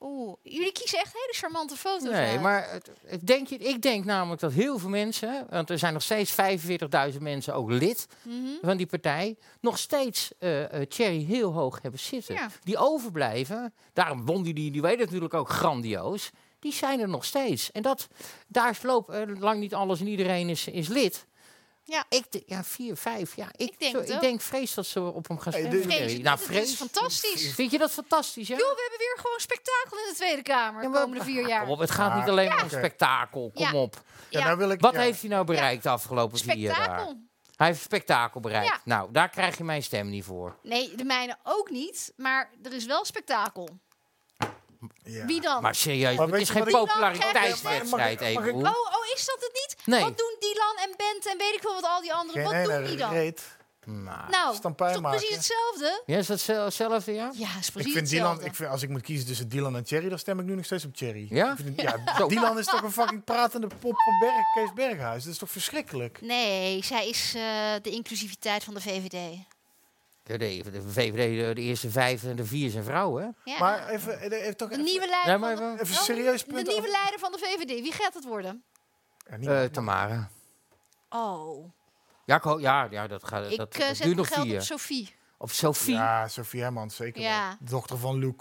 [SPEAKER 4] Oeh, jullie kiezen echt hele charmante foto's
[SPEAKER 3] nee,
[SPEAKER 4] uit.
[SPEAKER 3] maar het- het denk je, ik denk namelijk dat heel veel mensen, want er zijn nog steeds 45.000 mensen ook lid
[SPEAKER 4] Mhm.
[SPEAKER 3] van die partij nog steeds eh eh Thierry heel hoog hebben zitten.
[SPEAKER 4] Ja.
[SPEAKER 3] Die overblijven, daarom won die, die, die weet natuurlijk ook grandioos, die zijn er nog steeds. En dat, daar verloopt eh, lang niet alles en iedereen is, is lid.
[SPEAKER 4] Ja.
[SPEAKER 3] Ik d- ja, vier, vijf, ja. Ik,
[SPEAKER 4] Ik denk
[SPEAKER 3] zo-
[SPEAKER 4] het
[SPEAKER 3] ik
[SPEAKER 4] ook.
[SPEAKER 3] denk vrees dat ze op hem gaan
[SPEAKER 5] Hey,
[SPEAKER 3] stemmen.
[SPEAKER 5] dit-
[SPEAKER 3] Thierry.
[SPEAKER 4] Vrees,
[SPEAKER 3] nou,
[SPEAKER 4] dit is
[SPEAKER 3] vrees.
[SPEAKER 4] fantastisch.
[SPEAKER 3] Vind je dat fantastisch, hè?
[SPEAKER 4] Joh, we hebben weer gewoon spektakel in de Tweede Kamer de
[SPEAKER 3] Ja, maar-
[SPEAKER 4] komende vier jaar.
[SPEAKER 3] Nou, Kom op, het gaat niet alleen maar om
[SPEAKER 5] Ah, Oké.
[SPEAKER 3] spektakel, kom
[SPEAKER 4] Ja.
[SPEAKER 3] op.
[SPEAKER 5] ja,
[SPEAKER 4] Ja,
[SPEAKER 5] nou wil ik,
[SPEAKER 3] Wat
[SPEAKER 5] ja.
[SPEAKER 3] heeft hij nou bereikt de afgelopen vier jaar?
[SPEAKER 4] spektakel.
[SPEAKER 3] Hij heeft spektakel bereikt.
[SPEAKER 4] Ja.
[SPEAKER 3] Nou, daar krijg je mijn stem niet voor.
[SPEAKER 4] Nee, de mijne ook niet. Maar er is wel spektakel.
[SPEAKER 5] Ja.
[SPEAKER 4] Wie dan?
[SPEAKER 3] Maar serieus,
[SPEAKER 5] Maar
[SPEAKER 3] het
[SPEAKER 5] weet
[SPEAKER 3] is
[SPEAKER 5] je
[SPEAKER 3] geen
[SPEAKER 5] wat ik- Mag
[SPEAKER 3] populariteitswedstrijd,
[SPEAKER 5] ik- mag ik- mag ik-
[SPEAKER 3] Ebru.
[SPEAKER 4] Oh, oh, is dat het niet?
[SPEAKER 3] Nee.
[SPEAKER 4] Wat doen Dylan en Bent en weet ik veel wat al die anderen?
[SPEAKER 5] Geen
[SPEAKER 4] wat
[SPEAKER 5] ene
[SPEAKER 4] doen die dan?
[SPEAKER 5] reet.
[SPEAKER 4] nou, is
[SPEAKER 5] stampij
[SPEAKER 4] toch
[SPEAKER 5] maken.
[SPEAKER 4] precies hetzelfde?
[SPEAKER 3] Ja, is dat zel- hetzelfde, ja?
[SPEAKER 4] Ja, is precies
[SPEAKER 5] Ik vind
[SPEAKER 4] hetzelfde.
[SPEAKER 5] Dylan, ik vind, als ik moet kiezen tussen Dylan en Thierry, dan stem ik nu nog steeds op Thierry.
[SPEAKER 3] Ja?
[SPEAKER 5] Ik
[SPEAKER 4] (laughs)
[SPEAKER 5] vind- ja,
[SPEAKER 3] Zo.
[SPEAKER 5] Dylan is toch een fucking pratende pop van Berg, Kees Berghuis. Dat is toch verschrikkelijk?
[SPEAKER 4] Nee, zij is eh, de inclusiviteit van de VVD.
[SPEAKER 3] De, de- de VVD, de, de eerste vijf en de vier zijn vrouwen, hè?
[SPEAKER 4] Ja.
[SPEAKER 5] Maar even, eh, even toch
[SPEAKER 4] de
[SPEAKER 5] even,
[SPEAKER 4] nieuwe leider.
[SPEAKER 3] Nee, maar
[SPEAKER 4] van
[SPEAKER 3] even-
[SPEAKER 5] even een serieus
[SPEAKER 4] de,
[SPEAKER 5] punt.
[SPEAKER 4] de nieuwe
[SPEAKER 5] af-
[SPEAKER 4] leider van de VVD. Wie gaat het worden?
[SPEAKER 5] Ja,
[SPEAKER 3] Eh,
[SPEAKER 5] niemand.
[SPEAKER 3] Tamara.
[SPEAKER 4] Oh,
[SPEAKER 3] Ja, ik ho- ja, ja, dat gaat...
[SPEAKER 4] ik
[SPEAKER 3] dat,
[SPEAKER 4] eh,
[SPEAKER 3] dat
[SPEAKER 4] zet
[SPEAKER 3] duurt
[SPEAKER 4] mijn
[SPEAKER 3] nog
[SPEAKER 4] geld op
[SPEAKER 3] vier.
[SPEAKER 4] Sophie.
[SPEAKER 3] Of Sophie.
[SPEAKER 5] ja, Sofie Hermans, zeker wel.
[SPEAKER 4] Ja.
[SPEAKER 5] Dochter van Luc.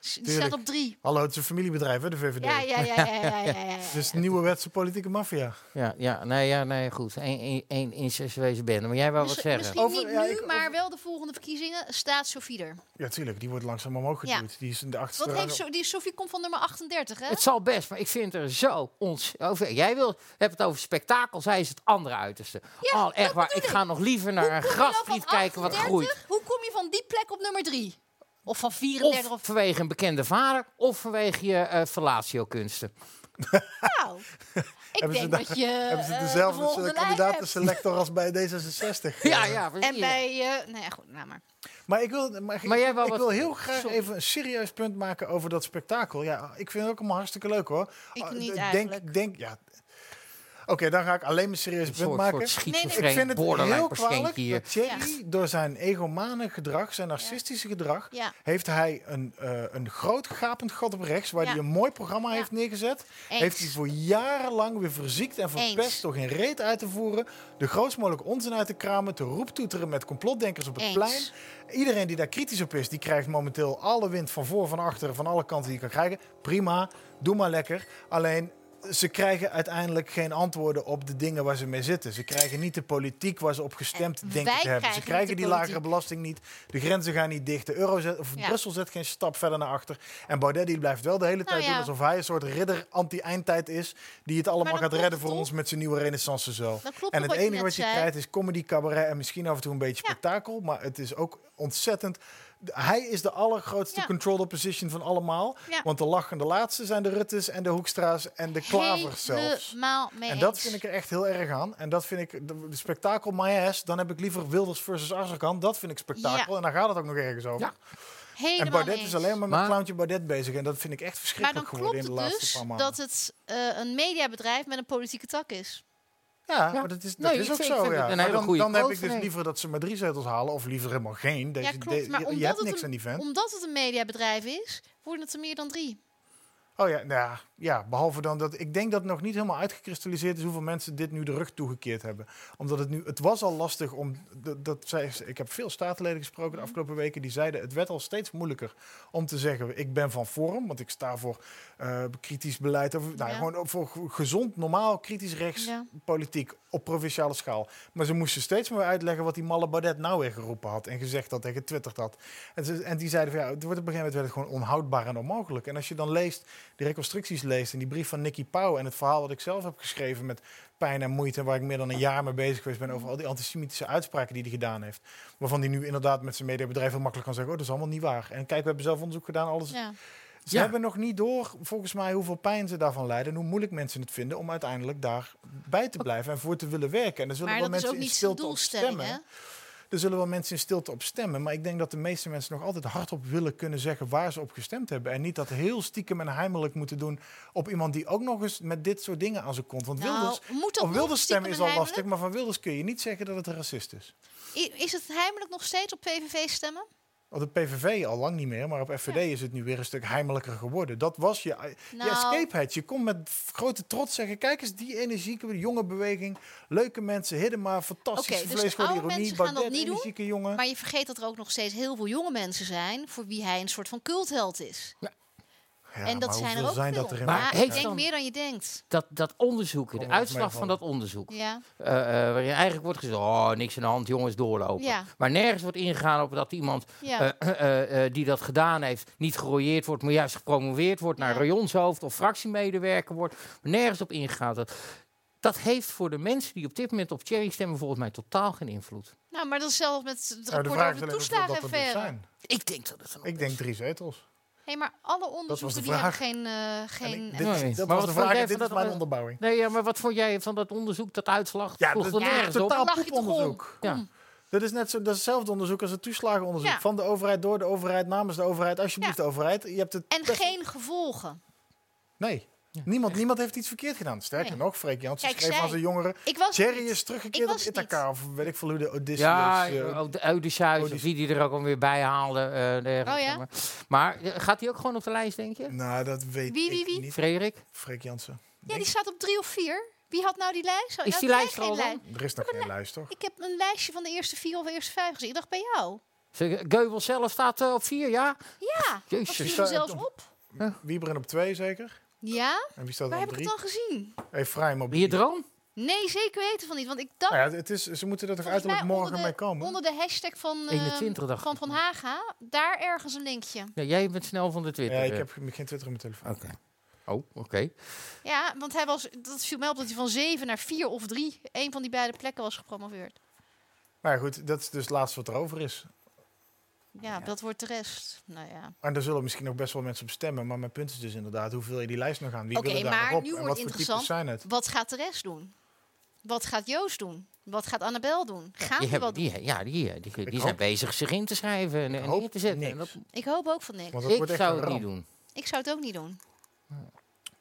[SPEAKER 4] S- Die
[SPEAKER 5] Tuurlijk.
[SPEAKER 4] staat op drie.
[SPEAKER 5] Hallo, het is een familiebedrijf, hè, de VVD.
[SPEAKER 4] Ja, ja, ja, ja,
[SPEAKER 3] (laughs)
[SPEAKER 4] ja, ja, ja.
[SPEAKER 3] Dus
[SPEAKER 5] Het is de nieuwe wetse politieke maffia.
[SPEAKER 3] Ja, ja, nee, ja, nee, goed. Eén één incestueuze bende. Maar jij wou wat
[SPEAKER 4] Misschien-
[SPEAKER 3] zeggen.
[SPEAKER 4] Misschien
[SPEAKER 5] Over-
[SPEAKER 4] niet
[SPEAKER 5] ja,
[SPEAKER 4] nu,
[SPEAKER 5] ik-
[SPEAKER 4] maar wel de volgende verkiezingen staat Sophie er.
[SPEAKER 5] Ja, tuurlijk, die wordt langzaam omhoog
[SPEAKER 4] Ja.
[SPEAKER 5] geduwd. Die is in de achterste
[SPEAKER 4] Wat
[SPEAKER 5] rang
[SPEAKER 4] heeft
[SPEAKER 5] op-
[SPEAKER 4] so die Sophie komt van nummer 38, hè?
[SPEAKER 3] Het zal best, maar ik vind er zo ons. Over, jij wil, hebt het over spektakel, zij is het andere uiterste.
[SPEAKER 4] Ja,
[SPEAKER 3] Al echt waar, ik ga nog liever naar een
[SPEAKER 4] Hoe kom je nou van
[SPEAKER 3] grasvliet kijken wat
[SPEAKER 4] 38?
[SPEAKER 3] groeit.
[SPEAKER 4] Hoe kom je van die plek op nummer 3? Of van 34
[SPEAKER 3] Of
[SPEAKER 4] of...
[SPEAKER 3] vanwege een bekende vader, of vanwege je eh fellatio-kunsten. (laughs)
[SPEAKER 4] Nou, ik
[SPEAKER 5] Hebben ze
[SPEAKER 4] denk
[SPEAKER 5] daar-
[SPEAKER 4] dat je
[SPEAKER 5] Hebben ze
[SPEAKER 4] eh, de
[SPEAKER 5] dezelfde
[SPEAKER 4] volgende lijn hebt.
[SPEAKER 5] kandidaten-selector als bij
[SPEAKER 4] (laughs)
[SPEAKER 5] D66?
[SPEAKER 3] Ja, ja,
[SPEAKER 4] En
[SPEAKER 3] precies.
[SPEAKER 4] bij... eh nee, goed, nou maar.
[SPEAKER 5] Maar ik wil, maar ik,
[SPEAKER 3] Maar jij wou
[SPEAKER 5] ik
[SPEAKER 3] wat-
[SPEAKER 5] wil heel graag
[SPEAKER 3] Sorry.
[SPEAKER 5] even een serieus punt maken over dat spektakel. Ja, ik vind het ook allemaal hartstikke leuk hoor.
[SPEAKER 4] Ik
[SPEAKER 5] Ah,
[SPEAKER 4] niet
[SPEAKER 5] d-
[SPEAKER 4] eigenlijk.
[SPEAKER 5] Denk, denk, ja. Oké, dan ga ik alleen mijn serieus
[SPEAKER 3] Een
[SPEAKER 5] punt
[SPEAKER 3] soort,
[SPEAKER 5] maken.
[SPEAKER 3] soort
[SPEAKER 5] ik vind
[SPEAKER 3] schizofreen
[SPEAKER 5] het
[SPEAKER 3] borderline
[SPEAKER 5] heel kwalijk
[SPEAKER 3] patiëntje hier.
[SPEAKER 5] dat Thierry door zijn egomane gedrag, zijn narcistische gedrag,
[SPEAKER 4] Ja.
[SPEAKER 5] heeft hij een, eh, een groot gapend gat op rechts, waar
[SPEAKER 4] Ja.
[SPEAKER 5] hij een mooi programma
[SPEAKER 4] Ja.
[SPEAKER 5] heeft neergezet.
[SPEAKER 4] Eens.
[SPEAKER 5] Heeft hij voor jarenlang weer verziekt en verpest
[SPEAKER 4] Eens.
[SPEAKER 5] door geen reet uit te voeren, de grootst mogelijke onzin uit te kramen, te roeptoeteren met complotdenkers op het
[SPEAKER 4] Eens.
[SPEAKER 5] plein. Iedereen die daar kritisch op is, die krijgt momenteel alle wind van voor, van achter, van alle kanten die je kan krijgen. Prima, doe maar lekker. Alleen, ze krijgen uiteindelijk geen antwoorden op de dingen waar ze mee zitten. Ze krijgen niet de politiek waar ze op gestemd
[SPEAKER 4] En
[SPEAKER 5] denken
[SPEAKER 4] wij
[SPEAKER 5] te hebben. Ze
[SPEAKER 4] krijgen
[SPEAKER 5] krijgen
[SPEAKER 4] niet de
[SPEAKER 5] die lagere
[SPEAKER 4] politiek.
[SPEAKER 5] belasting niet. De grenzen gaan niet dicht. De euro zet, of
[SPEAKER 4] Ja.
[SPEAKER 5] Brussel zet geen stap verder naar achter. En Baudet die blijft wel de hele tijd
[SPEAKER 4] Nou ja.
[SPEAKER 5] doen alsof hij een soort ridder anti-eindtijd is... die het allemaal
[SPEAKER 4] dat
[SPEAKER 5] gaat
[SPEAKER 4] klopt
[SPEAKER 5] redden voor
[SPEAKER 4] toch?
[SPEAKER 5] ons met zijn nieuwe renaissance zo.
[SPEAKER 4] Dat klopt
[SPEAKER 5] En
[SPEAKER 4] toch
[SPEAKER 5] het
[SPEAKER 4] wat je
[SPEAKER 5] enige
[SPEAKER 4] net
[SPEAKER 5] wat je
[SPEAKER 4] zei?
[SPEAKER 5] krijgt is comedy, cabaret en misschien af en toe een beetje
[SPEAKER 4] Ja.
[SPEAKER 5] spektakel. Maar het is ook ontzettend. d- Hij is de allergrootste
[SPEAKER 4] Ja.
[SPEAKER 5] control opposition van allemaal.
[SPEAKER 4] Ja.
[SPEAKER 5] Want de lachende laatste zijn de Ruttes en de Hoekstra's en de Klavers zelfs.
[SPEAKER 4] Helemaal mee
[SPEAKER 5] En dat
[SPEAKER 4] eens.
[SPEAKER 5] vind ik er echt heel erg aan. En dat vind ik, de, de spektakel my ass, dan heb ik liever Wilders versus Azarkan. Dat vind ik spektakel.
[SPEAKER 4] Ja.
[SPEAKER 5] En daar gaat het ook nog ergens over.
[SPEAKER 3] Ja.
[SPEAKER 4] Helemaal
[SPEAKER 5] En Baudet
[SPEAKER 4] mee
[SPEAKER 5] is
[SPEAKER 4] eens.
[SPEAKER 5] alleen maar met
[SPEAKER 3] Maar-
[SPEAKER 5] clowntje Baudet bezig. En dat vind ik echt
[SPEAKER 4] Maar
[SPEAKER 5] verschrikkelijk
[SPEAKER 4] dan
[SPEAKER 5] geworden
[SPEAKER 4] klopt
[SPEAKER 5] in de
[SPEAKER 4] het
[SPEAKER 5] laatste
[SPEAKER 4] dus
[SPEAKER 5] paar maanden.
[SPEAKER 4] dat het eh, een mediabedrijf met een politieke tak is.
[SPEAKER 5] Ja,
[SPEAKER 3] Ja.
[SPEAKER 5] maar dat is,
[SPEAKER 3] Nee,
[SPEAKER 5] dat
[SPEAKER 3] ik
[SPEAKER 5] is ook
[SPEAKER 3] vind- ik
[SPEAKER 5] zo.
[SPEAKER 3] vind
[SPEAKER 5] Ja.
[SPEAKER 3] het een
[SPEAKER 5] Maar
[SPEAKER 3] hele
[SPEAKER 5] dan
[SPEAKER 3] goede
[SPEAKER 5] dan heb ik dus
[SPEAKER 3] overweging.
[SPEAKER 5] liever dat ze maar drie zetels halen, of liever helemaal geen. Deze,
[SPEAKER 4] ja, klopt.
[SPEAKER 5] de-
[SPEAKER 4] Maar
[SPEAKER 5] je- je,
[SPEAKER 4] omdat
[SPEAKER 5] hebt
[SPEAKER 4] het
[SPEAKER 5] niks
[SPEAKER 4] een,
[SPEAKER 5] aan die vent.
[SPEAKER 4] Omdat het een mediabedrijf is, worden het er meer dan drie.
[SPEAKER 5] Oh ja, nou ja, ja, behalve dan dat ik denk dat nog niet helemaal uitgekristalliseerd is hoeveel mensen dit nu de rug toegekeerd hebben. Omdat het nu, het was al lastig om, dat, dat zei, ik heb veel statenleden gesproken de
[SPEAKER 4] Mhm.
[SPEAKER 5] afgelopen weken, die zeiden het werd al steeds moeilijker om te zeggen ik ben van vorm, want ik sta voor eh, kritisch beleid, of, nou,
[SPEAKER 4] Ja.
[SPEAKER 5] gewoon ook voor gezond, normaal, kritisch rechts
[SPEAKER 4] Ja.
[SPEAKER 5] politiek op provinciale schaal. Maar ze moesten steeds meer uitleggen wat die malle Baudet nou weer geroepen had en gezegd had en getwitterd had. En, ze- en die zeiden van ja, het wordt op een gegeven moment werd het gewoon onhoudbaar en onmogelijk. En als je dan leest, die reconstructies leest en die brief van Nicky Pauw en het verhaal wat ik zelf heb geschreven met pijn en moeite, waar ik meer dan een jaar mee bezig geweest ben over al die antisemitische uitspraken die hij gedaan heeft. Waarvan hij nu inderdaad met zijn mediabedrijf heel makkelijk kan zeggen, oh dat is allemaal niet waar. En kijk, we hebben zelf onderzoek gedaan, alles
[SPEAKER 4] Ja.
[SPEAKER 5] ze
[SPEAKER 3] Ja.
[SPEAKER 5] hebben nog niet door, volgens mij, hoeveel pijn ze daarvan lijden. En hoe moeilijk mensen het vinden om uiteindelijk daarbij te blijven en voor te willen werken. En er zullen
[SPEAKER 4] Maar
[SPEAKER 5] wel
[SPEAKER 4] dat is
[SPEAKER 5] mensen
[SPEAKER 4] ook
[SPEAKER 5] in
[SPEAKER 4] niet zijn
[SPEAKER 5] stilte op
[SPEAKER 4] doelstelling,
[SPEAKER 5] stemmen.
[SPEAKER 4] hè?
[SPEAKER 5] Er zullen wel mensen in stilte op stemmen. Maar ik denk dat de meeste mensen nog altijd hardop willen kunnen zeggen waar ze op gestemd hebben. En niet dat heel stiekem en heimelijk moeten doen op iemand die ook nog eens met dit soort dingen aan zijn komt. Want
[SPEAKER 4] Nou,
[SPEAKER 5] Wilders,
[SPEAKER 4] moet dat
[SPEAKER 5] op
[SPEAKER 4] nog
[SPEAKER 5] Wilders stemmen is
[SPEAKER 4] stiekem
[SPEAKER 5] al
[SPEAKER 4] en
[SPEAKER 5] lastig, maar van Wilders kun je niet zeggen dat het een racist is.
[SPEAKER 4] heimelijk? I- Is het heimelijk nog steeds op PVV stemmen?
[SPEAKER 5] Op de PVV al lang niet meer, maar op FVD is het nu weer een stuk heimelijker geworden. Dat was je, eh, je
[SPEAKER 4] Nou.
[SPEAKER 5] escape hatch. Je kon met f- grote trots zeggen, kijk eens die energieke jonge beweging. Leuke mensen, Hiddema, fantastisch
[SPEAKER 4] Oké, dus de
[SPEAKER 5] vleesgoed
[SPEAKER 4] oude
[SPEAKER 5] ironie.
[SPEAKER 4] mensen gaan dat
[SPEAKER 5] Baudet,
[SPEAKER 4] niet doen,
[SPEAKER 5] energieke jongen.
[SPEAKER 4] Maar je vergeet dat er ook nog steeds heel veel jonge mensen zijn voor wie hij een soort van cultheld is.
[SPEAKER 5] Ja,
[SPEAKER 4] en dat
[SPEAKER 5] maar
[SPEAKER 4] zijn er
[SPEAKER 5] hoeveel
[SPEAKER 4] ook
[SPEAKER 5] zijn
[SPEAKER 4] veel.
[SPEAKER 5] dat er in
[SPEAKER 3] Maar
[SPEAKER 5] elkaar?
[SPEAKER 4] ja,
[SPEAKER 3] heeft
[SPEAKER 4] ik denk
[SPEAKER 3] dan-
[SPEAKER 4] meer dan je denkt.
[SPEAKER 3] Dat, dat onderzoek, de
[SPEAKER 5] Kom maar,
[SPEAKER 3] uitslag
[SPEAKER 5] meevallen.
[SPEAKER 3] van dat onderzoek.
[SPEAKER 4] Ja.
[SPEAKER 3] eh, eh, waarin eigenlijk wordt gezegd, oh, niks aan de hand, jongens, doorlopen.
[SPEAKER 4] Ja.
[SPEAKER 3] Maar nergens wordt ingegaan op dat iemand
[SPEAKER 4] Ja.
[SPEAKER 3] eh, eh, eh, die dat gedaan heeft, niet gerooieerd wordt, maar juist gepromoveerd wordt naar
[SPEAKER 4] Ja.
[SPEAKER 3] rayonshoofd of fractiemedewerker wordt. Nergens op ingegaan. Dat Dat heeft voor de mensen die op dit moment op Thierry stemmen volgens mij totaal geen invloed.
[SPEAKER 4] Nou, maar dat is zelfs met het
[SPEAKER 5] Nou, de
[SPEAKER 4] rapport
[SPEAKER 5] vraag
[SPEAKER 4] over
[SPEAKER 5] is
[SPEAKER 4] de
[SPEAKER 5] alleen hoeveel dat er dus
[SPEAKER 4] toeslagenaffaire.
[SPEAKER 5] zijn.
[SPEAKER 3] Ik denk dat het een
[SPEAKER 5] Ik denk drie zetels.
[SPEAKER 4] Hé, maar alle
[SPEAKER 5] was de
[SPEAKER 4] onderzoeken die hebben
[SPEAKER 5] vraag.
[SPEAKER 4] geen... eh, geen
[SPEAKER 5] En ik-
[SPEAKER 3] Nee, maar
[SPEAKER 5] dit, dat was
[SPEAKER 3] wat
[SPEAKER 5] de
[SPEAKER 3] vond
[SPEAKER 5] vraag.
[SPEAKER 3] jij
[SPEAKER 5] en Dit
[SPEAKER 3] van
[SPEAKER 5] is
[SPEAKER 3] dat-
[SPEAKER 5] mijn onderbouwing.
[SPEAKER 3] Nee, ja, maar wat vond jij van dat onderzoek, dat uitslag?
[SPEAKER 5] Ja,
[SPEAKER 3] Sloeg
[SPEAKER 5] dat
[SPEAKER 3] er
[SPEAKER 5] is
[SPEAKER 4] ja,
[SPEAKER 3] nergens op.
[SPEAKER 5] totaal
[SPEAKER 4] Dan lach je toch om.
[SPEAKER 5] poeponderzoek.
[SPEAKER 3] Ja.
[SPEAKER 4] Kom.
[SPEAKER 5] Dat is net zo, dat is hetzelfde onderzoek als het toeslagenonderzoek.
[SPEAKER 4] Ja.
[SPEAKER 5] Van de overheid, door de overheid, namens de overheid, alsjeblieft de overheid. Je hebt het
[SPEAKER 4] En
[SPEAKER 5] best-
[SPEAKER 4] geen gevolgen.
[SPEAKER 5] Nee, niemand, niemand heeft iets verkeerd gedaan. Sterker
[SPEAKER 4] Nee.
[SPEAKER 5] nog, Freek Jansen
[SPEAKER 4] Kijk,
[SPEAKER 5] schreef
[SPEAKER 4] zij-
[SPEAKER 5] aan zijn jongeren...
[SPEAKER 4] Ik was er
[SPEAKER 5] Jerry
[SPEAKER 4] niet.
[SPEAKER 5] is teruggekeerd
[SPEAKER 4] Ik
[SPEAKER 5] op
[SPEAKER 4] was het
[SPEAKER 5] Ithaca, of weet ik veel hoe de Odysseus...
[SPEAKER 3] Ja,
[SPEAKER 5] eh,
[SPEAKER 3] eh, ook de Odysseus, of
[SPEAKER 5] Odysseus.
[SPEAKER 3] wie die er ook alweer bij haalde. eh, ergens,
[SPEAKER 4] Oh ja?
[SPEAKER 3] zeg maar. Maar eh, gaat hij ook gewoon op de lijst, denk je?
[SPEAKER 5] nou, dat weet
[SPEAKER 4] Wie, wie,
[SPEAKER 5] ik
[SPEAKER 4] wie?
[SPEAKER 5] niet.
[SPEAKER 3] Frederik?
[SPEAKER 5] Freek Jansen.
[SPEAKER 4] Ja, die staat op drie of vier. Wie had nou die lijst?
[SPEAKER 3] Is
[SPEAKER 4] Had
[SPEAKER 3] die
[SPEAKER 4] jij
[SPEAKER 3] lijst er
[SPEAKER 4] geen
[SPEAKER 3] al dan?
[SPEAKER 4] lijst?
[SPEAKER 5] Er is nog geen lijst, toch?
[SPEAKER 4] Ik heb een lijstje van de eerste vier of eerste vijf gezien. Ik dacht, bij jou?
[SPEAKER 3] Zeg, Geubel zelf staat eh, op vier, ja?
[SPEAKER 4] Ja, dat
[SPEAKER 3] Jezus.
[SPEAKER 4] viel
[SPEAKER 5] Sta-
[SPEAKER 4] er zelfs op.
[SPEAKER 5] Wieberen op twee, zeker?
[SPEAKER 4] Ja?
[SPEAKER 5] En wie staat
[SPEAKER 4] Waar
[SPEAKER 5] er
[SPEAKER 4] heb
[SPEAKER 5] op
[SPEAKER 4] ik het
[SPEAKER 5] drie?
[SPEAKER 4] dan gezien?
[SPEAKER 5] Efraim op
[SPEAKER 3] Je
[SPEAKER 5] drie.
[SPEAKER 3] droom?
[SPEAKER 4] Nee, zeker weten van niet. Want ik dacht...
[SPEAKER 5] Nou ja, het is, ze moeten er toch
[SPEAKER 4] volgens mij
[SPEAKER 5] uiterlijk
[SPEAKER 4] onder
[SPEAKER 5] morgen
[SPEAKER 4] de-
[SPEAKER 5] mee komen?
[SPEAKER 4] Onder de hashtag van, eh,
[SPEAKER 3] 21 dacht
[SPEAKER 4] van
[SPEAKER 3] ik.
[SPEAKER 4] Van Haga, daar ergens een linkje.
[SPEAKER 3] Ja, jij bent snel van de Twitter.
[SPEAKER 5] Ja, ik
[SPEAKER 3] eh.
[SPEAKER 5] heb geen Twitter op mijn telefoon.
[SPEAKER 3] Oké. Oh, oké.
[SPEAKER 4] Ja, want hij was, dat viel mij op dat hij van zeven naar vier of drie, een van die beide plekken was gepromoveerd.
[SPEAKER 5] Maar ja, goed, dat is dus het laatste wat er over is.
[SPEAKER 4] Ja, dat wordt de rest. Nou ja.
[SPEAKER 5] En daar zullen misschien nog best wel mensen op stemmen. Maar mijn punt is dus inderdaad, hoe vul je die lijst nog aan? Wie
[SPEAKER 4] Oké,
[SPEAKER 5] willen daar
[SPEAKER 4] maar
[SPEAKER 5] nog op?
[SPEAKER 4] nu
[SPEAKER 5] en
[SPEAKER 4] wordt
[SPEAKER 5] wat voor types
[SPEAKER 4] interessant.
[SPEAKER 5] zijn het?
[SPEAKER 4] Wat gaat de rest doen? Wat gaat Joost doen? Wat gaat Annabel doen? Gaan
[SPEAKER 3] Die,
[SPEAKER 4] die
[SPEAKER 3] hebben,
[SPEAKER 4] wat doen?
[SPEAKER 3] die, ja, die, eh, die, die,
[SPEAKER 5] hoop-
[SPEAKER 3] zijn bezig zich in te schrijven en, en
[SPEAKER 5] hoop
[SPEAKER 3] neer te zetten.
[SPEAKER 5] niks.
[SPEAKER 3] En dat-
[SPEAKER 4] Ik hoop ook van niks.
[SPEAKER 5] Want
[SPEAKER 3] ik
[SPEAKER 5] wordt echt
[SPEAKER 3] zou
[SPEAKER 5] een
[SPEAKER 3] het niet
[SPEAKER 5] ramp.
[SPEAKER 3] doen.
[SPEAKER 4] Ik zou het ook niet doen.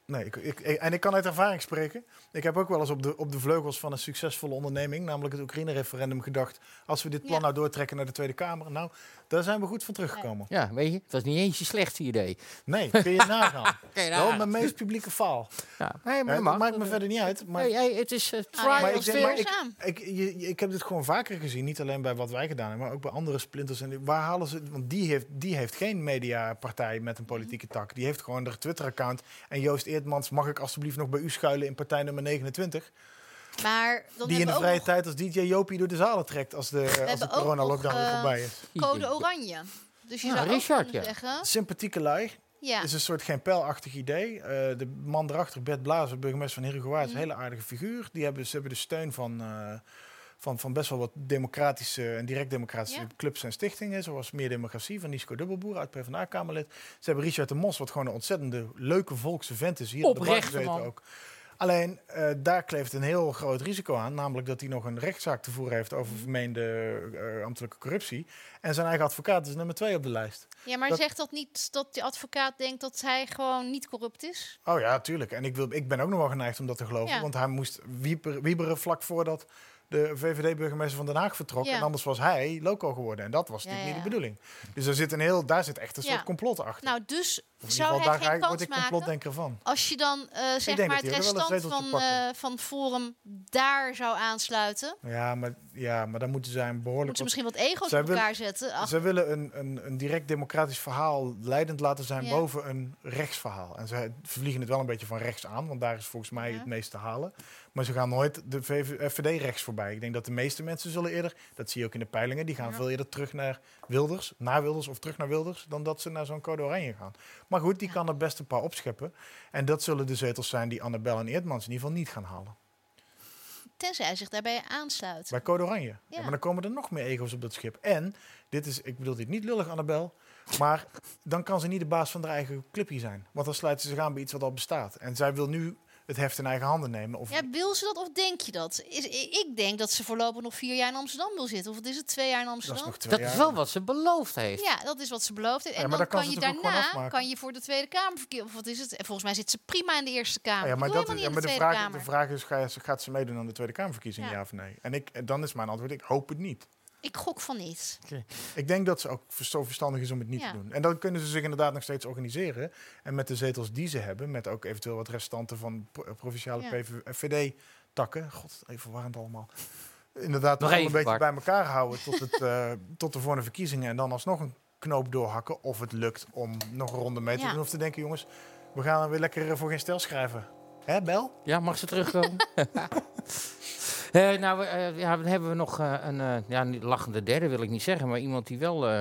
[SPEAKER 5] Nee, ik, ik, en ik kan uit ervaring spreken. Ik heb ook wel eens op de, op de vleugels van een succesvolle onderneming, namelijk het Oekraïne-referendum, gedacht. Als we dit plan
[SPEAKER 4] Ja.
[SPEAKER 5] nou doortrekken naar de Tweede Kamer, nou, daar zijn we goed van teruggekomen.
[SPEAKER 3] Ja, weet je, het was niet eens je slechtste idee.
[SPEAKER 5] Nee, kun
[SPEAKER 4] (laughs)
[SPEAKER 5] je nagaan.
[SPEAKER 3] Oké,
[SPEAKER 5] Wel mijn meest publieke faal.
[SPEAKER 3] ja, nee,
[SPEAKER 5] Ja,
[SPEAKER 3] maar
[SPEAKER 5] dat
[SPEAKER 3] dat mag.
[SPEAKER 5] maakt me verder niet uit. Maar
[SPEAKER 3] Hey, hey, het is eh,
[SPEAKER 4] ja,
[SPEAKER 3] trial
[SPEAKER 4] maar
[SPEAKER 5] ik
[SPEAKER 3] and
[SPEAKER 5] denk- maar
[SPEAKER 3] error.
[SPEAKER 5] ik-
[SPEAKER 4] Saam.
[SPEAKER 5] ik, je, je- ik heb dit gewoon vaker gezien. Niet alleen bij wat wij gedaan hebben, maar ook bij andere splinters. En die- waar halen ze het? Want die heeft, die heeft geen mediapartij met een politieke tak. Die heeft gewoon haar Twitter-account. En Joost Eertmans, mag ik alsjeblieft nog bij u schuilen in partij nummer 29?
[SPEAKER 4] Maar dan
[SPEAKER 5] die in de
[SPEAKER 4] hebben we
[SPEAKER 5] vrije
[SPEAKER 4] ook
[SPEAKER 5] tijd als DJ Jopie door de zalen trekt als de, eh, als de
[SPEAKER 4] hebben ook
[SPEAKER 5] corona-lockdown
[SPEAKER 4] nog,
[SPEAKER 5] weer
[SPEAKER 4] eh,
[SPEAKER 5] voorbij is.
[SPEAKER 4] nog code oranje. Dus je
[SPEAKER 3] Ja,
[SPEAKER 4] zou
[SPEAKER 3] Ah, Richard,
[SPEAKER 4] ook kunnen
[SPEAKER 3] ja.
[SPEAKER 4] zeggen...
[SPEAKER 5] Sympathieke lui.
[SPEAKER 4] Ja.
[SPEAKER 5] Is een soort geen pijlachtig idee. Eh, de man erachter, Bert Blazer, burgemeester van Heerhugowaard, is een hele aardige figuur. Die hebben, ze hebben de steun van, eh, van, van best wel wat democratische en direct democratische
[SPEAKER 4] Ja.
[SPEAKER 5] clubs en stichtingen. Zoals Meer Democratie van Nisco Dubbelboer, uit PvdA-Kamerlid. Ze hebben Richard de Mos, wat gewoon een ontzettende leuke volkse vent is. Hier op de bank
[SPEAKER 3] Oprechte
[SPEAKER 5] gezeten
[SPEAKER 3] man.
[SPEAKER 5] ook. Alleen, eh, daar kleeft een heel groot risico aan. Namelijk dat hij nog een rechtszaak te voeren heeft over vermeende eh, ambtelijke corruptie. En zijn eigen advocaat is nummer twee op de lijst.
[SPEAKER 4] ja, maar
[SPEAKER 5] dat-
[SPEAKER 4] zegt dat niet dat die advocaat denkt dat hij gewoon niet corrupt is?
[SPEAKER 5] Oh ja, tuurlijk. En ik, wil, ik ben ook nog wel geneigd om dat te geloven.
[SPEAKER 4] Ja.
[SPEAKER 5] Want hij moest wieper- wieberen vlak voordat de VVD-burgemeester van Den Haag vertrok.
[SPEAKER 4] Ja.
[SPEAKER 5] En anders was hij loco geworden. En dat was
[SPEAKER 4] Ja,
[SPEAKER 5] natuurlijk
[SPEAKER 4] ja,
[SPEAKER 5] niet de
[SPEAKER 4] ja.
[SPEAKER 5] bedoeling. Dus daar zit, een heel, daar zit echt een
[SPEAKER 4] Ja.
[SPEAKER 5] soort complot achter.
[SPEAKER 4] Nou, dus
[SPEAKER 5] Of in ieder
[SPEAKER 4] zou
[SPEAKER 5] geval,
[SPEAKER 4] hij
[SPEAKER 5] daar
[SPEAKER 4] geen
[SPEAKER 5] ga ik- word
[SPEAKER 4] kans
[SPEAKER 5] ik
[SPEAKER 4] maken...
[SPEAKER 5] complotdenker van.
[SPEAKER 4] Als je dan eh,
[SPEAKER 5] denk
[SPEAKER 4] zeg
[SPEAKER 5] dat
[SPEAKER 4] maar het
[SPEAKER 5] hij er wel een
[SPEAKER 4] restant
[SPEAKER 5] zeteltje
[SPEAKER 4] van,
[SPEAKER 5] pakken.
[SPEAKER 4] eh, van Forum daar zou aansluiten,
[SPEAKER 5] Ja, maar, ja, maar dan moeten zij een behoorlijk...
[SPEAKER 4] moeten ze
[SPEAKER 5] wat-
[SPEAKER 4] misschien wat ego's
[SPEAKER 5] Zij
[SPEAKER 4] op
[SPEAKER 5] wil-
[SPEAKER 4] elkaar zetten. Ach,
[SPEAKER 5] Ze willen een, een, een direct democratisch verhaal leidend laten zijn
[SPEAKER 4] Ja.
[SPEAKER 5] boven een rechtsverhaal. En ze vliegen het wel een beetje van rechts aan, want daar is volgens mij
[SPEAKER 4] Ja.
[SPEAKER 5] het meest te halen. Maar ze gaan nooit de VV VVD rechts voorbij. Ik denk dat de meeste mensen zullen eerder, dat zie je ook in de peilingen, die gaan
[SPEAKER 4] Ja.
[SPEAKER 5] veel eerder terug naar Wilders, naar Wilders of terug naar Wilders, dan dat ze naar zo'n code oranje gaan. Maar goed, die
[SPEAKER 4] Ja.
[SPEAKER 5] kan er best een paar opscheppen. En dat zullen de zetels zijn die Annabel en Eerdmans in ieder geval niet gaan halen.
[SPEAKER 4] tenzij hij zich daarbij aansluit.
[SPEAKER 5] Bij Code Oranje. Ja. maar dan komen er nog meer ego's op dat schip. En, dit is, ik bedoel dit niet lullig, Annabel. Maar dan kan ze niet de baas van haar eigen clipje zijn. Want dan sluit ze zich aan bij iets wat al bestaat. En zij wil nu het heft in eigen handen nemen. Of,
[SPEAKER 4] Ja, wil ze dat of denk je dat? Is, i- ik denk dat ze voorlopig nog vier jaar in Amsterdam wil zitten. Of het is het twee jaar in
[SPEAKER 5] dat is
[SPEAKER 4] Amsterdam?
[SPEAKER 5] nog twee
[SPEAKER 3] Dat
[SPEAKER 5] jaar.
[SPEAKER 3] is wel wat ze beloofd heeft.
[SPEAKER 4] Ja, dat is wat ze beloofd heeft. En
[SPEAKER 5] Ja, maar
[SPEAKER 4] dan
[SPEAKER 5] dan kan
[SPEAKER 4] kan,
[SPEAKER 5] ze
[SPEAKER 4] je
[SPEAKER 5] het ook gewoon
[SPEAKER 4] daarna
[SPEAKER 5] afmaken.
[SPEAKER 4] kan je voor de Tweede Kamer verkeren. Of wat is het? En Volgens mij zit ze prima in de Eerste Kamer.
[SPEAKER 5] Ah ja, maar, dat,
[SPEAKER 4] helemaal
[SPEAKER 5] is- ja, maar
[SPEAKER 4] niet
[SPEAKER 5] de,
[SPEAKER 4] in de Tweede
[SPEAKER 5] vraag, de
[SPEAKER 4] Kamer.
[SPEAKER 5] vraag is, ga je- gaat ze meedoen aan de Tweede Kamerverkiezingen, ja.
[SPEAKER 4] Ja.
[SPEAKER 5] of nee? En ik, en dan is mijn antwoord, ik hoop het niet.
[SPEAKER 4] Ik gok van niet.
[SPEAKER 5] Ik denk dat ze ook ver- zo verstandig is om het niet
[SPEAKER 4] Ja.
[SPEAKER 5] te doen. En dan kunnen ze zich inderdaad nog steeds organiseren. En met de zetels die ze hebben, met ook eventueel wat restanten van pro- eh, provinciale
[SPEAKER 4] Ja.
[SPEAKER 5] PVD-takken. God, even verwarrend allemaal. Inderdaad,
[SPEAKER 3] Nog
[SPEAKER 5] nog een
[SPEAKER 3] even,
[SPEAKER 5] beetje
[SPEAKER 3] Bart.
[SPEAKER 5] bij elkaar houden tot, het, eh, (laughs) tot de volgende verkiezingen. En dan alsnog een knoop doorhakken. Of het lukt om nog een ronde mee te
[SPEAKER 4] Ja.
[SPEAKER 5] doen. Of te denken, jongens, we gaan er weer lekker eh, voor geen stijl schrijven. Hè, Bel?
[SPEAKER 3] Ja, mag ze terugkomen? Eh, nou, eh, ja, dan hebben we nog eh, een eh, ja, niet- lachende derde, wil ik niet zeggen. Maar iemand die wel eh,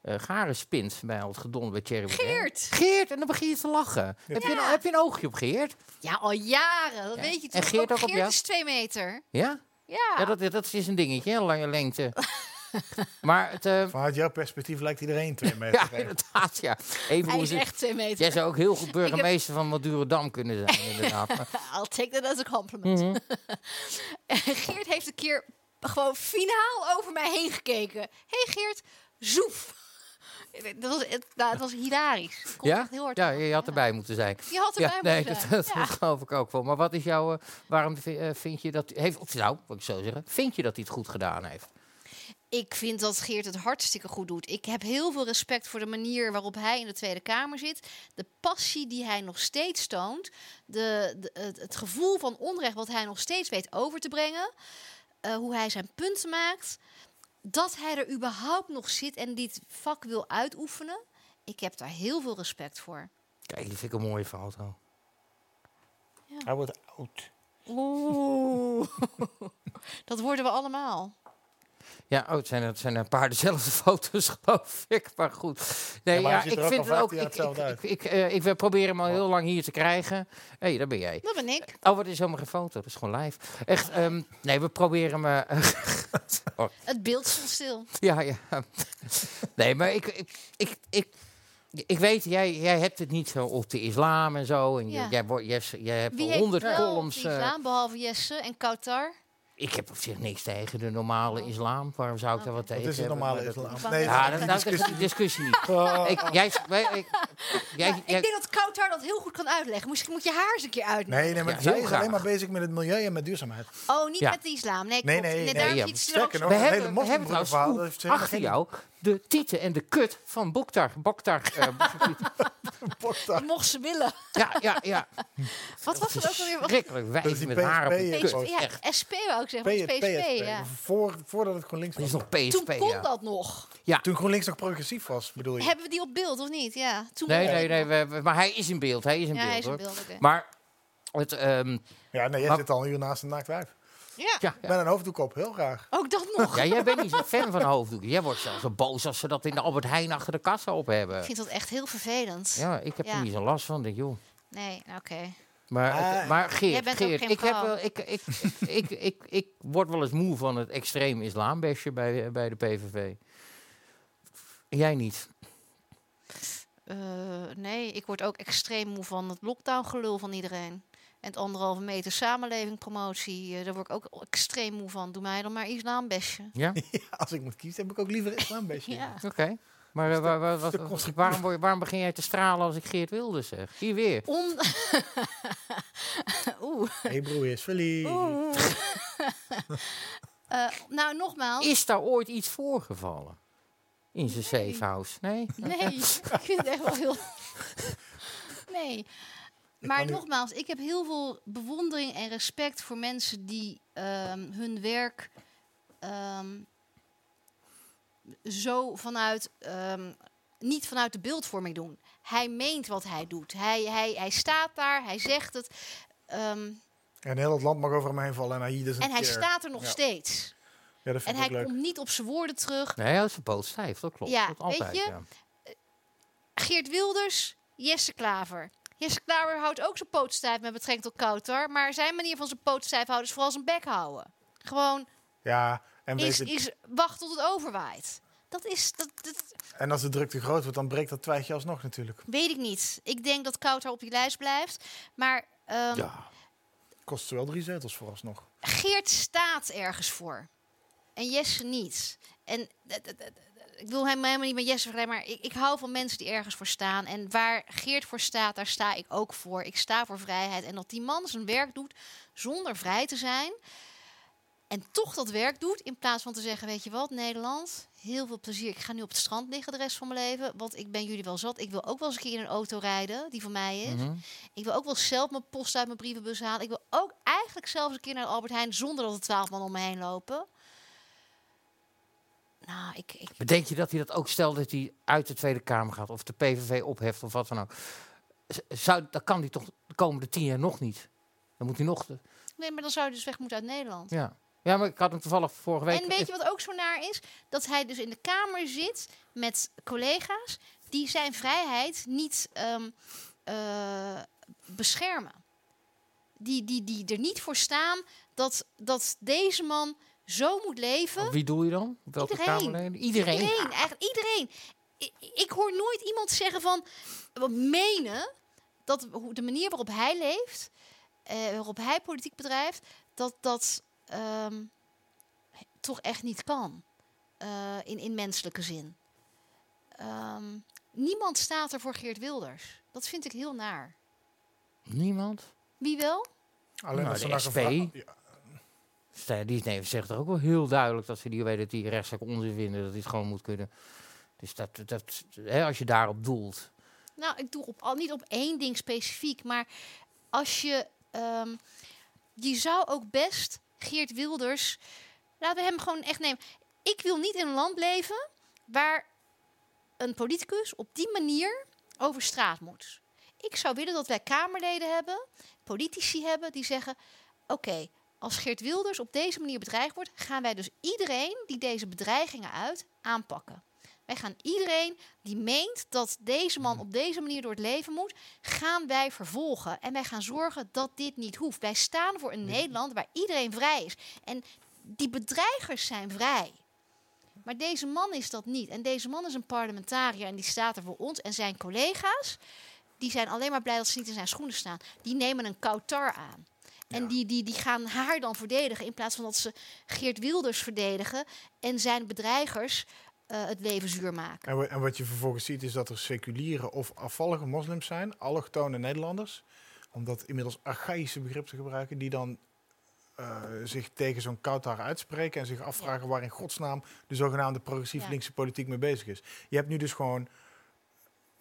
[SPEAKER 3] eh garenspint bij al het gedonder bij Thierry Baudet.
[SPEAKER 4] Geert!
[SPEAKER 3] Geert, en dan begin je te lachen. Heb, je een, heb je een oogje op Geert?
[SPEAKER 4] Ja, al jaren. Dat
[SPEAKER 3] Ja.
[SPEAKER 4] weet je toch.
[SPEAKER 3] En Geert ook op jou?
[SPEAKER 4] is twee meter.
[SPEAKER 3] Ja?
[SPEAKER 4] Ja.
[SPEAKER 3] Ja, dat, dat is een dingetje, hè, lange
[SPEAKER 4] (laughs)
[SPEAKER 3] lengte. maar het... eh, (laughs)
[SPEAKER 5] Vanuit jouw perspectief lijkt iedereen twee meter.
[SPEAKER 3] ja,
[SPEAKER 5] breed.
[SPEAKER 3] inderdaad, ja. Even
[SPEAKER 4] Hij
[SPEAKER 3] hoe
[SPEAKER 4] is
[SPEAKER 3] ze-
[SPEAKER 4] echt twee meter.
[SPEAKER 3] Jij zou ook heel goed burgemeester van Madurodam kunnen zijn, inderdaad. Maar-
[SPEAKER 4] (laughs) I'll take that as a compliment.
[SPEAKER 3] Mhm.
[SPEAKER 4] (laughs) Geert heeft een keer gewoon finaal over mij heen gekeken. Hé hey Geert, zoef. (laughs) Dat was, het, nou, het was hilarisch. Het kon
[SPEAKER 3] ja?
[SPEAKER 4] echt heel hard
[SPEAKER 3] ja,
[SPEAKER 4] lachen,
[SPEAKER 3] je had
[SPEAKER 4] ja.
[SPEAKER 3] erbij moeten zijn.
[SPEAKER 4] Je had erbij
[SPEAKER 3] ja,
[SPEAKER 4] moeten
[SPEAKER 3] nee,
[SPEAKER 4] zijn.
[SPEAKER 3] Dat, dat
[SPEAKER 4] Ja.
[SPEAKER 3] geloof ik ook wel. Maar wat is jouw... eh, waarom vi- eh, vind je dat... Heeft, of nou, wat ik zo zeggen. Vind je dat hij het goed gedaan heeft?
[SPEAKER 4] Ik vind dat Geert het hartstikke goed doet. Ik heb heel veel respect voor de manier waarop hij in de Tweede Kamer zit. De passie die hij nog steeds toont. De, de- het, het gevoel van onrecht wat hij nog steeds weet over te brengen. eh, hoe hij zijn punten maakt. Dat hij er überhaupt nog zit en dit vak wil uitoefenen. Ik heb daar heel veel respect voor.
[SPEAKER 3] Kijk, die vind ik een mooie foto.
[SPEAKER 5] Hij wordt oud.
[SPEAKER 4] Oeh. (laughs) dat worden we allemaal.
[SPEAKER 3] Ja, oh, het zijn, het zijn een paar (laughs) dezelfde foto's, geloof ik. Maar goed. Nee, ja,
[SPEAKER 5] Ja, maar hij ziet
[SPEAKER 3] ik
[SPEAKER 5] er ook
[SPEAKER 3] vind
[SPEAKER 5] al
[SPEAKER 3] het ook...
[SPEAKER 5] 15 jaar
[SPEAKER 3] Ik, ik, ik,
[SPEAKER 5] hetzelfde
[SPEAKER 3] ik, eh, ik, we proberen hem al heel lang hier te krijgen. Hé, hey, daar ben jij.
[SPEAKER 4] Dat ben ik.
[SPEAKER 3] Oh, wat is helemaal geen foto. Dat is gewoon live. Echt, ehm, nee, we proberen hem... eh, (laughs)
[SPEAKER 4] Het beeld stond stil.
[SPEAKER 3] Ja, ja. Nee, maar ik, ik, ik, ik, ik weet, jij, jij hebt het niet zo op de islam en zo. En
[SPEAKER 4] Ja.
[SPEAKER 3] jij, jij, wordt- jij, s- jij hebt
[SPEAKER 4] Wie
[SPEAKER 3] al
[SPEAKER 4] heeft
[SPEAKER 3] honderd
[SPEAKER 4] wel
[SPEAKER 3] columns.
[SPEAKER 4] die
[SPEAKER 3] eh,
[SPEAKER 4] islam, behalve Jesse en Kautar?
[SPEAKER 3] ik heb op zich niks tegen de normale
[SPEAKER 4] Oh.
[SPEAKER 3] islam. Waarom zou ik daar wat tegen
[SPEAKER 5] Dat is een
[SPEAKER 3] hebben?
[SPEAKER 5] normale
[SPEAKER 3] Maar dat-
[SPEAKER 5] islam. Nee,
[SPEAKER 3] Ja,
[SPEAKER 5] dat
[SPEAKER 3] dat,
[SPEAKER 5] is Oh.
[SPEAKER 3] dat is (laughs) een discussie niet.
[SPEAKER 5] (laughs)
[SPEAKER 3] Ik, jij, s- wij- ik, jij,
[SPEAKER 4] Ja,
[SPEAKER 3] jij-
[SPEAKER 4] Nou, ik denk dat Kautar dat heel goed kan uitleggen. Misschien moet je haar eens een keer uitleggen.
[SPEAKER 5] Nee, nee, maar
[SPEAKER 3] Ja,
[SPEAKER 5] zij
[SPEAKER 3] heel
[SPEAKER 5] is
[SPEAKER 3] graag.
[SPEAKER 5] alleen maar bezig met het milieu en met
[SPEAKER 4] (laughs)
[SPEAKER 5] duurzaamheid.
[SPEAKER 4] Oh, niet
[SPEAKER 3] Ja.
[SPEAKER 4] met de islam. Nee,
[SPEAKER 5] Nee,
[SPEAKER 4] klopt.
[SPEAKER 5] nee, nee,
[SPEAKER 4] daarom
[SPEAKER 3] ja,
[SPEAKER 4] zit ze er
[SPEAKER 5] sterker
[SPEAKER 4] ook
[SPEAKER 5] nog,
[SPEAKER 3] we
[SPEAKER 5] het hele
[SPEAKER 3] hebben, we hebben
[SPEAKER 5] moslimbroederverhaal,
[SPEAKER 3] trouwens
[SPEAKER 5] dat
[SPEAKER 3] oeh,
[SPEAKER 5] heeft helemaal
[SPEAKER 3] achter
[SPEAKER 5] geen-
[SPEAKER 3] jou de tieten en de kut van Boktar. Boktar eh,
[SPEAKER 5] (laughs)
[SPEAKER 3] Boktar.
[SPEAKER 4] zo- mocht ze willen.
[SPEAKER 3] ja, ja, ja.
[SPEAKER 4] Wat was het ook alweer? Wat-
[SPEAKER 3] Schrikkelijk
[SPEAKER 5] Dat is
[SPEAKER 3] wijs
[SPEAKER 5] die
[SPEAKER 3] met haar op de
[SPEAKER 5] PSP,
[SPEAKER 3] kut.
[SPEAKER 5] eh,
[SPEAKER 4] Ja,
[SPEAKER 3] Echt.
[SPEAKER 4] SP wou ik zeggen.
[SPEAKER 5] PSP,
[SPEAKER 4] want PSP, ja.
[SPEAKER 5] Voor, voordat het GroenLinks
[SPEAKER 3] Dat is
[SPEAKER 5] was.
[SPEAKER 3] nog PSP,
[SPEAKER 4] Toen kon
[SPEAKER 3] ja.
[SPEAKER 4] dat nog.
[SPEAKER 5] Toen GroenLinks nog progressief was, bedoel je?
[SPEAKER 4] Hebben we die op beeld of niet? Ja, toen
[SPEAKER 3] Nee,
[SPEAKER 4] kon
[SPEAKER 3] nee,
[SPEAKER 4] dat
[SPEAKER 3] nee.
[SPEAKER 4] nog.
[SPEAKER 3] we- we- maar hij is in beeld. Hij is in
[SPEAKER 4] Ja,
[SPEAKER 3] beeld,
[SPEAKER 4] hij is in
[SPEAKER 3] hoor.
[SPEAKER 4] beeld. oké.
[SPEAKER 3] Maar het... ehm,
[SPEAKER 5] Ja, nee, jij
[SPEAKER 3] Maar-
[SPEAKER 5] zit al een uur naast een naakt wijf.
[SPEAKER 4] Ja,
[SPEAKER 3] ja, ja.
[SPEAKER 5] Met een hoofddoek op, heel graag. (laughs)
[SPEAKER 4] ook dat nog.
[SPEAKER 3] Ja, jij bent niet zo'n fan van hoofddoeken. Jij wordt zelfs zo boos als ze dat in de Albert Heijn achter de kassa op
[SPEAKER 4] Ik
[SPEAKER 3] hebben.
[SPEAKER 4] vind dat echt heel vervelend.
[SPEAKER 3] Ja, ik heb
[SPEAKER 4] Ja.
[SPEAKER 3] er niet zo'n last van. Denk, joh.
[SPEAKER 4] Nee, nou, oké.
[SPEAKER 3] Maar, het-
[SPEAKER 5] Ah.
[SPEAKER 3] maar Geert,
[SPEAKER 4] Jij bent ook
[SPEAKER 3] Geert,
[SPEAKER 4] geen
[SPEAKER 3] ik, heb
[SPEAKER 4] vrouw.
[SPEAKER 3] wel, ik, ik, ik, ik, ik word wel eens moe van het extreem islambesje bij, bij de PVV. Jij niet.
[SPEAKER 4] Eh, nee, ik word ook extreem moe van het lockdown-gelul van iedereen. En het anderhalve meter samenleving promotie. eh, daar word ik ook extreem moe van. Doe mij dan maar islambestje.
[SPEAKER 3] Ja?
[SPEAKER 5] Als ik moet kiezen, heb ik ook liever islambeestje.
[SPEAKER 4] Ja.
[SPEAKER 3] Oké. Maar eh, waar- waar- wat-
[SPEAKER 5] te constructief.
[SPEAKER 3] waarom, word je- waarom begin jij te stralen als ik Geert wilde zeg? Hier weer.
[SPEAKER 4] Om... (laughs) Oeh.
[SPEAKER 5] (laughs) Hey broer is verliefd.
[SPEAKER 4] Eh, nou, nogmaals.
[SPEAKER 3] Is daar ooit iets voorgevallen? In zijn safe house? Nee?
[SPEAKER 5] (laughs)
[SPEAKER 4] Nee, ik vind het echt wel heel... Nee. Maar
[SPEAKER 5] kan nu-
[SPEAKER 4] nogmaals, ik heb heel veel bewondering en respect voor mensen die ehm, hun werk ehm, zo vanuit, ehm, niet vanuit de beeldvorming doen. Hij meent wat hij doet. Hij, hij, hij staat daar, hij zegt het. ehm,
[SPEAKER 5] En heel het land mag over hem heen vallen en hij hier dus
[SPEAKER 4] en hij staat er nog
[SPEAKER 5] Ja.
[SPEAKER 4] steeds.
[SPEAKER 5] Ja, dat vind
[SPEAKER 4] En
[SPEAKER 5] ik
[SPEAKER 4] hij
[SPEAKER 5] ook leuk.
[SPEAKER 4] komt niet op zijn woorden terug.
[SPEAKER 3] Nee, dat is een poot stijf, dat klopt.
[SPEAKER 4] Ja,
[SPEAKER 3] dat altijd,
[SPEAKER 4] weet je?
[SPEAKER 3] ja.
[SPEAKER 4] Geert Wilders, Jesse Klaver. Jesse Klaver houdt ook zijn poot stijf met betrekking tot Kouter. Maar zijn manier van zijn poot stijf houden is vooral zijn bek houden. Gewoon
[SPEAKER 5] Ja, en, weet
[SPEAKER 4] is,
[SPEAKER 5] het-
[SPEAKER 4] is wacht tot het overwaait. Dat is, dat, dat
[SPEAKER 5] en als de druk te groot wordt, dan breekt dat twijfje alsnog natuurlijk.
[SPEAKER 4] weet ik niet. Ik denk dat Kouter op die lijst blijft. Maar ehm,
[SPEAKER 5] Kost ze wel drie zetels vooralsnog.
[SPEAKER 4] Geert staat ergens voor. En Jesse niet. En dat- dat- dat- ik wil hem helemaal niet met Jesse vergelijken, maar ik, ik hou van mensen die ergens voor staan. En waar Geert voor staat, daar sta ik ook voor. Ik sta voor vrijheid. En dat die man zijn werk doet zonder vrij te zijn. En toch dat werk doet, in plaats van te zeggen, weet je wat, Nederland, heel veel plezier. Ik ga nu op het strand liggen de rest van mijn leven, want ik ben jullie wel zat. Ik wil ook wel eens een keer in een auto rijden, die van mij is.
[SPEAKER 3] Mhm.
[SPEAKER 4] Ik wil ook wel zelf mijn post uit mijn brievenbus halen. Ik wil ook eigenlijk zelfs een keer naar de Albert Heijn zonder dat er twaalf man om me heen lopen. Nou, ik, ik,
[SPEAKER 3] Bedenk je dat hij dat ook stelt dat hij uit de Tweede Kamer gaat of de PVV opheft of wat dan ook? Z- Zou, dat kan hij toch de komende tien jaar nog niet? Dan moet hij nog. de-
[SPEAKER 4] nee, maar dan zou je dus weg moeten uit Nederland.
[SPEAKER 3] ja. Ja, maar ik had hem toevallig vorige week...
[SPEAKER 4] En weet je wat ook zo naar is? Dat hij dus in de kamer zit met collega's die zijn vrijheid niet ehm, eh, beschermen. Die, die, die er niet voor staan dat, dat deze man zo moet leven.
[SPEAKER 3] Wie doe je dan? Welke
[SPEAKER 4] Iedereen.
[SPEAKER 3] Kamerleden? Iedereen.
[SPEAKER 4] Iedereen, eigenlijk iedereen. I- Ik, hoor nooit iemand zeggen van, wat menen, dat hoe- de manier waarop hij leeft, eh, waarop hij politiek bedrijft, dat dat ehm, toch echt niet kan. eh, in, in menselijke zin. Ehm, niemand staat er voor Geert Wilders. Dat vind ik heel naar.
[SPEAKER 3] Niemand.
[SPEAKER 4] Wie wel?
[SPEAKER 5] Alleen
[SPEAKER 3] Nou,
[SPEAKER 5] dat ze
[SPEAKER 3] de
[SPEAKER 5] naar
[SPEAKER 3] SP.
[SPEAKER 5] gevra- Ja,
[SPEAKER 3] Zij- Die nee, zegt toch ook wel heel duidelijk dat ze die weten dat die rechtszaak onzin vinden. Dat die het gewoon moet kunnen. Dus dat, dat, hè, als je daarop doelt.
[SPEAKER 4] Nou, ik doe op, al niet op één ding specifiek, maar als je. ehm, je zou ook best Geert Wilders. Laten we hem gewoon echt nemen. Ik wil niet in een land leven waar een politicus op die manier over straat moet. Ik zou willen dat wij Kamerleden hebben, politici hebben, die zeggen: Oké, als Geert Wilders op deze manier bedreigd wordt, gaan wij dus iedereen die deze bedreigingen uit aanpakken. Wij gaan iedereen die meent dat deze man op deze manier door het leven moet, gaan wij vervolgen. En wij gaan zorgen dat dit niet hoeft. Wij staan voor een Nederland waar iedereen vrij is. En die bedreigers zijn vrij. Maar deze man is dat niet. En deze man is een parlementariër en die staat er voor ons. En zijn collega's, die zijn alleen maar blij dat ze niet in zijn schoenen staan. Die nemen een kautar aan. En
[SPEAKER 5] Ja.
[SPEAKER 4] die, die, die gaan haar dan verdedigen in plaats van dat ze Geert Wilders verdedigen en zijn bedreigers eh, het leven zuur maken.
[SPEAKER 5] En, wa- en wat je vervolgens ziet is dat er seculiere of afvallige moslims zijn, allochtone Nederlanders, om dat inmiddels archaïsche begrip te gebruiken, die dan eh, zich tegen zo'n kauwtaar uitspreken en zich afvragen waar in godsnaam de zogenaamde progressief
[SPEAKER 4] Ja.
[SPEAKER 5] linkse politiek mee bezig is. Je hebt nu dus gewoon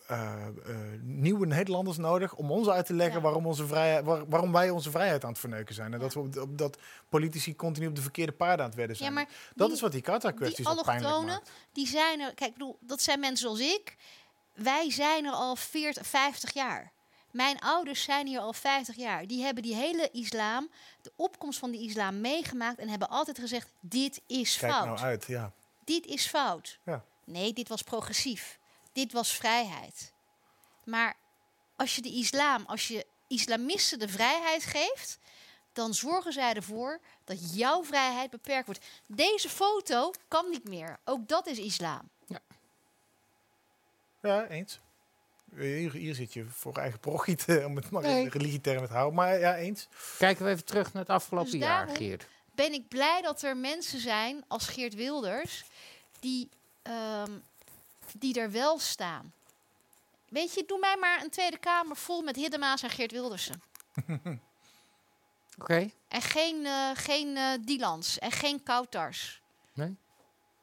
[SPEAKER 5] eh, eh, nieuwe Nederlanders nodig om ons uit te leggen
[SPEAKER 4] Ja.
[SPEAKER 5] waarom, onze vrijheid, waar- waarom wij onze vrijheid aan het verneuken zijn. En
[SPEAKER 4] Ja.
[SPEAKER 5] dat, we op, de- op dat politici continu op de verkeerde paarden aan het wedden
[SPEAKER 4] Ja,
[SPEAKER 5] zijn.
[SPEAKER 4] maar
[SPEAKER 5] dat
[SPEAKER 4] die-
[SPEAKER 5] is wat die kauwtaar-kwestie
[SPEAKER 4] die
[SPEAKER 5] zo pijnlijk
[SPEAKER 4] allochtonen,
[SPEAKER 5] maakt.
[SPEAKER 4] die zijn er. Kijk, ik bedoel, dat zijn mensen als ik. Wij zijn er al 40, 50 jaar. Mijn ouders zijn hier al 50 jaar. Die hebben die hele islam, de opkomst van de islam meegemaakt en hebben altijd gezegd: dit is
[SPEAKER 5] Kijk
[SPEAKER 4] fout.
[SPEAKER 5] nou uit, ja.
[SPEAKER 4] Dit is fout.
[SPEAKER 5] Ja.
[SPEAKER 4] Nee, dit was progressief. Dit was vrijheid. Maar als je de islam, als je islamisten de vrijheid geeft, dan zorgen zij ervoor dat jouw vrijheid beperkt wordt. Deze foto kan niet meer. Ook dat is islam.
[SPEAKER 5] Ja, eens. Hier, hier zit je voor eigen parochie, te- om het maar
[SPEAKER 3] Nee.
[SPEAKER 5] in religietermen te houden. Maar ja, eens.
[SPEAKER 3] Kijken we even terug naar het afgelopen
[SPEAKER 4] Dus
[SPEAKER 3] jaar,
[SPEAKER 4] daarom-
[SPEAKER 3] Geert.
[SPEAKER 4] Ben ik blij dat er mensen zijn als Geert Wilders die, ehm, die er wel staan. Weet je, doe mij maar een Tweede Kamer vol met Hiddema's en Geert Wildersen.
[SPEAKER 3] Oké.
[SPEAKER 4] En geen, eh, geen eh Dilans en geen Koutars.
[SPEAKER 3] Nee?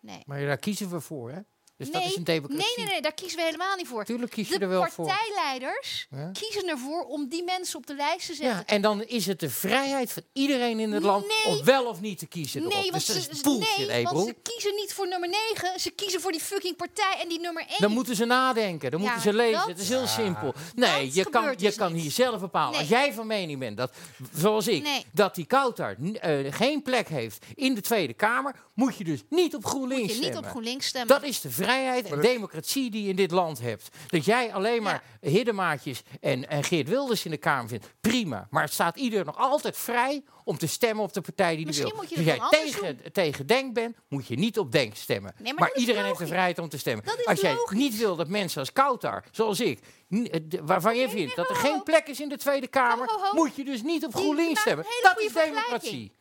[SPEAKER 4] Nee.
[SPEAKER 3] Maar daar kiezen we voor, hè? Dus dat
[SPEAKER 4] Nee,
[SPEAKER 3] is een democratie.
[SPEAKER 4] Nee, nee, nee, daar kiezen we helemaal niet voor.
[SPEAKER 3] Tuurlijk kies je
[SPEAKER 4] De
[SPEAKER 3] er wel voor.
[SPEAKER 4] partijleiders
[SPEAKER 3] Ja.
[SPEAKER 4] kiezen ervoor om die mensen op de lijst te
[SPEAKER 3] Ja,
[SPEAKER 4] zetten.
[SPEAKER 3] en dan is het de vrijheid van iedereen in het land
[SPEAKER 4] Nee.
[SPEAKER 3] om wel of niet te kiezen. erop.
[SPEAKER 4] Nee, want,
[SPEAKER 3] dus dat
[SPEAKER 4] ze,
[SPEAKER 3] is
[SPEAKER 4] ze-
[SPEAKER 3] bullshit,
[SPEAKER 4] nee want
[SPEAKER 3] Ebro.
[SPEAKER 4] ze kiezen niet voor nummer 9. Ze kiezen voor die fucking partij en die nummer 1.
[SPEAKER 3] Dan moeten ze nadenken, dan
[SPEAKER 4] Ja,
[SPEAKER 3] moeten ze lezen.
[SPEAKER 4] dat-
[SPEAKER 3] het is heel simpel. Nee,
[SPEAKER 4] dat
[SPEAKER 3] je kan,
[SPEAKER 4] gebeurt
[SPEAKER 3] je
[SPEAKER 4] dus
[SPEAKER 3] kan
[SPEAKER 4] niet.
[SPEAKER 3] hier zelf bepalen.
[SPEAKER 4] Nee.
[SPEAKER 3] Als jij van mening bent dat, zoals ik,
[SPEAKER 4] Nee.
[SPEAKER 3] dat die Kouter eh, geen plek heeft in de Tweede Kamer, moet je dus niet op GroenLinks
[SPEAKER 4] Moet je niet
[SPEAKER 3] stemmen.
[SPEAKER 4] op GroenLinks stemmen.
[SPEAKER 3] Dat is de vrijheid en
[SPEAKER 5] Maar dat-
[SPEAKER 3] democratie die je in dit land hebt. Dat jij alleen maar Hiddemaatjes en, en Geert Wilders in de Kamer vindt, prima. Maar het staat ieder nog altijd vrij om te stemmen op de partij die
[SPEAKER 4] Misschien
[SPEAKER 3] die wil. Dus
[SPEAKER 4] moet je
[SPEAKER 3] Als
[SPEAKER 4] het
[SPEAKER 3] jij
[SPEAKER 4] dan anders
[SPEAKER 3] tegen, tegen Denk bent, moet je niet op Denk stemmen.
[SPEAKER 4] Nee, maar
[SPEAKER 3] maar
[SPEAKER 4] dat is
[SPEAKER 3] iedereen heeft de
[SPEAKER 4] logisch.
[SPEAKER 3] vrijheid om te stemmen.
[SPEAKER 4] Dat is
[SPEAKER 3] Als jij
[SPEAKER 4] logisch.
[SPEAKER 3] niet wil dat mensen als Koutar, zoals ik, n- eh, d- waarvan je vindt dat er
[SPEAKER 4] ho, ho.
[SPEAKER 3] geen plek is in de Tweede Kamer,
[SPEAKER 4] Ho, ho, ho.
[SPEAKER 3] moet je dus niet op
[SPEAKER 4] Die maakt
[SPEAKER 3] GroenLinks
[SPEAKER 4] een
[SPEAKER 3] stemmen.
[SPEAKER 4] hele
[SPEAKER 3] Dat
[SPEAKER 4] goede
[SPEAKER 3] is democratie.
[SPEAKER 4] vergelijking.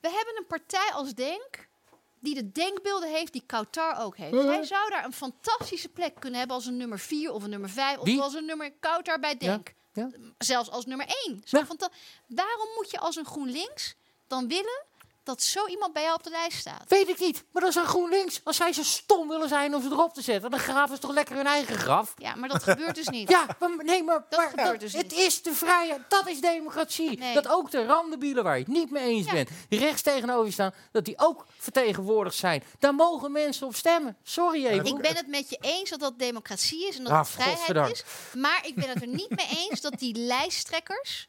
[SPEAKER 4] We hebben een partij als Denk die de denkbeelden heeft die Kautar ook heeft. Hij zou daar een fantastische plek kunnen hebben als een nummer 4 of een nummer 5 of
[SPEAKER 3] Wie?
[SPEAKER 4] als een nummer Kautar bij
[SPEAKER 3] Ja,
[SPEAKER 4] Denk.
[SPEAKER 3] ja.
[SPEAKER 4] Zelfs als nummer 1.
[SPEAKER 3] Ja.
[SPEAKER 4] Waarom moet je als een GroenLinks dan willen dat zo iemand bij jou op de lijst staat?
[SPEAKER 3] Weet ik niet, maar dat is aan GroenLinks. Als zij zo stom willen zijn om ze erop te zetten, dan graven ze toch lekker hun eigen graf.
[SPEAKER 4] Ja, maar dat gebeurt dus niet.
[SPEAKER 3] (laughs) Ja, maar, nee, maar,
[SPEAKER 4] Dat
[SPEAKER 3] maar
[SPEAKER 4] gebeurt
[SPEAKER 3] dat-
[SPEAKER 4] dus
[SPEAKER 3] het
[SPEAKER 4] niet.
[SPEAKER 3] is de vrijheid, dat is democratie.
[SPEAKER 4] Nee.
[SPEAKER 3] Dat ook de randebielen waar je het niet mee eens
[SPEAKER 4] Ja.
[SPEAKER 3] bent, die rechts tegenover je staan, dat die ook vertegenwoordigd zijn. Daar mogen mensen op stemmen. Sorry, Ebro.
[SPEAKER 4] Ik ben het met je eens dat dat democratie is en dat
[SPEAKER 3] Ah,
[SPEAKER 4] het vrijheid
[SPEAKER 3] godverdank.
[SPEAKER 4] is. Maar ik ben het er niet mee eens dat die lijsttrekkers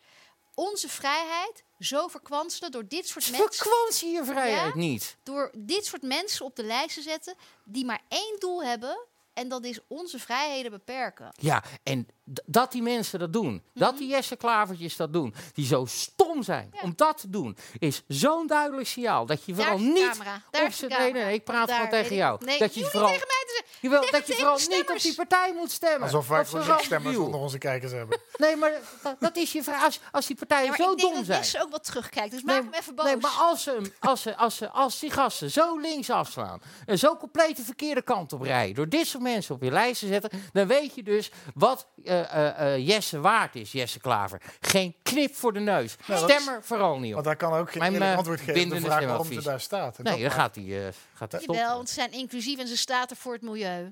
[SPEAKER 4] onze vrijheid zo verkwanselen door
[SPEAKER 3] (laughs)
[SPEAKER 4] dit soort mensen.
[SPEAKER 3] Verkwans je je vrijheid
[SPEAKER 4] Ja?
[SPEAKER 3] niet.
[SPEAKER 4] Door dit soort mensen op de lijst te zetten die maar één doel hebben. En dat is onze vrijheden beperken.
[SPEAKER 3] Ja, en d- dat die mensen dat doen, dat
[SPEAKER 4] Mhm.
[SPEAKER 3] die Jesse Klavertjes dat doen, die zo stom zijn om dat te doen, is zo'n duidelijk signaal dat je
[SPEAKER 4] Daar
[SPEAKER 3] vooral
[SPEAKER 4] is de
[SPEAKER 3] niet
[SPEAKER 4] camera. Daar
[SPEAKER 3] op
[SPEAKER 4] is de
[SPEAKER 3] z'n- Nee, nee,
[SPEAKER 4] camera.
[SPEAKER 3] ik praat
[SPEAKER 4] Daar,
[SPEAKER 3] gewoon
[SPEAKER 4] weet
[SPEAKER 3] tegen
[SPEAKER 4] ik.
[SPEAKER 3] jou.
[SPEAKER 4] Nee,
[SPEAKER 3] dat je
[SPEAKER 4] je moet
[SPEAKER 3] vooral,
[SPEAKER 4] tegen mij te zeggen.
[SPEAKER 3] Jawel,
[SPEAKER 4] tegen-
[SPEAKER 3] dat je
[SPEAKER 4] tegen
[SPEAKER 3] vooral
[SPEAKER 4] de
[SPEAKER 3] niet op die
[SPEAKER 4] stemmers.
[SPEAKER 3] partij moet stemmen.
[SPEAKER 5] Alsof
[SPEAKER 3] Dat
[SPEAKER 5] wij
[SPEAKER 3] is
[SPEAKER 5] voor
[SPEAKER 3] een
[SPEAKER 5] zich stemmers
[SPEAKER 3] rampdeal.
[SPEAKER 5] onder onze kijkers hebben.
[SPEAKER 3] Nee, maar dat, dat is je vraag. Als, als die partijen
[SPEAKER 4] Ja, maar
[SPEAKER 3] zo
[SPEAKER 4] ik denk
[SPEAKER 3] dom
[SPEAKER 4] dat
[SPEAKER 3] zijn.
[SPEAKER 4] Jesse ook wat terugkijkt. Dus
[SPEAKER 3] Nee,
[SPEAKER 4] maak hem even boos.
[SPEAKER 3] Nee, maar als, ze, hem- als, ze, als, ze, als die gasten zo links afslaan en zo compleet de verkeerde kant op rijden, door dit soort mensen op je lijst te zetten, dan weet je dus wat eh, eh, eh, Jesse waard is, Jesse Klaver. Geen knip voor de neus. Stem er vooral niet op.
[SPEAKER 5] Want daar kan ook geen
[SPEAKER 3] Mijn,
[SPEAKER 5] eerlijk
[SPEAKER 3] eh,
[SPEAKER 5] antwoord geven op de
[SPEAKER 3] bindende
[SPEAKER 5] vraag waarom ze
[SPEAKER 3] stemadvies.
[SPEAKER 5] daar staat. En
[SPEAKER 3] Nee,
[SPEAKER 5] dat-
[SPEAKER 3] dan gaat hij eh, gaat hij
[SPEAKER 4] Jawel,
[SPEAKER 3] stoppen.
[SPEAKER 4] want ze zijn inclusief en ze staat er voor het milieu.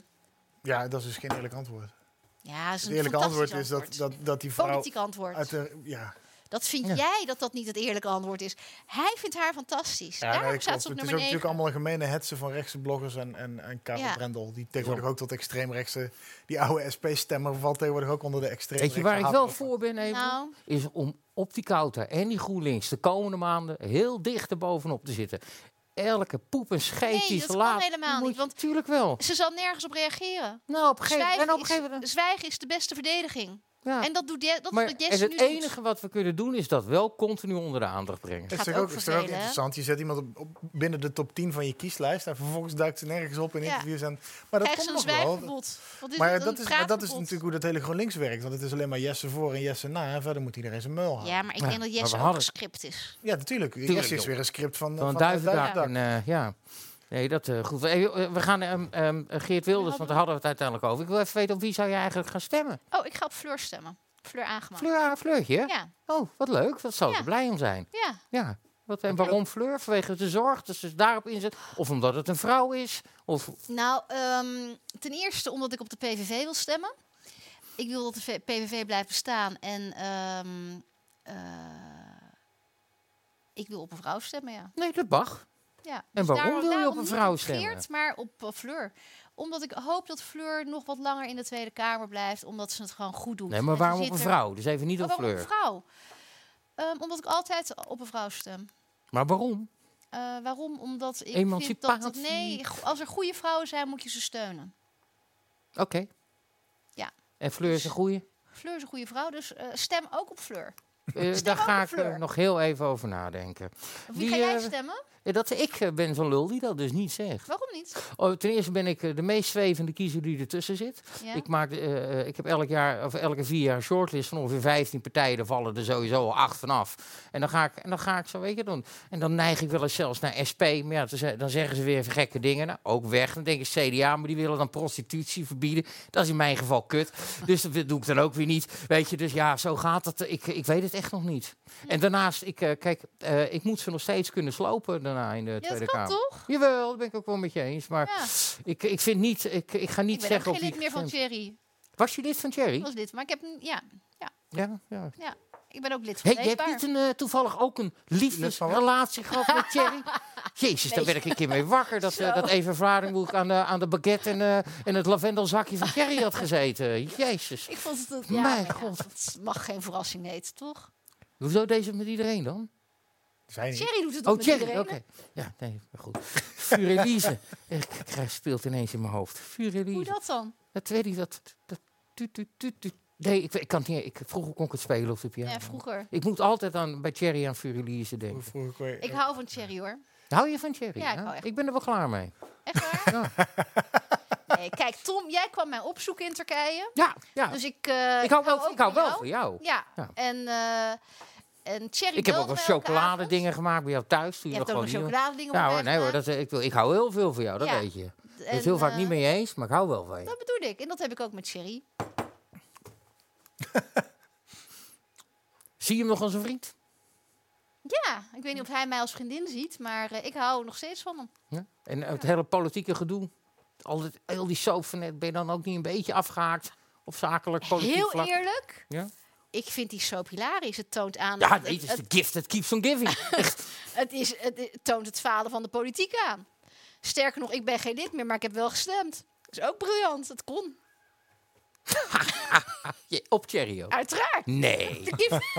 [SPEAKER 5] ja, dat is dus geen eerlijk antwoord.
[SPEAKER 4] Ja, dat is
[SPEAKER 5] Het
[SPEAKER 4] een
[SPEAKER 5] eerlijke
[SPEAKER 4] fantastisch
[SPEAKER 5] antwoord is dat, dat, dat die vrouw...
[SPEAKER 4] Politiek antwoord.
[SPEAKER 5] Uit de, ja,
[SPEAKER 4] Dat vind
[SPEAKER 3] Ja.
[SPEAKER 4] jij dat dat niet het eerlijke antwoord is. Hij vindt haar fantastisch.
[SPEAKER 5] Ja,
[SPEAKER 4] Daarom
[SPEAKER 5] nee, klopt.
[SPEAKER 4] staat ze op
[SPEAKER 5] het is
[SPEAKER 4] nummer
[SPEAKER 5] ook
[SPEAKER 4] 9.
[SPEAKER 5] natuurlijk allemaal een gemene hetsen van rechtse bloggers en, en, en Karel
[SPEAKER 4] Ja.
[SPEAKER 5] Brendel. Die tegenwoordig ook tot extreemrechtse... Die oude SP-stemmer valt tegenwoordig ook onder de extreemrechtse.
[SPEAKER 3] Weet je waar ik wel
[SPEAKER 5] haatgroep.
[SPEAKER 3] voor ben, even?
[SPEAKER 4] Nou.
[SPEAKER 3] Is om op die koude en die GroenLinks de komende maanden heel dicht erbovenop te zitten. Elke poep en scheet
[SPEAKER 4] Nee,
[SPEAKER 3] die
[SPEAKER 4] dat
[SPEAKER 3] ze
[SPEAKER 4] kan
[SPEAKER 3] laat.
[SPEAKER 4] helemaal
[SPEAKER 3] moet
[SPEAKER 4] niet,
[SPEAKER 3] je-
[SPEAKER 4] want-
[SPEAKER 3] Tuurlijk wel.
[SPEAKER 4] Ze zal nergens op reageren.
[SPEAKER 3] Nou, op een gegeven
[SPEAKER 4] Zwijgen,
[SPEAKER 3] en op een
[SPEAKER 4] is,
[SPEAKER 3] gegeven moment.
[SPEAKER 4] zwijgen is de beste verdediging.
[SPEAKER 3] ja.
[SPEAKER 4] En dat doet Je- dat is
[SPEAKER 3] Maar
[SPEAKER 4] wat
[SPEAKER 3] en
[SPEAKER 4] Jesse
[SPEAKER 3] het
[SPEAKER 4] nu
[SPEAKER 3] enige
[SPEAKER 4] doet.
[SPEAKER 3] wat we kunnen doen is dat wel continu onder de aandacht brengen.
[SPEAKER 5] Het
[SPEAKER 4] Gaat
[SPEAKER 5] is
[SPEAKER 4] ook
[SPEAKER 5] ook, is toch ook
[SPEAKER 4] vervelen, hè?
[SPEAKER 5] interessant. Je zet iemand op, op- binnen de top 10 van je kieslijst en vervolgens duikt ze nergens op in
[SPEAKER 4] Ja.
[SPEAKER 5] interviews. En, maar dat
[SPEAKER 4] Krijgt
[SPEAKER 5] komt
[SPEAKER 4] ze een
[SPEAKER 5] nog wel.
[SPEAKER 4] zwijgverbod. Want dit
[SPEAKER 5] Maar ja,
[SPEAKER 4] een
[SPEAKER 5] dat is, maar dat is
[SPEAKER 4] praatverbod.
[SPEAKER 5] natuurlijk hoe dat hele GroenLinks werkt. Want het is alleen maar Jesse voor en Jesse na. En verder moet iedereen zijn muil houden. Ja,
[SPEAKER 4] Ja, maar ik denk
[SPEAKER 3] Ja,
[SPEAKER 4] dat
[SPEAKER 3] maar we
[SPEAKER 4] Jesse ook
[SPEAKER 3] hadden-
[SPEAKER 4] gescript is.
[SPEAKER 5] natuurlijk.
[SPEAKER 3] Tuurlijk,
[SPEAKER 5] Jesse is
[SPEAKER 3] joh.
[SPEAKER 5] weer een script van,
[SPEAKER 3] Van
[SPEAKER 5] van
[SPEAKER 3] een
[SPEAKER 5] Duivendak.
[SPEAKER 3] duivendak. En, eh, ja. Nee, dat eh, goed. Eh, joh, eh, we gaan ehm, ehm, eh, Geert Wilders, want daar hadden we het uiteindelijk over. Ik wil even weten op wie zou je eigenlijk gaan stemmen?
[SPEAKER 4] Oh, ik ga op Fleur stemmen. Fleur aangemaakt.
[SPEAKER 3] Fleur, ah, Fleurtje?
[SPEAKER 4] Ja,
[SPEAKER 3] Oh, wat leuk. Wat zou ze
[SPEAKER 4] Ja.
[SPEAKER 3] blij om zijn.
[SPEAKER 4] ja.
[SPEAKER 3] Ja. Wat, en waarom Fleur? Vanwege de zorg, dat ze daarop inzet. Of omdat het een vrouw is. Of,
[SPEAKER 4] Nou, ehm, ten eerste omdat ik op de PVV wil stemmen. Ik wil dat de V- PVV blijft bestaan. En ehm, eh, ik wil op een vrouw stemmen, ja.
[SPEAKER 3] nee, dat mag.
[SPEAKER 4] ja. dus
[SPEAKER 3] En waarom wil je op een
[SPEAKER 4] niet
[SPEAKER 3] vrouw
[SPEAKER 4] Geert, maar op eh, Fleur. Omdat ik hoop dat Fleur nog wat langer in de Tweede Kamer blijft. Omdat ze het gewoon goed doet.
[SPEAKER 3] Nee,
[SPEAKER 4] En
[SPEAKER 3] maar
[SPEAKER 4] ze
[SPEAKER 3] waarom op
[SPEAKER 4] zit
[SPEAKER 3] een
[SPEAKER 4] er-
[SPEAKER 3] vrouw? Dus even niet
[SPEAKER 4] Maar
[SPEAKER 3] op
[SPEAKER 4] waarom op
[SPEAKER 3] Fleur.
[SPEAKER 4] een vrouw? Ehm, omdat ik altijd op een vrouw stem.
[SPEAKER 3] Maar waarom?
[SPEAKER 4] Eh, waarom? Omdat ik vind dat, dat...
[SPEAKER 3] Emancipatie.
[SPEAKER 4] Nee, go- als er goede vrouwen zijn, moet je ze steunen.
[SPEAKER 3] Oké.
[SPEAKER 4] Ja.
[SPEAKER 3] En Fleur is een goeie?
[SPEAKER 4] Fleur is een goede vrouw, dus eh, stem ook op Fleur.
[SPEAKER 3] Eh,
[SPEAKER 4] Stem
[SPEAKER 3] daar
[SPEAKER 4] ook
[SPEAKER 3] ga
[SPEAKER 4] op
[SPEAKER 3] ik eh,
[SPEAKER 4] Fleur.
[SPEAKER 3] nog heel even over nadenken.
[SPEAKER 4] Wie
[SPEAKER 3] Die,
[SPEAKER 4] ga jij
[SPEAKER 3] eh,
[SPEAKER 4] stemmen?
[SPEAKER 3] Eh, Dat, ik eh, ben zo'n lul die dat dus niet zegt.
[SPEAKER 4] Waarom niet?
[SPEAKER 3] Oh, ten eerste ben ik eh, de meest zwevende kiezer die ertussen zit.
[SPEAKER 4] Ja?
[SPEAKER 3] Ik, maak, eh, eh, ik heb elk jaar, of elke vier jaar een shortlist van ongeveer 15 partijen. Daar vallen er sowieso al acht vanaf. En dan ga ik, en dan ga ik zo, weet je, doen. En dan neig ik wel eens zelfs naar SP. Maar ja, dan ze- dan zeggen ze weer even gekke dingen. Nou, ook weg. Dan denk ik CDA, maar die willen dan prostitutie verbieden. Dat is in mijn geval
[SPEAKER 4] (laughs)
[SPEAKER 3] kut. Dus dat doe ik dan ook weer niet. Weet je, dus ja, zo gaat het. Ik, ik weet het echt nog niet. En daarnaast, ik, eh, kijk, eh, ik moet ze nog steeds kunnen slopen daarna in de
[SPEAKER 4] ja, dat
[SPEAKER 3] Tweede
[SPEAKER 4] kan
[SPEAKER 3] Kamer.
[SPEAKER 4] toch?
[SPEAKER 3] Jawel, dat ben ik ook wel met je eens. Maar
[SPEAKER 4] Ja.
[SPEAKER 3] ik, ik vind niet, ik, ik ga niet
[SPEAKER 4] ik ben
[SPEAKER 3] zeggen
[SPEAKER 4] ook
[SPEAKER 3] op
[SPEAKER 4] geen lid
[SPEAKER 3] wie
[SPEAKER 4] meer van
[SPEAKER 3] ik stem.
[SPEAKER 4] Thierry.
[SPEAKER 3] Was je lid van Thierry?
[SPEAKER 4] Ik was lid, maar ik, heb, een- ja,
[SPEAKER 3] Ja, ja.
[SPEAKER 4] ik ben ook lid van
[SPEAKER 3] Hey, je hebt
[SPEAKER 4] Leefbaar.
[SPEAKER 3] niet een, eh, toevallig ook een liefdesrelatie gehad met
[SPEAKER 4] (laughs)
[SPEAKER 3] Thierry? Jezus, daar werd ik een keer mee wakker. Dat, eh, dat Eva Vlaardingboek aan de, aan de baguette en, eh, en het lavendelzakje van Thierry had gezeten. Jezus.
[SPEAKER 4] Ik vond het... dat-
[SPEAKER 3] Mijn
[SPEAKER 4] maar ja,
[SPEAKER 3] god.
[SPEAKER 4] dat mag geen verrassing heten, toch?
[SPEAKER 3] Hoezo deze met iedereen dan?
[SPEAKER 5] Zijn niet.
[SPEAKER 4] Thierry doet het ook
[SPEAKER 3] Oh,
[SPEAKER 4] met
[SPEAKER 3] Thierry, oké.
[SPEAKER 4] iedereen.
[SPEAKER 3] Ja, nee, maar goed. Furelise. (laughs) Ik krijg speelt ineens in mijn hoofd.
[SPEAKER 4] Hoe
[SPEAKER 3] Furelise.
[SPEAKER 4] dat dan?
[SPEAKER 3] Dat weet ik, dat... dat tu, tu, tu, tu. Nee, ik, ik kan het niet. Ik, vroeger kon ik het spelen op de
[SPEAKER 4] Ja,
[SPEAKER 3] piano.
[SPEAKER 4] vroeger.
[SPEAKER 3] Ik moet altijd aan, bij Thierry aan Furelise
[SPEAKER 5] Hoe
[SPEAKER 3] denken.
[SPEAKER 5] vroeg ik weer-
[SPEAKER 4] Ik hou van Thierry, hoor.
[SPEAKER 3] Hou je van Thierry?
[SPEAKER 4] Ja, ik
[SPEAKER 3] hè?
[SPEAKER 4] hou echt.
[SPEAKER 3] ik ben er wel klaar mee.
[SPEAKER 4] Echt waar? (laughs) Nee, kijk, Tom, jij kwam mij opzoeken in Turkije.
[SPEAKER 3] Ja, ja.
[SPEAKER 4] Dus ik, eh,
[SPEAKER 3] ik hou wel,
[SPEAKER 4] ook
[SPEAKER 3] ik hou
[SPEAKER 4] van
[SPEAKER 3] wel
[SPEAKER 4] jou.
[SPEAKER 3] van jou.
[SPEAKER 4] Ja,
[SPEAKER 3] Ja.
[SPEAKER 4] en, eh, en Thierry
[SPEAKER 3] Ik heb ook
[SPEAKER 4] belde
[SPEAKER 3] wel
[SPEAKER 4] mij elke avond.
[SPEAKER 3] chocoladedingen gemaakt bij jou thuis. Toen
[SPEAKER 4] Je hebt ook
[SPEAKER 3] gewoon
[SPEAKER 4] nog
[SPEAKER 3] niet-
[SPEAKER 4] chocoladedingen
[SPEAKER 3] Ja
[SPEAKER 4] op
[SPEAKER 3] hoor,
[SPEAKER 4] mij
[SPEAKER 3] nee hoor,
[SPEAKER 4] gemaakt.
[SPEAKER 3] dat, eh, ik, wil, ik hou heel veel van jou, dat
[SPEAKER 4] Ja,
[SPEAKER 3] weet je. Ik ben
[SPEAKER 4] En,
[SPEAKER 3] het heel vaak
[SPEAKER 4] eh,
[SPEAKER 3] niet mee eens, maar ik hou wel van je.
[SPEAKER 4] Dat bedoel ik. En dat heb ik ook met Thierry.
[SPEAKER 3] Zie je hem nog als een vriend?
[SPEAKER 4] Ja, ik weet niet of hij mij als vriendin ziet, maar eh, ik hou nog steeds van hem.
[SPEAKER 3] Ja? En het hele politieke gedoe. Al, dit, heel die soap van net, ben je dan ook niet een beetje afgehaakt? Of zakelijk, politiek
[SPEAKER 4] Heel
[SPEAKER 3] vlak?
[SPEAKER 4] eerlijk,
[SPEAKER 3] Ja?
[SPEAKER 4] ik vind die soap hilarisch. Het toont aan.
[SPEAKER 3] ja,
[SPEAKER 4] dat
[SPEAKER 3] dit is
[SPEAKER 4] het,
[SPEAKER 3] de gift that keeps on
[SPEAKER 4] (laughs)
[SPEAKER 3] giving.
[SPEAKER 4] het, is, het i- toont het falen van de politiek aan. Sterker nog, ik ben geen lid meer, maar ik heb wel gestemd. Dat is ook briljant. Het kon.
[SPEAKER 3] Je- op Thierry ook?
[SPEAKER 4] Uiteraard. (laughs)
[SPEAKER 3] Nee.
[SPEAKER 4] The gift,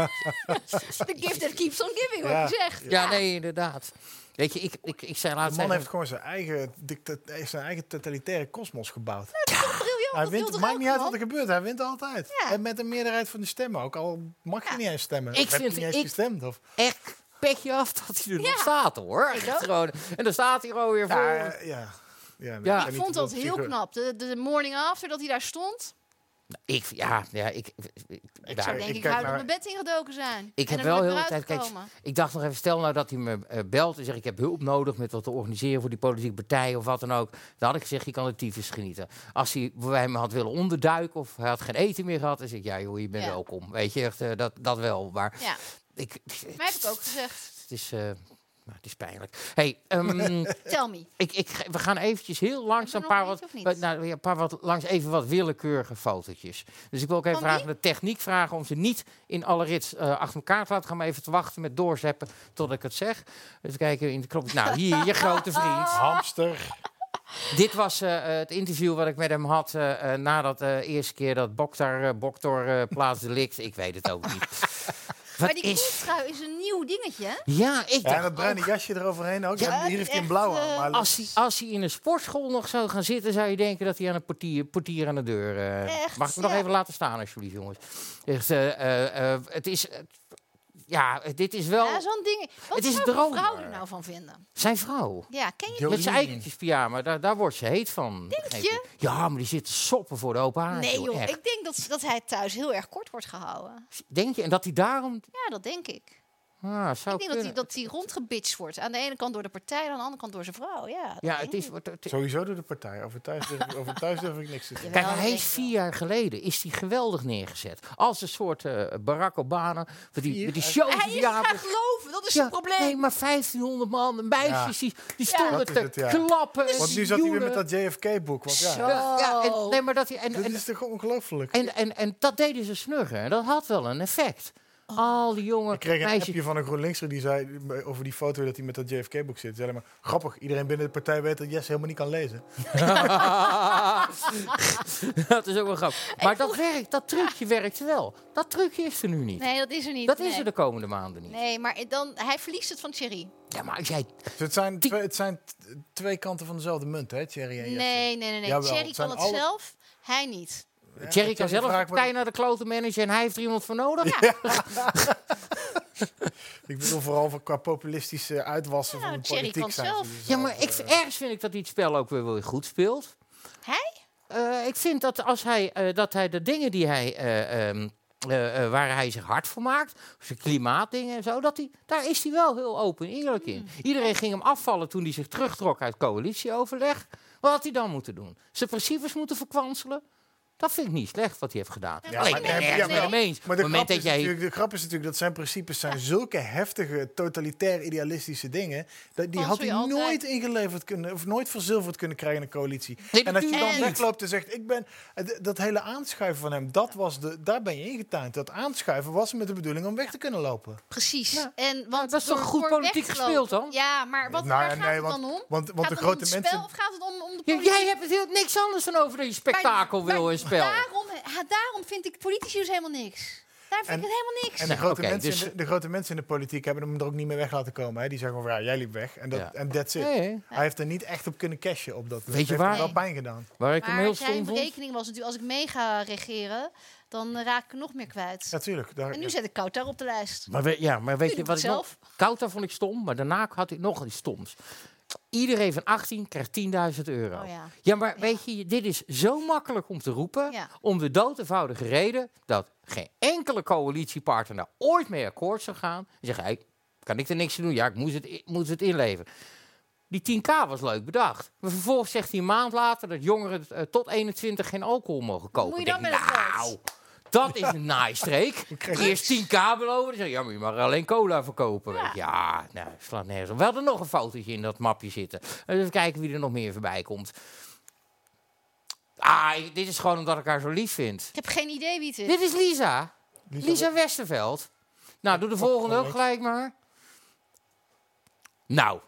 [SPEAKER 4] the gift that keeps on giving, wat
[SPEAKER 5] Ja.
[SPEAKER 4] je zegt.
[SPEAKER 3] Ja, nee, inderdaad. Weet je, ik, ik, ik zei
[SPEAKER 5] De
[SPEAKER 3] laatst...
[SPEAKER 5] man heeft
[SPEAKER 3] even-
[SPEAKER 5] gewoon zijn eigen, dicta- eh, zijn eigen totalitaire kosmos gebouwd.
[SPEAKER 4] Ah, Briljant,
[SPEAKER 5] Hij
[SPEAKER 4] Nou, dat wil
[SPEAKER 5] wint, het
[SPEAKER 4] toch
[SPEAKER 5] maakt
[SPEAKER 4] ook,
[SPEAKER 5] niet uit
[SPEAKER 4] man?
[SPEAKER 5] wat er gebeurt, hij wint altijd.
[SPEAKER 4] Ja.
[SPEAKER 5] En met een meerderheid van de stemmen, ook al mag je
[SPEAKER 4] Ja.
[SPEAKER 5] niet eens stemmen.
[SPEAKER 3] Ik
[SPEAKER 5] Of heb je
[SPEAKER 3] vind-
[SPEAKER 5] niet eens
[SPEAKER 3] ik-
[SPEAKER 5] gestemd. Of,
[SPEAKER 3] echt petje af dat hij er
[SPEAKER 4] Ja.
[SPEAKER 3] nog staat, hoor. Echt gewoon. En dan staat hij er alweer voor.
[SPEAKER 5] ja, eh, ja. ja,
[SPEAKER 3] Ja.
[SPEAKER 5] zijn
[SPEAKER 4] Nou, Ik
[SPEAKER 5] niet
[SPEAKER 4] vond dat heel
[SPEAKER 5] psycho-
[SPEAKER 4] knap. De, de morning after dat hij daar stond.
[SPEAKER 3] Ik, ja, ja, ik... ik-
[SPEAKER 5] Ik
[SPEAKER 3] ja.
[SPEAKER 5] zou-
[SPEAKER 4] Ik denk, ik,
[SPEAKER 5] kijk
[SPEAKER 4] huil
[SPEAKER 5] naar-
[SPEAKER 4] dat mijn bed ingedoken zijn.
[SPEAKER 3] Ik
[SPEAKER 4] En
[SPEAKER 3] heb
[SPEAKER 4] er
[SPEAKER 3] wel
[SPEAKER 4] nooit
[SPEAKER 3] heel
[SPEAKER 4] meer
[SPEAKER 3] de tijd, kijk,
[SPEAKER 4] uitgekomen.
[SPEAKER 3] ik dacht nog even, stel nou dat hij me eh, belt en zegt ik heb hulp nodig met wat te organiseren voor die politieke partij of wat dan ook. Dan had ik gezegd, je kan het tyfus genieten. Als hij bij me had willen onderduiken of hij had geen eten meer gehad, dan zeg ik, ja joh, je bent
[SPEAKER 4] Ja.
[SPEAKER 3] welkom. Weet je, echt, eh, dat, dat wel. Maar
[SPEAKER 4] Ja,
[SPEAKER 3] ik,
[SPEAKER 4] maar heb ik ook gezegd.
[SPEAKER 3] het is, eh, nou, het is pijnlijk.
[SPEAKER 4] (laughs)
[SPEAKER 3] hey, ehm,
[SPEAKER 4] Tell me.
[SPEAKER 3] ik, ik, ge- we gaan eventjes heel langzaam een
[SPEAKER 4] Hebben we
[SPEAKER 3] paar,
[SPEAKER 4] nog
[SPEAKER 3] wat,
[SPEAKER 4] iets of niet?
[SPEAKER 3] wat- nou, ja, een paar wat, langs even wat willekeurige fotootjes. Dus ik wil ook even
[SPEAKER 4] Van
[SPEAKER 3] vragen, de techniek vragen om ze niet in alle rits eh, achter elkaar te laten gaan. Maar even te wachten met doorzeppen tot ik het zeg. Even kijken in de knop. Nou, hier, je grote vriend.
[SPEAKER 4] (laughs)
[SPEAKER 5] Hamster.
[SPEAKER 3] Dit was eh, eh, het interview wat ik met hem had eh, eh, na dat eh, eerste keer dat Boktar, eh, Boktor eh, plaatsdelict. Ik weet het
[SPEAKER 4] (laughs)
[SPEAKER 3] ook niet.
[SPEAKER 4] Maar
[SPEAKER 3] Wat
[SPEAKER 4] die
[SPEAKER 3] is...
[SPEAKER 4] koeltrui is een nieuw dingetje. hè?
[SPEAKER 3] Ja, ik
[SPEAKER 5] Ja, en
[SPEAKER 3] dacht
[SPEAKER 5] dat bruine jasje eroverheen ook.
[SPEAKER 4] Ja,
[SPEAKER 5] En
[SPEAKER 4] het
[SPEAKER 5] hier
[SPEAKER 4] is
[SPEAKER 5] heeft hij een
[SPEAKER 4] echt,
[SPEAKER 5] blauwe
[SPEAKER 4] eh,
[SPEAKER 5] aan. Maar
[SPEAKER 3] Als hij, als hij in een sportschool nog zou gaan zitten, zou je denken dat hij aan een portier, portier aan de deur. eh,
[SPEAKER 4] Echt,
[SPEAKER 3] mag ik hem
[SPEAKER 4] ja.
[SPEAKER 3] nog even laten staan, alsjeblieft, jongens? Echt, eh, eh, eh, het is. eh, ja, dit is wel.
[SPEAKER 4] Ja, zo'n ding. Wat
[SPEAKER 3] Het is
[SPEAKER 4] zou
[SPEAKER 3] een
[SPEAKER 4] een
[SPEAKER 3] droom,
[SPEAKER 4] vrouw
[SPEAKER 3] maar-
[SPEAKER 4] er nou van vinden?
[SPEAKER 3] Zijn vrouw.
[SPEAKER 4] Ja, ken je?
[SPEAKER 3] Met zijn
[SPEAKER 5] Jolien.
[SPEAKER 3] eikertjes pyjama, daar, daar wordt ze heet van. begreep
[SPEAKER 4] je?
[SPEAKER 3] ik. Ja, maar die zitten soppen voor de open haard.
[SPEAKER 4] Nee joh,
[SPEAKER 3] echt.
[SPEAKER 4] ik denk dat, dat hij thuis heel erg kort wordt gehouden.
[SPEAKER 3] Denk je? En dat hij daarom.
[SPEAKER 4] Ja, dat denk ik.
[SPEAKER 3] Ah, zou
[SPEAKER 4] ik denk dat hij,
[SPEAKER 3] kunnen.
[SPEAKER 4] dat hij rondgebitcht wordt. Aan de ene kant door de partij, aan de andere kant door zijn vrouw. Ja, dat
[SPEAKER 3] ja,
[SPEAKER 4] denk
[SPEAKER 3] het is.
[SPEAKER 4] ik.
[SPEAKER 3] wat- het-
[SPEAKER 5] Sowieso door de partij. Over thuis durf, over thuis durf ik niks te zeggen.
[SPEAKER 4] Jawel,
[SPEAKER 3] Kijk, maar
[SPEAKER 4] dat
[SPEAKER 3] hij
[SPEAKER 4] denk
[SPEAKER 3] is
[SPEAKER 4] ik
[SPEAKER 3] vier jaar geleden is hij geweldig neergezet. Als een soort eh, Barack Obama. Met die,
[SPEAKER 5] Vier?
[SPEAKER 3] met die shows
[SPEAKER 4] Hij
[SPEAKER 3] die
[SPEAKER 4] is
[SPEAKER 3] hij
[SPEAKER 4] gaan geloven, dat is
[SPEAKER 3] Ja,
[SPEAKER 4] zijn probleem.
[SPEAKER 3] Nee, maar 1500 man, de meisjes, die, die stonden
[SPEAKER 5] Dat
[SPEAKER 3] te
[SPEAKER 5] is het, ja.
[SPEAKER 3] klappen. en
[SPEAKER 5] Want
[SPEAKER 3] te
[SPEAKER 5] nu zat hij weer
[SPEAKER 3] joelen.
[SPEAKER 5] met dat JFK-boek. Want ja,
[SPEAKER 3] Ja, ja, en, nee, maar dat hij, en,
[SPEAKER 5] dit
[SPEAKER 3] en,
[SPEAKER 5] is toch ongelooflijk?
[SPEAKER 3] en, en, en dat deden ze snuggen. En dat had wel een effect.
[SPEAKER 4] Oh.
[SPEAKER 3] Al die jonge
[SPEAKER 5] Ik kreeg een
[SPEAKER 3] meisjes.
[SPEAKER 5] appje van een GroenLinkser die zei eh, over die foto dat hij met dat JFK-boek zit. Zei alleen maar, grappig, iedereen binnen de partij weet dat Jesse helemaal niet kan lezen.
[SPEAKER 3] (laughs) dat is ook wel grappig. Maar dat werkt, dat trucje werkt wel. Dat trucje is er nu niet.
[SPEAKER 4] Nee, dat is er niet.
[SPEAKER 3] dat
[SPEAKER 4] nee.
[SPEAKER 3] is er de komende maanden niet.
[SPEAKER 4] Nee, maar dan, hij verliest het van Thierry.
[SPEAKER 3] Ja, maar als jij...
[SPEAKER 5] Dus het zijn,
[SPEAKER 3] Die-
[SPEAKER 5] twee, het zijn t- twee kanten van dezelfde munt, hè, Thierry en
[SPEAKER 4] Nee,
[SPEAKER 5] Jesse?
[SPEAKER 4] nee, nee. nee.
[SPEAKER 5] Jawel,
[SPEAKER 4] Thierry
[SPEAKER 5] het
[SPEAKER 4] kan
[SPEAKER 5] zijn
[SPEAKER 4] het
[SPEAKER 5] alle-
[SPEAKER 4] zelf, hij niet.
[SPEAKER 5] Ja,
[SPEAKER 3] Jerry kan
[SPEAKER 5] Thierry
[SPEAKER 3] zelf een
[SPEAKER 5] vraagt
[SPEAKER 3] partij
[SPEAKER 5] maar-
[SPEAKER 3] naar de klote manager en hij heeft er iemand voor nodig.
[SPEAKER 5] Ik bedoel vooral voor- qua populistische uitwassen
[SPEAKER 4] Ja,
[SPEAKER 5] van de
[SPEAKER 4] Thierry
[SPEAKER 5] politiek.
[SPEAKER 4] kan
[SPEAKER 5] zijn ze
[SPEAKER 4] zelf.
[SPEAKER 5] dus
[SPEAKER 3] Ja,
[SPEAKER 5] al,
[SPEAKER 3] maar ik,
[SPEAKER 5] eh,
[SPEAKER 3] ergens vind ik dat hij het spel ook weer wel goed speelt.
[SPEAKER 4] Hij?
[SPEAKER 3] Eh, ik vind dat als hij, eh, dat hij de dingen die hij, eh, ehm, eh, eh, waar hij zich hard voor maakt, zijn klimaatdingen en zo, dat hij, daar is hij wel heel open en eerlijk
[SPEAKER 5] Hmm.
[SPEAKER 3] in. Iedereen ging hem afvallen toen hij zich terugtrok uit coalitieoverleg. Wat had hij dan moeten doen? Zijn principes moeten verkwanselen? Dat vind ik niet slecht wat hij heeft gedaan.
[SPEAKER 5] Ja,
[SPEAKER 3] Alleen
[SPEAKER 5] maar-
[SPEAKER 3] ik ben het
[SPEAKER 5] nee,
[SPEAKER 3] ergens
[SPEAKER 5] ja,
[SPEAKER 3] met
[SPEAKER 5] maar-
[SPEAKER 3] hem eens. Op
[SPEAKER 5] Maar
[SPEAKER 3] het
[SPEAKER 5] de
[SPEAKER 3] moment
[SPEAKER 5] grap, is
[SPEAKER 3] dat jij...
[SPEAKER 5] natuurlijk, de grap is natuurlijk dat zijn principes zijn zulke heftige, totalitair idealistische dingen. Dat, die
[SPEAKER 4] Van
[SPEAKER 5] had
[SPEAKER 4] zul
[SPEAKER 5] hij
[SPEAKER 4] je altijd-
[SPEAKER 5] nooit ingeleverd kunnen, of nooit verzilverd kunnen krijgen in een coalitie.
[SPEAKER 3] Nee,
[SPEAKER 5] en als je
[SPEAKER 3] natuurlijk
[SPEAKER 5] dan
[SPEAKER 3] niet.
[SPEAKER 5] wegloopt en zegt, ik ben, eh, d- dat hele aanschuiven van hem, dat was de, daar ben je ingetuind. Dat aanschuiven was met de bedoeling om weg te kunnen lopen.
[SPEAKER 4] Precies.
[SPEAKER 3] Ja.
[SPEAKER 4] En, want
[SPEAKER 3] dat is toch
[SPEAKER 4] door-
[SPEAKER 3] goed
[SPEAKER 4] door
[SPEAKER 3] politiek
[SPEAKER 4] weggelopen-
[SPEAKER 3] gespeeld dan?
[SPEAKER 4] Ja, maar wat,
[SPEAKER 5] Nou ja,
[SPEAKER 4] waar gaat
[SPEAKER 5] nee,
[SPEAKER 4] het
[SPEAKER 5] want-
[SPEAKER 4] dan om?
[SPEAKER 5] want- want
[SPEAKER 4] gaat
[SPEAKER 5] de
[SPEAKER 4] het
[SPEAKER 5] grote
[SPEAKER 4] om het spel
[SPEAKER 5] mensen-
[SPEAKER 4] of gaat het om, om de
[SPEAKER 3] Ja,
[SPEAKER 4] politiek?
[SPEAKER 3] jij hebt het heel, niks anders dan over dat je
[SPEAKER 4] Maar-
[SPEAKER 3] spektakel wil
[SPEAKER 4] maar
[SPEAKER 3] en spel.
[SPEAKER 4] Daarom, ha, daarom vind ik politici dus helemaal niks. Daar vind
[SPEAKER 5] En-
[SPEAKER 4] ik het helemaal niks.
[SPEAKER 5] En de
[SPEAKER 3] Nou,
[SPEAKER 5] grote,
[SPEAKER 3] oké,
[SPEAKER 5] mensen
[SPEAKER 3] dus-
[SPEAKER 5] in de, de grote mensen in de politiek hebben hem er ook niet meer weg laten komen. Hè. Die zeggen van, ja, jij liep weg. En dat
[SPEAKER 3] Ja.
[SPEAKER 5] en that's it.
[SPEAKER 3] Nee,
[SPEAKER 5] Hij heeft er niet echt op kunnen cashen op dat. Dat
[SPEAKER 3] je
[SPEAKER 5] heeft
[SPEAKER 3] waar?
[SPEAKER 5] hem wel pijn gedaan.
[SPEAKER 3] waar ik hem heel
[SPEAKER 4] maar
[SPEAKER 3] stom
[SPEAKER 4] zijn
[SPEAKER 3] vond.
[SPEAKER 4] berekening was natuurlijk, als ik mee ga regeren, dan eh, raak ik er nog meer kwijt.
[SPEAKER 5] Natuurlijk. daar.
[SPEAKER 4] En nu zet ik koud daar op de lijst.
[SPEAKER 3] Maar we- ja, maar weet je
[SPEAKER 4] doet
[SPEAKER 3] wat ik
[SPEAKER 4] het
[SPEAKER 3] nog... Kouta vond ik stom, maar daarna had ik nog iets stoms. Iedereen van 18 krijgt 10.000 euro.
[SPEAKER 4] Oh
[SPEAKER 3] ja.
[SPEAKER 4] ja.
[SPEAKER 3] maar weet je, dit is zo makkelijk om te roepen.
[SPEAKER 4] Ja.
[SPEAKER 3] Om de dood eenvoudige reden dat geen enkele coalitiepartner daar ooit mee akkoord zou gaan. En zeggen, hey, kan ik er niks aan doen? Ja, ik moest het, i- moest het inleveren. Die 10k was leuk bedacht. Maar vervolgens zegt hij een maand later dat jongeren eh, tot 21 geen alcohol mogen kopen.
[SPEAKER 4] moet je
[SPEAKER 3] Ik
[SPEAKER 4] dan
[SPEAKER 3] denk,
[SPEAKER 4] met het geld?
[SPEAKER 3] nou, dat is (laughs) een naaistreek. Eerst 10k beloven. Dan zeg je, ja, maar je mag alleen cola verkopen. Ja, ja nou, slaat nergens op. We hadden nog een fotootje in dat mapje zitten. Even kijken wie er nog meer voorbij komt. Ah, ik- dit is gewoon omdat ik haar zo lief vind.
[SPEAKER 4] Ik heb geen idee wie het is.
[SPEAKER 3] Dit is Lisa. Lisa, Westerveld. Nou, doe de volgende ook
[SPEAKER 5] leuk.
[SPEAKER 3] gelijk maar. Nou,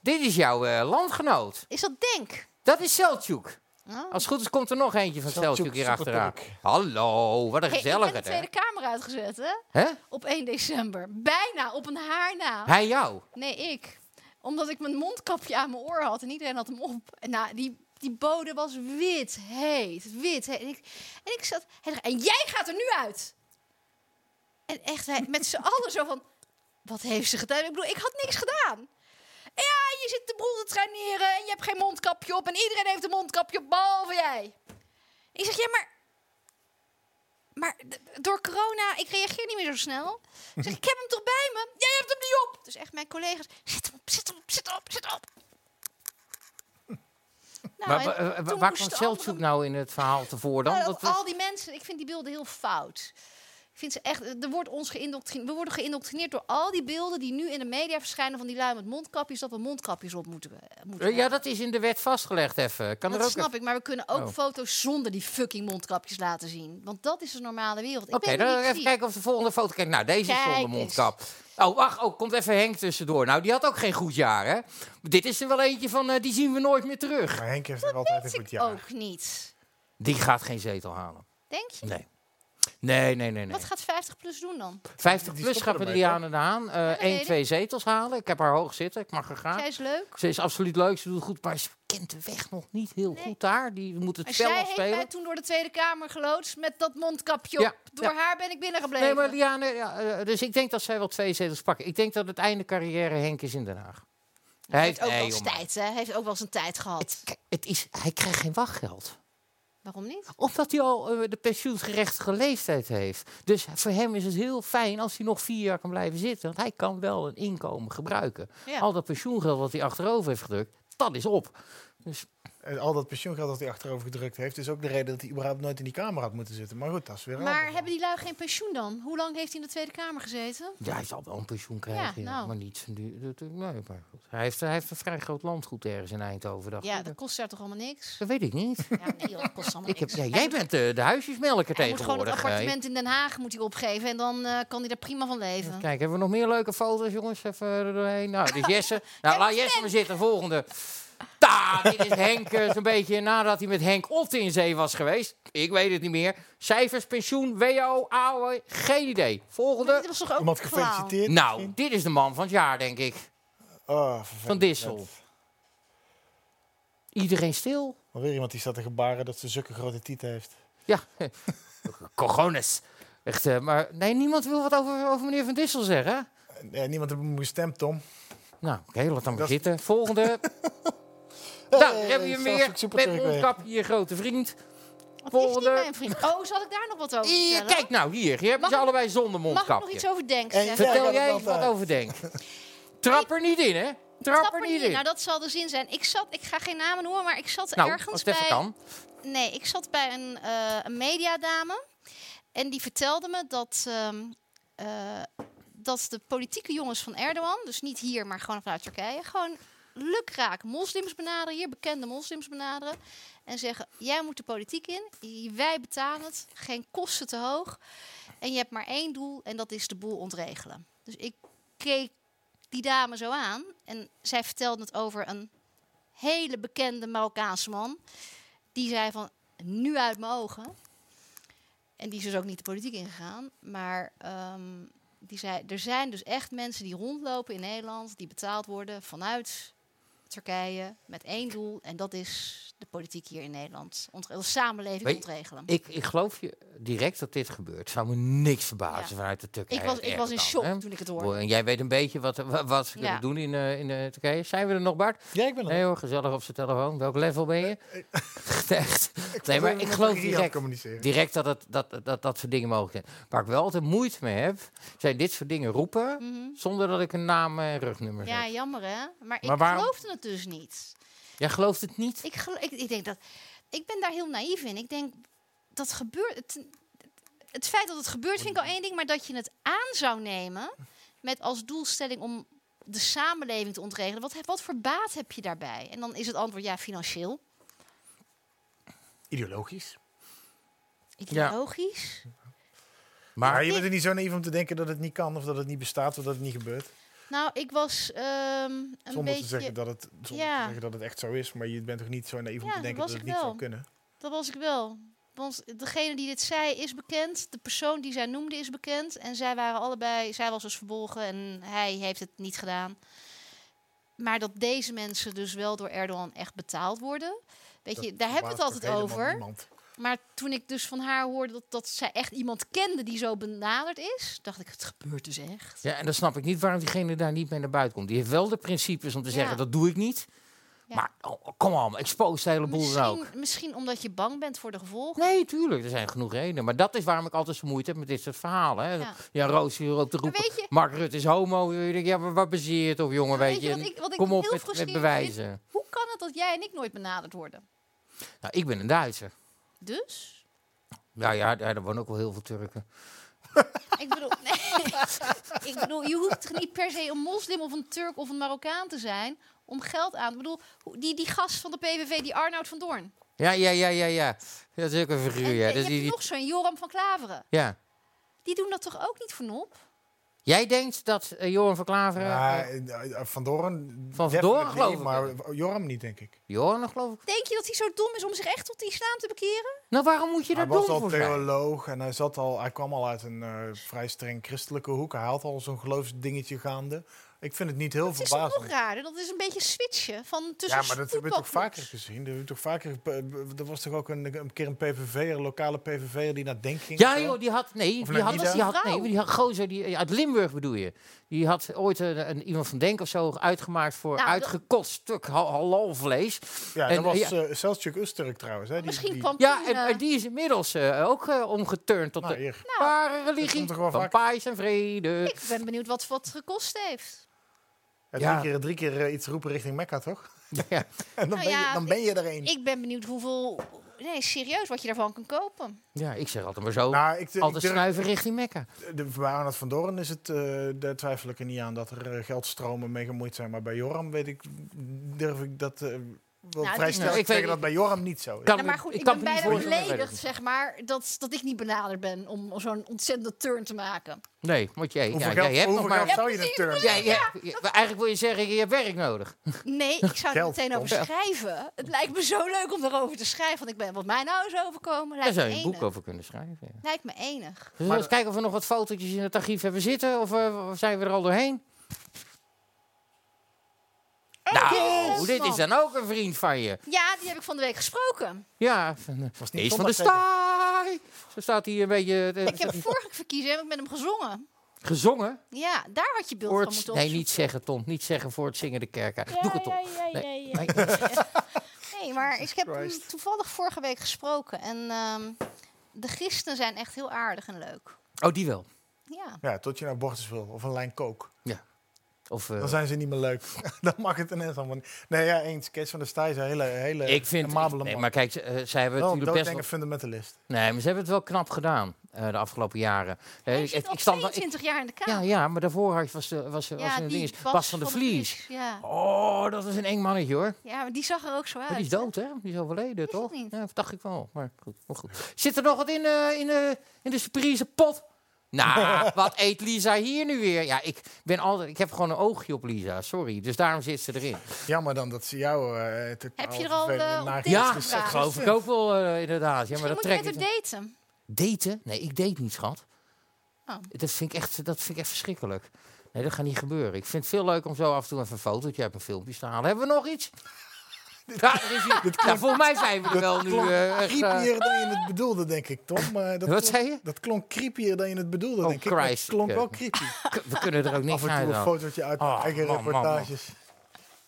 [SPEAKER 3] dit is jouw eh, landgenoot.
[SPEAKER 4] Is dat Denk?
[SPEAKER 3] Dat is Seltjuk.
[SPEAKER 4] Oh.
[SPEAKER 3] Als het goed is komt er nog eentje van Steltjoek hier achteraan. Hallo, wat een
[SPEAKER 4] Hey, ik ben de
[SPEAKER 3] gezelligheid, hè?
[SPEAKER 4] Tweede Kamer uitgezet, hè?
[SPEAKER 3] Hè?
[SPEAKER 4] Op 1 december. Bijna, op een haar na.
[SPEAKER 3] Hij jou.
[SPEAKER 4] Nee, ik. Omdat ik mijn mondkapje aan mijn oor had en iedereen had hem op. En Nou, die, die bode was wit, heet, wit, heet. En ik, en ik zat, hij dacht, en jij gaat er nu uit! En echt, wij met z'n allen zo van, wat heeft ze gedaan? Ik bedoel, ik had niks gedaan. Ja, je zit de boel te traineren en je hebt geen mondkapje op. En iedereen heeft een mondkapje op, behalve jij. Ik zeg, ja, maar... Maar d- door corona, ik reageer niet meer zo snel. Ik zeg, ik heb hem toch bij me? Jij hebt hem niet op! Dus echt mijn collega's, zet hem op, zet hem op, zet hem op, zet hem op. Nou,
[SPEAKER 3] Maar,
[SPEAKER 4] en
[SPEAKER 3] wa- wa-
[SPEAKER 4] toen
[SPEAKER 3] waar
[SPEAKER 4] moesten
[SPEAKER 3] kwam
[SPEAKER 4] anderen-
[SPEAKER 3] Steltjoek nou in het verhaal tevoren dan?
[SPEAKER 4] nou,
[SPEAKER 3] Dat-
[SPEAKER 4] al die mensen, ik vind die beelden heel fout. Ik vind ze echt, er wordt ons geïndoctrineerd. We worden geïndoctrineerd door al die beelden die nu in de media verschijnen van die lui met mondkapjes, dat we mondkapjes op moeten. eh, moeten
[SPEAKER 3] ja,
[SPEAKER 4] hebben.
[SPEAKER 3] dat is in de wet vastgelegd even. Kan er
[SPEAKER 4] dat
[SPEAKER 3] ook
[SPEAKER 4] snap
[SPEAKER 3] even-
[SPEAKER 4] ik, maar we kunnen ook
[SPEAKER 3] Oh.
[SPEAKER 4] foto's zonder die fucking mondkapjes laten zien. Want dat is de normale wereld. Ik
[SPEAKER 3] Oké,
[SPEAKER 4] ben
[SPEAKER 3] dan
[SPEAKER 4] niet
[SPEAKER 3] even kijken of de volgende foto... Kijk, nou, deze is
[SPEAKER 4] Kijk
[SPEAKER 3] zonder
[SPEAKER 4] eens.
[SPEAKER 3] mondkap. Oh, wacht, oh, komt even Henk tussendoor. Nou, die had ook geen goed jaar, hè? Dit is er wel eentje van, eh, die zien we nooit meer terug.
[SPEAKER 5] Maar Henk heeft er altijd een
[SPEAKER 4] weet
[SPEAKER 5] goed
[SPEAKER 4] ik
[SPEAKER 5] jaar.
[SPEAKER 4] ook niet.
[SPEAKER 3] Die gaat geen zetel halen.
[SPEAKER 4] Denk je?
[SPEAKER 3] Nee. Nee, nee, nee, nee.
[SPEAKER 4] Wat gaat 50 plus doen dan?
[SPEAKER 3] 50
[SPEAKER 5] Die
[SPEAKER 3] plus
[SPEAKER 5] stoppen
[SPEAKER 3] gaat met
[SPEAKER 5] ermee, toch?
[SPEAKER 3] Liane de Haan. eh
[SPEAKER 4] dat weet
[SPEAKER 3] één,
[SPEAKER 4] ik.
[SPEAKER 3] twee zetels halen. Ik heb haar hoog zitten. Ik mag er gaan.
[SPEAKER 4] Zij is leuk.
[SPEAKER 3] Ze is absoluut leuk. Ze doet het goed. Maar ze kent de weg nog niet heel
[SPEAKER 4] Nee.
[SPEAKER 3] goed daar. Die moet het
[SPEAKER 4] Maar
[SPEAKER 3] spel
[SPEAKER 4] zij
[SPEAKER 3] nog
[SPEAKER 4] heeft mij
[SPEAKER 3] spelen.
[SPEAKER 4] toen door de Tweede Kamer geloodst met dat mondkapje op.
[SPEAKER 3] Ja,
[SPEAKER 4] Door
[SPEAKER 3] ja.
[SPEAKER 4] haar ben ik binnengebleven.
[SPEAKER 3] Nee, maar Liane... Ja, eh, dus ik denk dat zij wel twee zetels pakken. Ik denk dat het einde carrière Henk is in Den Haag. Hij
[SPEAKER 4] Hij heeft ook
[SPEAKER 3] nee,
[SPEAKER 4] wel eens
[SPEAKER 3] jongen.
[SPEAKER 4] tijd, hè? Hij heeft ook wel eens een tijd gehad.
[SPEAKER 3] Kijk, het is, hij krijgt geen wachtgeld.
[SPEAKER 4] Waarom niet?
[SPEAKER 3] Omdat hij al eh, de pensioengerechtige leeftijd heeft. Dus voor hem is het heel fijn als hij nog vier jaar kan blijven zitten. Want hij kan wel een inkomen gebruiken.
[SPEAKER 4] Ja.
[SPEAKER 3] Al dat pensioengeld wat hij achterover heeft gedrukt, dat is op. Dus
[SPEAKER 5] En al dat pensioengeld dat hij achterover gedrukt heeft, is ook de reden dat hij überhaupt nooit in die kamer had moeten zitten. Maar goed, dat is weer een
[SPEAKER 4] Maar
[SPEAKER 5] ander
[SPEAKER 4] hebben die lui geen pensioen dan? Hoe lang heeft hij in de Tweede Kamer gezeten?
[SPEAKER 3] ja, hij zal wel een pensioen krijgen, ja,
[SPEAKER 4] nou.
[SPEAKER 3] maar niet. zo duur. Dat- dat- Nee, maar goed. hij, heeft, hij heeft een vrij groot landgoed ergens in Eindhoven. dacht
[SPEAKER 4] Ja,
[SPEAKER 3] ik.
[SPEAKER 4] dat kost daar toch allemaal niks?
[SPEAKER 3] dat weet ik niet.
[SPEAKER 4] (laughs) Ja, nee, joh, dat kost allemaal
[SPEAKER 3] Ik heb,
[SPEAKER 4] niks.
[SPEAKER 3] ja, jij bent de, de huisjesmelker
[SPEAKER 4] Hij moet gewoon het
[SPEAKER 3] tegenwoordig. hè.
[SPEAKER 4] appartement in Den Haag moet hij opgeven en dan eh, kan hij daar prima van leven.
[SPEAKER 3] Kijk, hebben we nog meer leuke foto's, jongens? Even er doorheen. Nou, dit is
[SPEAKER 4] (laughs)
[SPEAKER 3] Jesse. Nou, laat Jesse maar zitten. Volgende. Ta, dit is Henk. eh, Zo'n beetje nadat hij met Henk Otte in zee was geweest. Ik weet het niet meer. Cijfers, pensioen, WO, AOW. Geen idee.
[SPEAKER 4] Maar dit
[SPEAKER 3] Volgende.
[SPEAKER 4] was toch ook
[SPEAKER 5] Iemand
[SPEAKER 4] een verhaal?
[SPEAKER 5] gefeliciteerd.
[SPEAKER 3] Nou, dit is de man van het jaar, denk ik.
[SPEAKER 5] Oh, vervelend.
[SPEAKER 3] Van Dissel. Iedereen stil.
[SPEAKER 5] Maar weer iemand die staat te gebaren dat ze zulke grote tieten heeft.
[SPEAKER 3] Ja. (laughs) Cojones. Echt, eh, maar nee, niemand wil wat over, over meneer Van Dissel zeggen. hè?
[SPEAKER 5] Eh, niemand heeft hem gestemd, Tom.
[SPEAKER 3] Nou, oké, laat dan maar
[SPEAKER 5] Dat-
[SPEAKER 3] zitten.
[SPEAKER 5] (laughs)
[SPEAKER 3] Volgende. Nou,
[SPEAKER 5] Hey,
[SPEAKER 3] daar hebben we je
[SPEAKER 5] zelfs
[SPEAKER 3] meer.
[SPEAKER 5] ook super
[SPEAKER 3] Met
[SPEAKER 5] terug weer.
[SPEAKER 3] mondkap, je grote vriend.
[SPEAKER 4] Wat heeft die
[SPEAKER 3] Volgende.
[SPEAKER 4] mijn vriend? Oh, zal ik daar nog wat over
[SPEAKER 3] Hier,
[SPEAKER 4] vertellen?
[SPEAKER 3] kijk nou, hier. Je hebt
[SPEAKER 4] Mag
[SPEAKER 3] ze
[SPEAKER 4] ik-
[SPEAKER 3] allebei zonder
[SPEAKER 4] Mag ik nog
[SPEAKER 3] mondkapje.
[SPEAKER 4] iets over Denk
[SPEAKER 5] En-
[SPEAKER 4] zeggen?
[SPEAKER 5] Ja, ik
[SPEAKER 3] Vertel
[SPEAKER 5] had
[SPEAKER 3] jij
[SPEAKER 5] het eh.
[SPEAKER 3] eens wat
[SPEAKER 5] altijd.
[SPEAKER 3] over
[SPEAKER 5] (laughs)
[SPEAKER 3] Denk. Trap er niet in, hè? Trap er niet in.
[SPEAKER 4] Nou, dat zal de zin zijn. Ik zat, ik ga geen namen noemen, maar ik zat
[SPEAKER 3] Nou, als
[SPEAKER 4] ergens
[SPEAKER 3] het even
[SPEAKER 4] bij...
[SPEAKER 3] kan.
[SPEAKER 4] Nee, ik zat bij een, eh, een mediadame. En die vertelde me dat, ehm, eh, dat de politieke jongens van Erdogan, dus niet hier, maar gewoon vanuit Turkije, gewoon lukraak moslims benaderen, hier bekende moslims benaderen. En zeggen: Jij moet de politiek in, j- wij betalen het, geen kosten te hoog. En je hebt maar één doel en dat is de boel ontregelen. Dus ik keek die dame zo aan en zij vertelde het over een hele bekende Marokkaanse man die zei van nu uit mijn ogen. En die is dus ook niet de politiek ingegaan. Maar ehm, die zei, er zijn dus echt mensen die rondlopen in Nederland, die betaald worden vanuit Turkije met één doel. En dat is de politiek hier in Nederland. Ontre- de samenleving
[SPEAKER 3] Weet-
[SPEAKER 4] ontregelen. Ik,
[SPEAKER 3] Ik, ik geloof je direct dat dit gebeurt. Zou me niks verbazen
[SPEAKER 4] Ja.
[SPEAKER 3] vanuit de Turkije.
[SPEAKER 4] was, ik was in shock
[SPEAKER 3] Erdogan, hè?
[SPEAKER 4] toen ik het hoorde.
[SPEAKER 3] En jij weet een beetje wat, wa- wat ze kunnen
[SPEAKER 4] Ja.
[SPEAKER 3] doen in, eh, in eh, Turkije. Zijn we er nog, Bart?
[SPEAKER 5] Ja, ik ben er.
[SPEAKER 3] Nee hoor, gezellig op zijn telefoon. Welk level ben je? (laughs) Echt. Nee, maar
[SPEAKER 5] wil
[SPEAKER 3] ik
[SPEAKER 5] met
[SPEAKER 3] geloof
[SPEAKER 5] Maria
[SPEAKER 3] direct,
[SPEAKER 5] communiceren.
[SPEAKER 3] direct dat, het, dat, dat dat soort dingen mogelijk zijn. Waar ik wel altijd moeite mee heb, zijn dit soort dingen roepen...
[SPEAKER 4] Mhm.
[SPEAKER 3] zonder dat ik een naam en rugnummer
[SPEAKER 4] Ja,
[SPEAKER 3] heb.
[SPEAKER 4] jammer hè. Maar,
[SPEAKER 3] Maar
[SPEAKER 4] ik
[SPEAKER 3] waarom-
[SPEAKER 4] geloofde het dus niet.
[SPEAKER 3] Jij gelooft het niet?
[SPEAKER 4] Ik, gelo- ik, ik denk dat. Ik ben daar heel naïef in. Ik denk dat gebeurt. Het, het feit dat het gebeurt vind ik al één ding, maar dat je het aan zou nemen met als doelstelling om de samenleving te ontregelen. Wat, heb- wat voor baat heb je daarbij? En dan is het antwoord ja, financieel,
[SPEAKER 5] Ideologisch.
[SPEAKER 4] ideologisch.
[SPEAKER 5] Maar
[SPEAKER 3] Maar
[SPEAKER 5] je bent er niet zo naïef om te denken dat het niet kan of dat het niet bestaat of dat het niet gebeurt.
[SPEAKER 4] Nou, ik was ehm, een
[SPEAKER 5] Zonder
[SPEAKER 4] beetje...
[SPEAKER 5] te zeggen dat het, zonder
[SPEAKER 4] ja.
[SPEAKER 5] te zeggen dat het echt zo is, maar je bent toch niet zo naïef om
[SPEAKER 4] Ja,
[SPEAKER 5] te
[SPEAKER 4] dat
[SPEAKER 5] denken
[SPEAKER 4] was
[SPEAKER 5] dat het
[SPEAKER 4] ik
[SPEAKER 5] niet
[SPEAKER 4] wel.
[SPEAKER 5] zou kunnen.
[SPEAKER 4] Dat was ik wel. Want degene die dit zei is bekend. De persoon die zij noemde is bekend. En zij waren allebei... Zij was dus verbolgen en hij heeft het niet gedaan. Maar dat deze mensen dus wel door Erdogan echt betaald worden... Weet je,
[SPEAKER 5] Dat
[SPEAKER 4] daar hebben we het
[SPEAKER 5] verbaast
[SPEAKER 4] altijd
[SPEAKER 5] toch helemaal
[SPEAKER 4] over.
[SPEAKER 5] niemand.
[SPEAKER 4] Maar toen ik dus van haar hoorde dat, dat zij echt iemand kende die zo benaderd is... dacht ik, het gebeurt dus echt.
[SPEAKER 3] Ja, en dan snap ik niet waarom diegene daar niet mee naar buiten komt. Die heeft wel de principes om te zeggen,
[SPEAKER 4] Ja.
[SPEAKER 3] dat doe ik niet.
[SPEAKER 4] Ja.
[SPEAKER 3] Maar, oh, kom on, expose de hele boel dan ook.
[SPEAKER 4] Misschien, misschien omdat je bang bent voor de gevolgen.
[SPEAKER 3] Nee, tuurlijk, er zijn genoeg redenen. Maar dat is waarom ik altijd zo moeite heb met dit soort verhalen. Hè. Ja,
[SPEAKER 4] Ja.
[SPEAKER 3] Roos hier op de
[SPEAKER 4] Maar
[SPEAKER 3] roepen.
[SPEAKER 4] weet je,
[SPEAKER 3] Mark Rutte is homo. Je denkt, Ja, maar waar baseer je het op, jongen?
[SPEAKER 4] Maar
[SPEAKER 3] Weet je,
[SPEAKER 4] wat
[SPEAKER 3] En
[SPEAKER 4] ik, wat ik
[SPEAKER 3] kom op
[SPEAKER 4] heel
[SPEAKER 3] met- met,
[SPEAKER 4] frustrerend
[SPEAKER 3] bewijzen.
[SPEAKER 4] vind? Hoe kan het dat jij en ik nooit benaderd worden?
[SPEAKER 3] Nou, ik ben een Duitser.
[SPEAKER 4] Dus?
[SPEAKER 3] Nou ja, daar daar wonen ook wel heel veel Turken.
[SPEAKER 4] ik, bedoel, (laughs) nee, ik bedoel, je hoeft toch niet per se een moslim of een Turk of een Marokkaan te zijn om geld aan. Ik bedoel, hoe- die, die gast van de PVV, die Arnoud van Doorn.
[SPEAKER 3] Ja, ja, ja, ja, ja. Dat is ook een
[SPEAKER 4] en,
[SPEAKER 3] figuur, ja.
[SPEAKER 4] en
[SPEAKER 3] Dus
[SPEAKER 4] je
[SPEAKER 3] die,
[SPEAKER 4] hebt
[SPEAKER 3] die-
[SPEAKER 4] nog zo'n Joram van Klaveren.
[SPEAKER 3] ja.
[SPEAKER 4] Die doen dat toch ook niet voor nop?
[SPEAKER 3] Jij denkt dat eh, Joran van Klaveren...
[SPEAKER 5] Ja,
[SPEAKER 3] eh,
[SPEAKER 5] eh, eh, van Doren.
[SPEAKER 3] Van Van Doren
[SPEAKER 5] definitely,
[SPEAKER 3] geloof ik.
[SPEAKER 5] Maar Joram niet, denk ik.
[SPEAKER 3] Joran, geloof ik.
[SPEAKER 4] Denk je dat hij zo dom is om zich echt tot de islam te bekeren?
[SPEAKER 3] Nou, waarom moet je
[SPEAKER 5] hij
[SPEAKER 3] daar dom
[SPEAKER 5] was al
[SPEAKER 3] voor zijn?
[SPEAKER 5] theoloog en hij, zat al, hij kwam al uit een eh, vrij streng christelijke hoek. Hij had al zo'n geloofsdingetje gaande. Ik vind het niet heel
[SPEAKER 4] Het is toch nog
[SPEAKER 5] verbazend.
[SPEAKER 4] raarder? Dat is een beetje switchen van tussen
[SPEAKER 5] Ja, maar dat heb je toch
[SPEAKER 4] voetbalclubs.
[SPEAKER 5] vaker gezien? Dat heb je toch vaker, eh, er was toch ook een, een keer een PVV'er, een lokale PVV'er die naar Denk ging?
[SPEAKER 3] Ja,
[SPEAKER 5] of zo?
[SPEAKER 3] joh, die had. Nee,
[SPEAKER 5] Of
[SPEAKER 3] die had,
[SPEAKER 5] Legida?
[SPEAKER 3] die had.
[SPEAKER 4] Vrouw.
[SPEAKER 3] Nee, die had gozer die, uit Limburg bedoel je. Die had ooit een, een- iemand van Denk of zo uitgemaakt voor
[SPEAKER 4] Nou, dat-
[SPEAKER 3] uitgekotst stuk hal- halalvlees.
[SPEAKER 5] Ja,
[SPEAKER 3] En,
[SPEAKER 5] dat was
[SPEAKER 3] ja.
[SPEAKER 5] eh Selçuk Öztürk trouwens. Hè? Die,
[SPEAKER 4] Misschien
[SPEAKER 5] die,
[SPEAKER 4] kwam
[SPEAKER 3] Ja,
[SPEAKER 4] toen,
[SPEAKER 3] en,
[SPEAKER 4] eh,
[SPEAKER 3] en die is inmiddels eh, ook eh, omgeturnd tot
[SPEAKER 5] Nou,
[SPEAKER 3] de
[SPEAKER 5] hier.
[SPEAKER 3] ware
[SPEAKER 5] Dat
[SPEAKER 3] religie
[SPEAKER 5] komt toch wel
[SPEAKER 3] van
[SPEAKER 5] vaak.
[SPEAKER 3] paais en vrede. (laughs)
[SPEAKER 4] Ik ben benieuwd wat wat het gekost heeft.
[SPEAKER 5] Ja,
[SPEAKER 3] Ja.
[SPEAKER 5] Drie keer, drie keer eh, iets roepen richting Mekka, toch? (laughs)
[SPEAKER 3] Ja.
[SPEAKER 5] En dan,
[SPEAKER 4] Nou
[SPEAKER 5] ben,
[SPEAKER 4] ja,
[SPEAKER 5] je, dan ben je er een.
[SPEAKER 4] Ik ben benieuwd hoeveel. Nee, serieus, wat je daarvan kan kopen.
[SPEAKER 3] ja, ik zeg altijd maar zo.
[SPEAKER 5] Nou, ik, ik
[SPEAKER 3] altijd
[SPEAKER 5] durf-
[SPEAKER 3] schuiven richting Mekka.
[SPEAKER 5] De, bij Arnold van Doorn is het, eh, daar twijfel ik er niet aan dat er eh, geldstromen mee gemoeid zijn. Maar bij Joram weet ik, durf ik dat eh, wel
[SPEAKER 4] het
[SPEAKER 5] vrij
[SPEAKER 4] is-
[SPEAKER 5] snel
[SPEAKER 3] Nou,
[SPEAKER 5] te
[SPEAKER 3] ik
[SPEAKER 5] zeggen
[SPEAKER 3] weet-
[SPEAKER 5] dat bij Joram niet zo is.
[SPEAKER 3] Kan
[SPEAKER 4] Ja,
[SPEAKER 3] me-
[SPEAKER 4] maar goed, ik,
[SPEAKER 3] kan
[SPEAKER 4] ben
[SPEAKER 3] me niet
[SPEAKER 4] bijna
[SPEAKER 3] voorstellen.
[SPEAKER 4] beledigd, zeg maar, dat, dat ik niet benaderd ben om zo'n ontzettende turn te maken.
[SPEAKER 3] Nee, want jij,
[SPEAKER 5] Hoeveel
[SPEAKER 3] ja,
[SPEAKER 5] geld,
[SPEAKER 3] jij hebt nog
[SPEAKER 5] hoeveel
[SPEAKER 3] maar...
[SPEAKER 5] geld zou je een turn?
[SPEAKER 3] Jij- jij- eigenlijk wil je zeggen, je hebt werk nodig.
[SPEAKER 4] Nee, ik zou er
[SPEAKER 5] Geld,
[SPEAKER 4] meteen over
[SPEAKER 3] Tom.
[SPEAKER 4] schrijven. Het lijkt me zo leuk om erover te schrijven, want ik ben wat mij nou is overkomen.
[SPEAKER 3] Daar
[SPEAKER 4] Lijkt
[SPEAKER 3] zou
[SPEAKER 4] me
[SPEAKER 3] je een boek
[SPEAKER 4] enig.
[SPEAKER 3] over kunnen schrijven. ja.
[SPEAKER 4] Lijkt me enig.
[SPEAKER 3] Zullen we eens kijken of we nog wat fotootjes in het archief hebben zitten? Of, eh, of zijn we er al doorheen? nou,
[SPEAKER 5] Nou,
[SPEAKER 4] yes,
[SPEAKER 3] oh, dit
[SPEAKER 4] man.
[SPEAKER 3] is dan ook een vriend van je.
[SPEAKER 4] Ja, die heb ik van de week gesproken.
[SPEAKER 3] Ja, van,
[SPEAKER 5] Was niet
[SPEAKER 3] is van de
[SPEAKER 5] zondag zeker?
[SPEAKER 3] staai. Zo staat hij een beetje eh,
[SPEAKER 4] Ik heb vorige verkiezingen heb ik met hem gezongen.
[SPEAKER 3] gezongen.
[SPEAKER 4] Ja, daar had je beeld
[SPEAKER 3] Voor
[SPEAKER 4] van
[SPEAKER 3] het,
[SPEAKER 4] moeten
[SPEAKER 3] nee,
[SPEAKER 4] opzoeken.
[SPEAKER 3] niet zeggen, Tom. Niet zeggen voor het zingen de kerk. uit. Doe het, Tom.
[SPEAKER 2] ja,
[SPEAKER 3] Nee.
[SPEAKER 2] ja.
[SPEAKER 3] Nee.
[SPEAKER 4] Nee, maar ik heb hem
[SPEAKER 5] Christ.
[SPEAKER 4] toevallig vorige week gesproken. En ehm, de gisten zijn echt heel aardig en leuk.
[SPEAKER 3] Oh, die wel.
[SPEAKER 4] Ja.
[SPEAKER 5] Ja, tot je naar Bortes wil of een lijn kook.
[SPEAKER 3] Of, eh,
[SPEAKER 5] Dan zijn ze niet meer leuk. (laughs) dan mag het ineens allemaal niet. Nee, ja, eens. Kees van der Staaij is een hele, hele
[SPEAKER 3] ik vind...
[SPEAKER 5] amabele
[SPEAKER 3] nee,
[SPEAKER 5] man.
[SPEAKER 3] maar kijk, ze- eh, zij hebben
[SPEAKER 5] wel een
[SPEAKER 3] natuurlijk best...
[SPEAKER 5] dooddenker fundamentalist.
[SPEAKER 3] wel- Nee, maar ze hebben het wel knap gedaan eh, de afgelopen jaren. Eh,
[SPEAKER 4] Hij zit al
[SPEAKER 3] stand wel-
[SPEAKER 4] 22 jaar in de
[SPEAKER 3] ja,
[SPEAKER 4] kamer.
[SPEAKER 3] ja, maar daarvoor had- was, de- was, eh, was een ding. Bas, van de Vlies.
[SPEAKER 4] Ja.
[SPEAKER 3] Oh, dat is een eng mannetje hoor.
[SPEAKER 4] ja, maar die zag er ook zo uit.
[SPEAKER 3] Maar Oh, die is dood, hè? Die is overleden,
[SPEAKER 4] Is het
[SPEAKER 3] toch?
[SPEAKER 4] niet?
[SPEAKER 3] Ja, dat dacht ik wel. Maar goed, maar goed. Zit er nog wat in, eh, in, eh, in de surprise pot? Nou,
[SPEAKER 4] (laughs)
[SPEAKER 3] wat eet Lisa hier nu weer? Ja, ik, ben altijd, ik heb gewoon een oogje op Lisa, sorry. Dus daarom zit ze erin.
[SPEAKER 5] Jammer dan dat ze jou... eh totaal
[SPEAKER 4] Heb je er al,
[SPEAKER 5] vervelende
[SPEAKER 4] eh, op
[SPEAKER 5] nagels-
[SPEAKER 4] Dit is
[SPEAKER 3] Ja, dat
[SPEAKER 4] de vraag.
[SPEAKER 3] geloof ik ook wel, eh, inderdaad. Ja, maar
[SPEAKER 4] Misschien
[SPEAKER 3] dat
[SPEAKER 4] moet je
[SPEAKER 3] trekt
[SPEAKER 4] met haar
[SPEAKER 3] niet aan.
[SPEAKER 4] daten.
[SPEAKER 3] Daten? Nee, ik date niet, schat.
[SPEAKER 4] Oh.
[SPEAKER 3] Dat, vind ik echt, dat vind ik echt verschrikkelijk. Nee, dat gaat niet gebeuren. Ik vind het veel leuk om zo af en toe even een fotootje uit een filmpje te halen. Hebben we nog
[SPEAKER 4] (laughs)
[SPEAKER 3] iets? Ja, er is iets. Nou, volgens mij zijn we er wel nu.
[SPEAKER 5] klonk
[SPEAKER 3] eh, echt, eh,
[SPEAKER 5] creepier dan je het bedoelde, denk ik, Tom. Eh, dat
[SPEAKER 3] Wat
[SPEAKER 5] klonk-
[SPEAKER 3] zei je?
[SPEAKER 5] Dat klonk creepier dan je het bedoelde,
[SPEAKER 3] Oh,
[SPEAKER 5] denk ik. maar Het
[SPEAKER 3] Christ.
[SPEAKER 5] klonk wel
[SPEAKER 3] Ja. (laughs)
[SPEAKER 5] creepy.
[SPEAKER 3] K- We kunnen er ook
[SPEAKER 5] Af
[SPEAKER 3] niks
[SPEAKER 5] en
[SPEAKER 3] uit
[SPEAKER 5] toe een
[SPEAKER 3] halen.
[SPEAKER 5] fotootje uit
[SPEAKER 3] Oh,
[SPEAKER 5] eigen
[SPEAKER 3] man, man, man.
[SPEAKER 5] reportages.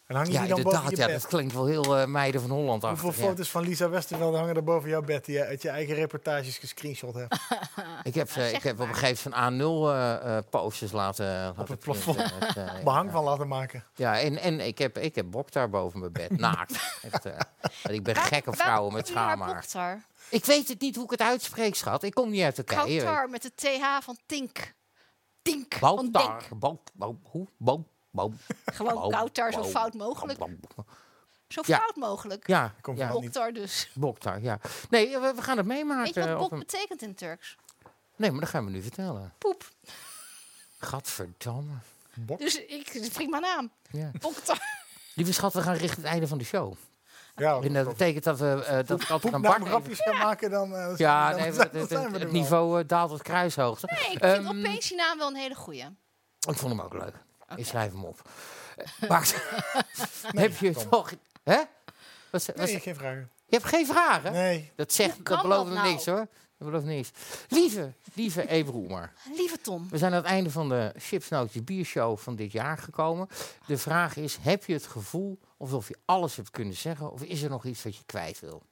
[SPEAKER 5] En hang je
[SPEAKER 3] Ja,
[SPEAKER 5] die dan boven
[SPEAKER 3] inderdaad.
[SPEAKER 5] je
[SPEAKER 3] Ja,
[SPEAKER 5] bed?
[SPEAKER 3] dat klinkt wel heel eh, meiden van Holland af.
[SPEAKER 5] Hoeveel foto's van Lisa Westerveld hangen er boven jouw bed die je uit je eigen reportages gescreenshot hebt?
[SPEAKER 3] Ik heb, eh,
[SPEAKER 4] zeg
[SPEAKER 3] ik heb op
[SPEAKER 4] maar.
[SPEAKER 3] een gegeven moment A0 eh, eh, posters laten... laten
[SPEAKER 5] het
[SPEAKER 3] printen. Het,
[SPEAKER 5] (laughs)
[SPEAKER 3] eh,
[SPEAKER 5] Behang
[SPEAKER 3] ja.
[SPEAKER 5] van laten maken.
[SPEAKER 3] Ja, en, en ik, heb, ik heb Bok daar boven mijn
[SPEAKER 5] (laughs)
[SPEAKER 3] bed, naakt. Echt, eh, want ik ben
[SPEAKER 4] Waar-
[SPEAKER 3] gek op
[SPEAKER 4] waarom
[SPEAKER 3] vrouwen met
[SPEAKER 4] noemen jullie haar
[SPEAKER 3] schaamhaar.
[SPEAKER 4] Boktar?
[SPEAKER 3] Ik weet het niet hoe ik het uitspreek, schat. Ik kom niet uit Turkije. je weet.
[SPEAKER 4] Kautar met de TH van Tink. Tink van
[SPEAKER 3] Bautar.
[SPEAKER 4] Denk.
[SPEAKER 3] Bau- bau- hoe? Bau- bau-
[SPEAKER 4] Gewoon
[SPEAKER 3] bau-
[SPEAKER 4] Kautar, zo
[SPEAKER 3] bau-
[SPEAKER 4] fout mogelijk.
[SPEAKER 3] bau- bau-
[SPEAKER 4] Zo
[SPEAKER 3] Ja.
[SPEAKER 4] fout mogelijk.
[SPEAKER 3] Ja,
[SPEAKER 5] Komt
[SPEAKER 3] ja.
[SPEAKER 5] van- niet.
[SPEAKER 4] Boktar dus.
[SPEAKER 3] Boktar, ja. Nee, we, we gaan het meemaken.
[SPEAKER 4] Weet je wat
[SPEAKER 3] eh, op
[SPEAKER 4] bok
[SPEAKER 3] een-
[SPEAKER 4] betekent in Turks?
[SPEAKER 3] Nee, maar dat gaan we nu vertellen.
[SPEAKER 4] Poep.
[SPEAKER 3] Gadverdamme.
[SPEAKER 5] Bok.
[SPEAKER 4] Dus ik vring mijn naam.
[SPEAKER 3] Ja.
[SPEAKER 4] Boktar. (laughs)
[SPEAKER 3] Lieve schat, we gaan richting het einde van de show.
[SPEAKER 5] Ja,
[SPEAKER 3] En dat betekent dat we eh, dat ik altijd een
[SPEAKER 5] nou,
[SPEAKER 3] bak
[SPEAKER 5] grapjes gaan maken, dan, eh,
[SPEAKER 3] Ja,
[SPEAKER 5] dan
[SPEAKER 3] nee,
[SPEAKER 5] (laughs) zijn-
[SPEAKER 3] het,
[SPEAKER 5] dan
[SPEAKER 3] het-
[SPEAKER 5] zijn we
[SPEAKER 3] het-
[SPEAKER 5] er
[SPEAKER 3] het
[SPEAKER 5] wel.
[SPEAKER 3] niveau eh, daalt tot kruishoogte.
[SPEAKER 4] Nee, ik vind
[SPEAKER 3] Ehm,
[SPEAKER 4] opeens die naam wel een hele goeie.
[SPEAKER 3] ik vond hem ook leuk. Ik schrijf hem
[SPEAKER 4] (laughs)
[SPEAKER 3] op. Eh, Maar heb je toch... Hè? Wat, ze- wat
[SPEAKER 5] Nee,
[SPEAKER 3] ze-
[SPEAKER 5] geen vragen.
[SPEAKER 3] je hebt geen vragen?
[SPEAKER 5] Nee.
[SPEAKER 3] Dat, zegt,
[SPEAKER 4] kan
[SPEAKER 3] dat belooft
[SPEAKER 4] dat
[SPEAKER 3] me
[SPEAKER 4] nou?
[SPEAKER 3] niks hoor. Dat belooft niks. Lieve, lieve Ebroemer.
[SPEAKER 4] Lieve Tom.
[SPEAKER 3] We zijn aan het einde van de Chipsnootjes Biershow van dit jaar gekomen. De vraag is, heb je het gevoel alsof je alles hebt kunnen zeggen? Of is er nog iets wat je kwijt wil?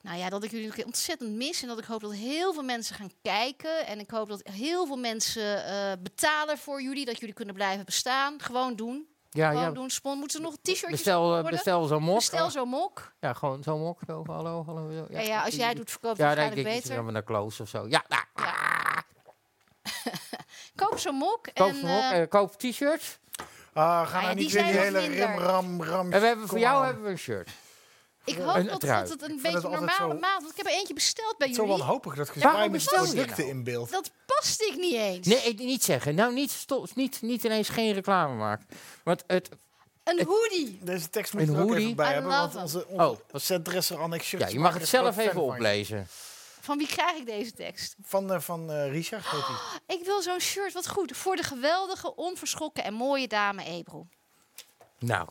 [SPEAKER 4] Nou ja, dat ik jullie natuurlijk ontzettend mis. En dat ik hoop dat heel veel mensen gaan kijken. En ik hoop dat heel veel mensen eh, betalen voor jullie. Dat jullie kunnen blijven bestaan. Gewoon doen.
[SPEAKER 3] Ja,
[SPEAKER 4] Gewoon
[SPEAKER 3] ja.
[SPEAKER 4] doen. Spon. Moeten er nog t-shirtjes
[SPEAKER 3] Bestel, eh,
[SPEAKER 4] worden?
[SPEAKER 3] bestel zo'n mok.
[SPEAKER 4] Bestel zo'n mok.
[SPEAKER 3] Ja, gewoon zo'n mok. Zo, hallo, hallo.
[SPEAKER 4] Ja, ja, als jij het doet, verkoop je
[SPEAKER 3] Ja, dan denk ik
[SPEAKER 4] waarschijnlijk
[SPEAKER 3] beter.
[SPEAKER 4] beter.
[SPEAKER 3] naar Kloos of zo. Ja, nou,
[SPEAKER 4] Koop zo'n mok.
[SPEAKER 3] koop,
[SPEAKER 4] en,
[SPEAKER 3] zo'n mok,
[SPEAKER 4] eh,
[SPEAKER 3] eh, koop t-shirts.
[SPEAKER 5] Ah,
[SPEAKER 4] ja,
[SPEAKER 5] ga nou
[SPEAKER 4] die
[SPEAKER 5] niet weer
[SPEAKER 4] zijn
[SPEAKER 5] die
[SPEAKER 4] nog
[SPEAKER 5] hele
[SPEAKER 4] minder.
[SPEAKER 5] rim, ram, ram.
[SPEAKER 3] En we hebben, voor
[SPEAKER 5] kom
[SPEAKER 3] jou
[SPEAKER 5] aan.
[SPEAKER 3] hebben we een shirt.
[SPEAKER 4] ik hoop
[SPEAKER 3] een
[SPEAKER 4] dat,
[SPEAKER 3] trui.
[SPEAKER 4] dat het een
[SPEAKER 5] vind
[SPEAKER 4] beetje
[SPEAKER 5] het altijd
[SPEAKER 4] normale
[SPEAKER 5] zo-
[SPEAKER 4] maat... Want ik heb er eentje besteld bij
[SPEAKER 5] Het is zo
[SPEAKER 4] jullie.
[SPEAKER 5] wanhopig dat
[SPEAKER 3] Waarom
[SPEAKER 5] gezwaai met
[SPEAKER 3] bestel je
[SPEAKER 5] producten
[SPEAKER 3] nou?
[SPEAKER 5] in beeld.
[SPEAKER 4] Dat paste ik niet eens.
[SPEAKER 3] Nee, ik- niet zeggen. Nou, niet, stop, niet, niet ineens geen reclame maken. Want het...
[SPEAKER 4] Een hoodie.
[SPEAKER 5] Deze tekst moet
[SPEAKER 3] Een
[SPEAKER 5] je er ook
[SPEAKER 3] hoodie.
[SPEAKER 5] even bij
[SPEAKER 4] I
[SPEAKER 5] hebben,
[SPEAKER 4] love
[SPEAKER 5] want
[SPEAKER 4] them.
[SPEAKER 5] onze,
[SPEAKER 3] Oh,
[SPEAKER 5] onze setdresser Annex Shirts
[SPEAKER 3] Ja, je mag
[SPEAKER 5] maakt
[SPEAKER 3] het
[SPEAKER 5] er een
[SPEAKER 3] zelf
[SPEAKER 5] groot
[SPEAKER 3] even
[SPEAKER 5] fan van.
[SPEAKER 3] oplezen.
[SPEAKER 4] Van wie krijg ik deze tekst?
[SPEAKER 5] Van, eh, van eh, Richard heet die.
[SPEAKER 4] Ik wil zo'n shirt. Wat goed. Voor de geweldige, onverschrokken en mooie dame Ebro.
[SPEAKER 3] Nou.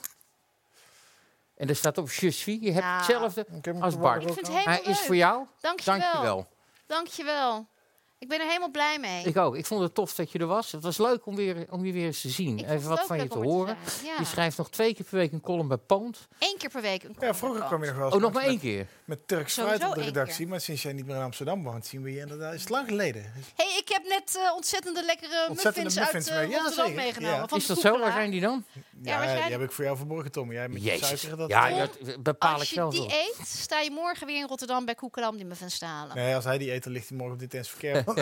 [SPEAKER 3] En er staat op Je suis. Je hebt
[SPEAKER 4] Nou.
[SPEAKER 3] hetzelfde
[SPEAKER 5] Ik heb hem
[SPEAKER 3] als
[SPEAKER 5] toevallig
[SPEAKER 3] Bart.
[SPEAKER 5] ook
[SPEAKER 4] Ik vind
[SPEAKER 5] aan.
[SPEAKER 4] het
[SPEAKER 3] Hij
[SPEAKER 4] helemaal
[SPEAKER 3] is
[SPEAKER 4] leuk.
[SPEAKER 3] voor jou.
[SPEAKER 4] Dankjewel.
[SPEAKER 3] Dankjewel.
[SPEAKER 4] Dankjewel. Ik ben er helemaal blij mee.
[SPEAKER 3] Ik ook. Ik vond het tof dat je er was. Het was leuk om, weer, om je weer eens te zien.
[SPEAKER 4] Ik vond
[SPEAKER 3] Even
[SPEAKER 4] het
[SPEAKER 3] wat
[SPEAKER 4] ook
[SPEAKER 3] van je
[SPEAKER 4] leuk
[SPEAKER 3] te
[SPEAKER 4] om er
[SPEAKER 3] horen.
[SPEAKER 4] zijn. Ja.
[SPEAKER 3] Je schrijft nog twee keer per week een column bij Poont.
[SPEAKER 4] Eén keer per week. Een
[SPEAKER 5] Ja, vroeger kwam je nog wel eens
[SPEAKER 3] Oh, nog maar
[SPEAKER 5] langs
[SPEAKER 3] één
[SPEAKER 5] met,
[SPEAKER 3] keer.
[SPEAKER 5] met Turks
[SPEAKER 4] Sowieso
[SPEAKER 5] fruit op de
[SPEAKER 4] één
[SPEAKER 5] redactie.
[SPEAKER 4] keer.
[SPEAKER 5] Maar sinds jij niet meer in Amsterdam woont, zien we je inderdaad. Is het lang geleden?
[SPEAKER 4] hey, ik heb net eh, ontzettende lekkere
[SPEAKER 5] Ontzettende
[SPEAKER 4] muffins,
[SPEAKER 5] muffins
[SPEAKER 4] uit
[SPEAKER 5] mee.
[SPEAKER 4] eh,
[SPEAKER 5] Ja,
[SPEAKER 4] Rotterdam
[SPEAKER 5] zeker.
[SPEAKER 4] meegenomen.
[SPEAKER 5] Ja.
[SPEAKER 4] Van
[SPEAKER 3] Is
[SPEAKER 4] de
[SPEAKER 3] dat zo?
[SPEAKER 4] koekelaar.
[SPEAKER 3] Waar zijn die dan?
[SPEAKER 4] Ja, maar jij-
[SPEAKER 5] die heb ik voor jou verborgen, Tom. Jij met je
[SPEAKER 3] Jezus.
[SPEAKER 5] suiker. Dat
[SPEAKER 3] Ja,
[SPEAKER 4] Tom,
[SPEAKER 3] dat bepaal ik
[SPEAKER 4] Als je
[SPEAKER 3] zelf wel.
[SPEAKER 4] die eet, sta je morgen weer in Rotterdam bij Koekela om die muffins te halen.
[SPEAKER 5] Nee, als hij die eet, dan ligt hij morgen op
[SPEAKER 3] (laughs)
[SPEAKER 5] dit intens verkeer. Want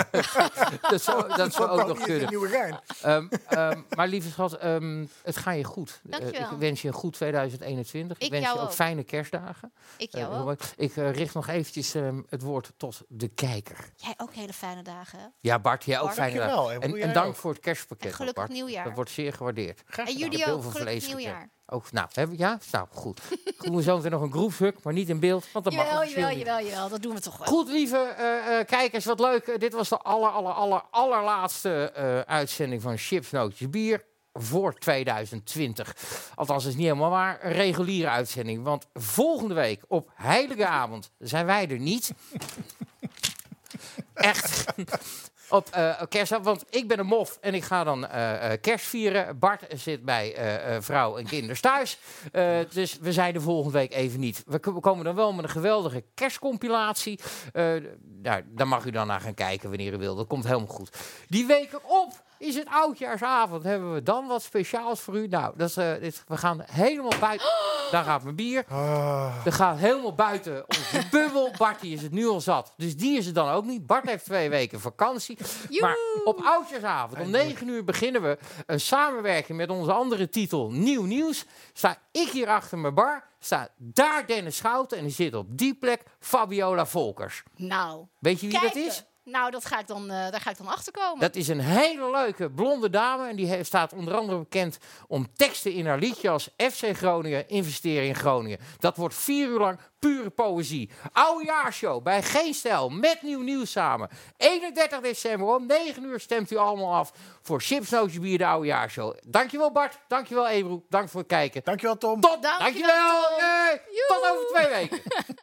[SPEAKER 3] Dat
[SPEAKER 4] (laughs)
[SPEAKER 3] zou, dat zou
[SPEAKER 5] dan
[SPEAKER 3] ook nog
[SPEAKER 5] kan hij in (laughs)
[SPEAKER 3] kunnen.
[SPEAKER 5] Nieuwegein.
[SPEAKER 3] Ehm, ehm, maar lieve schat, ehm, het gaat je goed. Eh,
[SPEAKER 4] Dankjewel.
[SPEAKER 3] ik wens je een goed 2021. Ik,
[SPEAKER 4] Ik
[SPEAKER 3] wens
[SPEAKER 4] jou
[SPEAKER 3] je ook
[SPEAKER 4] ook.
[SPEAKER 3] fijne kerstdagen.
[SPEAKER 4] Ik
[SPEAKER 3] Eh,
[SPEAKER 4] jou
[SPEAKER 3] heel
[SPEAKER 4] ook.
[SPEAKER 3] leuk. Ik eh, richt nog eventjes ehm, het woord tot de kijker.
[SPEAKER 4] Jij ook hele fijne dagen. hè?
[SPEAKER 3] Ja, Bart, jij ook
[SPEAKER 4] Bart.
[SPEAKER 3] fijne
[SPEAKER 5] Dankjewel,
[SPEAKER 3] dagen.
[SPEAKER 5] hè. Hoe
[SPEAKER 3] En,
[SPEAKER 5] jij
[SPEAKER 3] en dank
[SPEAKER 5] ook.
[SPEAKER 3] voor het kerstpakket.
[SPEAKER 4] En
[SPEAKER 3] ook,
[SPEAKER 4] gelukkig
[SPEAKER 3] Bart.
[SPEAKER 4] nieuwjaar.
[SPEAKER 3] Dat wordt zeer gewaardeerd.
[SPEAKER 4] En
[SPEAKER 3] Ik
[SPEAKER 4] jullie
[SPEAKER 3] heb
[SPEAKER 4] ook.
[SPEAKER 3] heel veel
[SPEAKER 4] Gelukkig
[SPEAKER 3] vlees
[SPEAKER 4] nieuwjaar.
[SPEAKER 3] Ook, nou, hebben ja, nou, goed. (laughs) Doen we zo meteen nog een groepshuk, maar niet in beeld, want dat mag
[SPEAKER 4] Jawel,
[SPEAKER 3] officieel
[SPEAKER 4] jawel,
[SPEAKER 3] niet.
[SPEAKER 4] jawel, jawel. Dat doen we toch wel.
[SPEAKER 3] Goed, lieve eh, eh, kijkers, wat leuk. Eh, dit was de aller, aller, aller, allerlaatste eh, uitzending van Chips, Nootjes, Bier voor 2020. Althans, dat is niet helemaal waar. Een reguliere uitzending. Want volgende week op heilige avond zijn wij er niet. (laughs) Echt. (laughs) Op eh kerstavond, want ik ben een mof en ik ga dan eh, eh, kerst vieren. Bart zit bij eh, eh, vrouw en kinders thuis. Eh, dus we zijn er volgende week even niet. We k- we komen dan wel met een geweldige kerstcompilatie. Eh, nou, daar mag u dan naar gaan kijken wanneer u wil. Dat komt helemaal goed. Die week erop is het oudjaarsavond. Hebben we dan wat speciaals voor u? Nou, dat is, eh, dit- we gaan helemaal buiten. Daar gaat mijn bier.
[SPEAKER 5] Ah,
[SPEAKER 3] We gaan helemaal buiten onze bubbel. Bart die is het nu al zat. Dus die is het dan ook niet. Bart heeft twee weken vakantie. Maar op oudjaarsavond om 9 uur beginnen we een samenwerking met onze andere titel Nieuw Nieuws. Sta ik hier achter mijn bar. Staat daar Dennis Schouten. En die zit op die plek Fabiola Volkers.
[SPEAKER 4] Nou,
[SPEAKER 3] Weet je wie
[SPEAKER 4] kijken.
[SPEAKER 3] dat is?
[SPEAKER 4] Nou, dat ga ik dan, eh, daar ga ik dan achterkomen.
[SPEAKER 3] Dat is een hele leuke blonde dame. En die he- staat onder andere bekend om teksten in haar liedje als FC Groningen, investeren in Groningen. Dat wordt vier uur lang pure poëzie. Oudejaarshow bij Geen Stijl met Nieuw Nieuws samen. 31 december om 9 uur stemt u allemaal af voor Chips, Nootjes, Bier, de Oudejaarshow. Dankjewel Bart, dankjewel Ebro, dank voor het kijken.
[SPEAKER 5] Dankjewel, Tom.
[SPEAKER 3] Tot,
[SPEAKER 4] Dankjewel,
[SPEAKER 3] dankjewel.
[SPEAKER 4] Tom.
[SPEAKER 3] eh, tot
[SPEAKER 4] Joe.
[SPEAKER 3] over twee weken.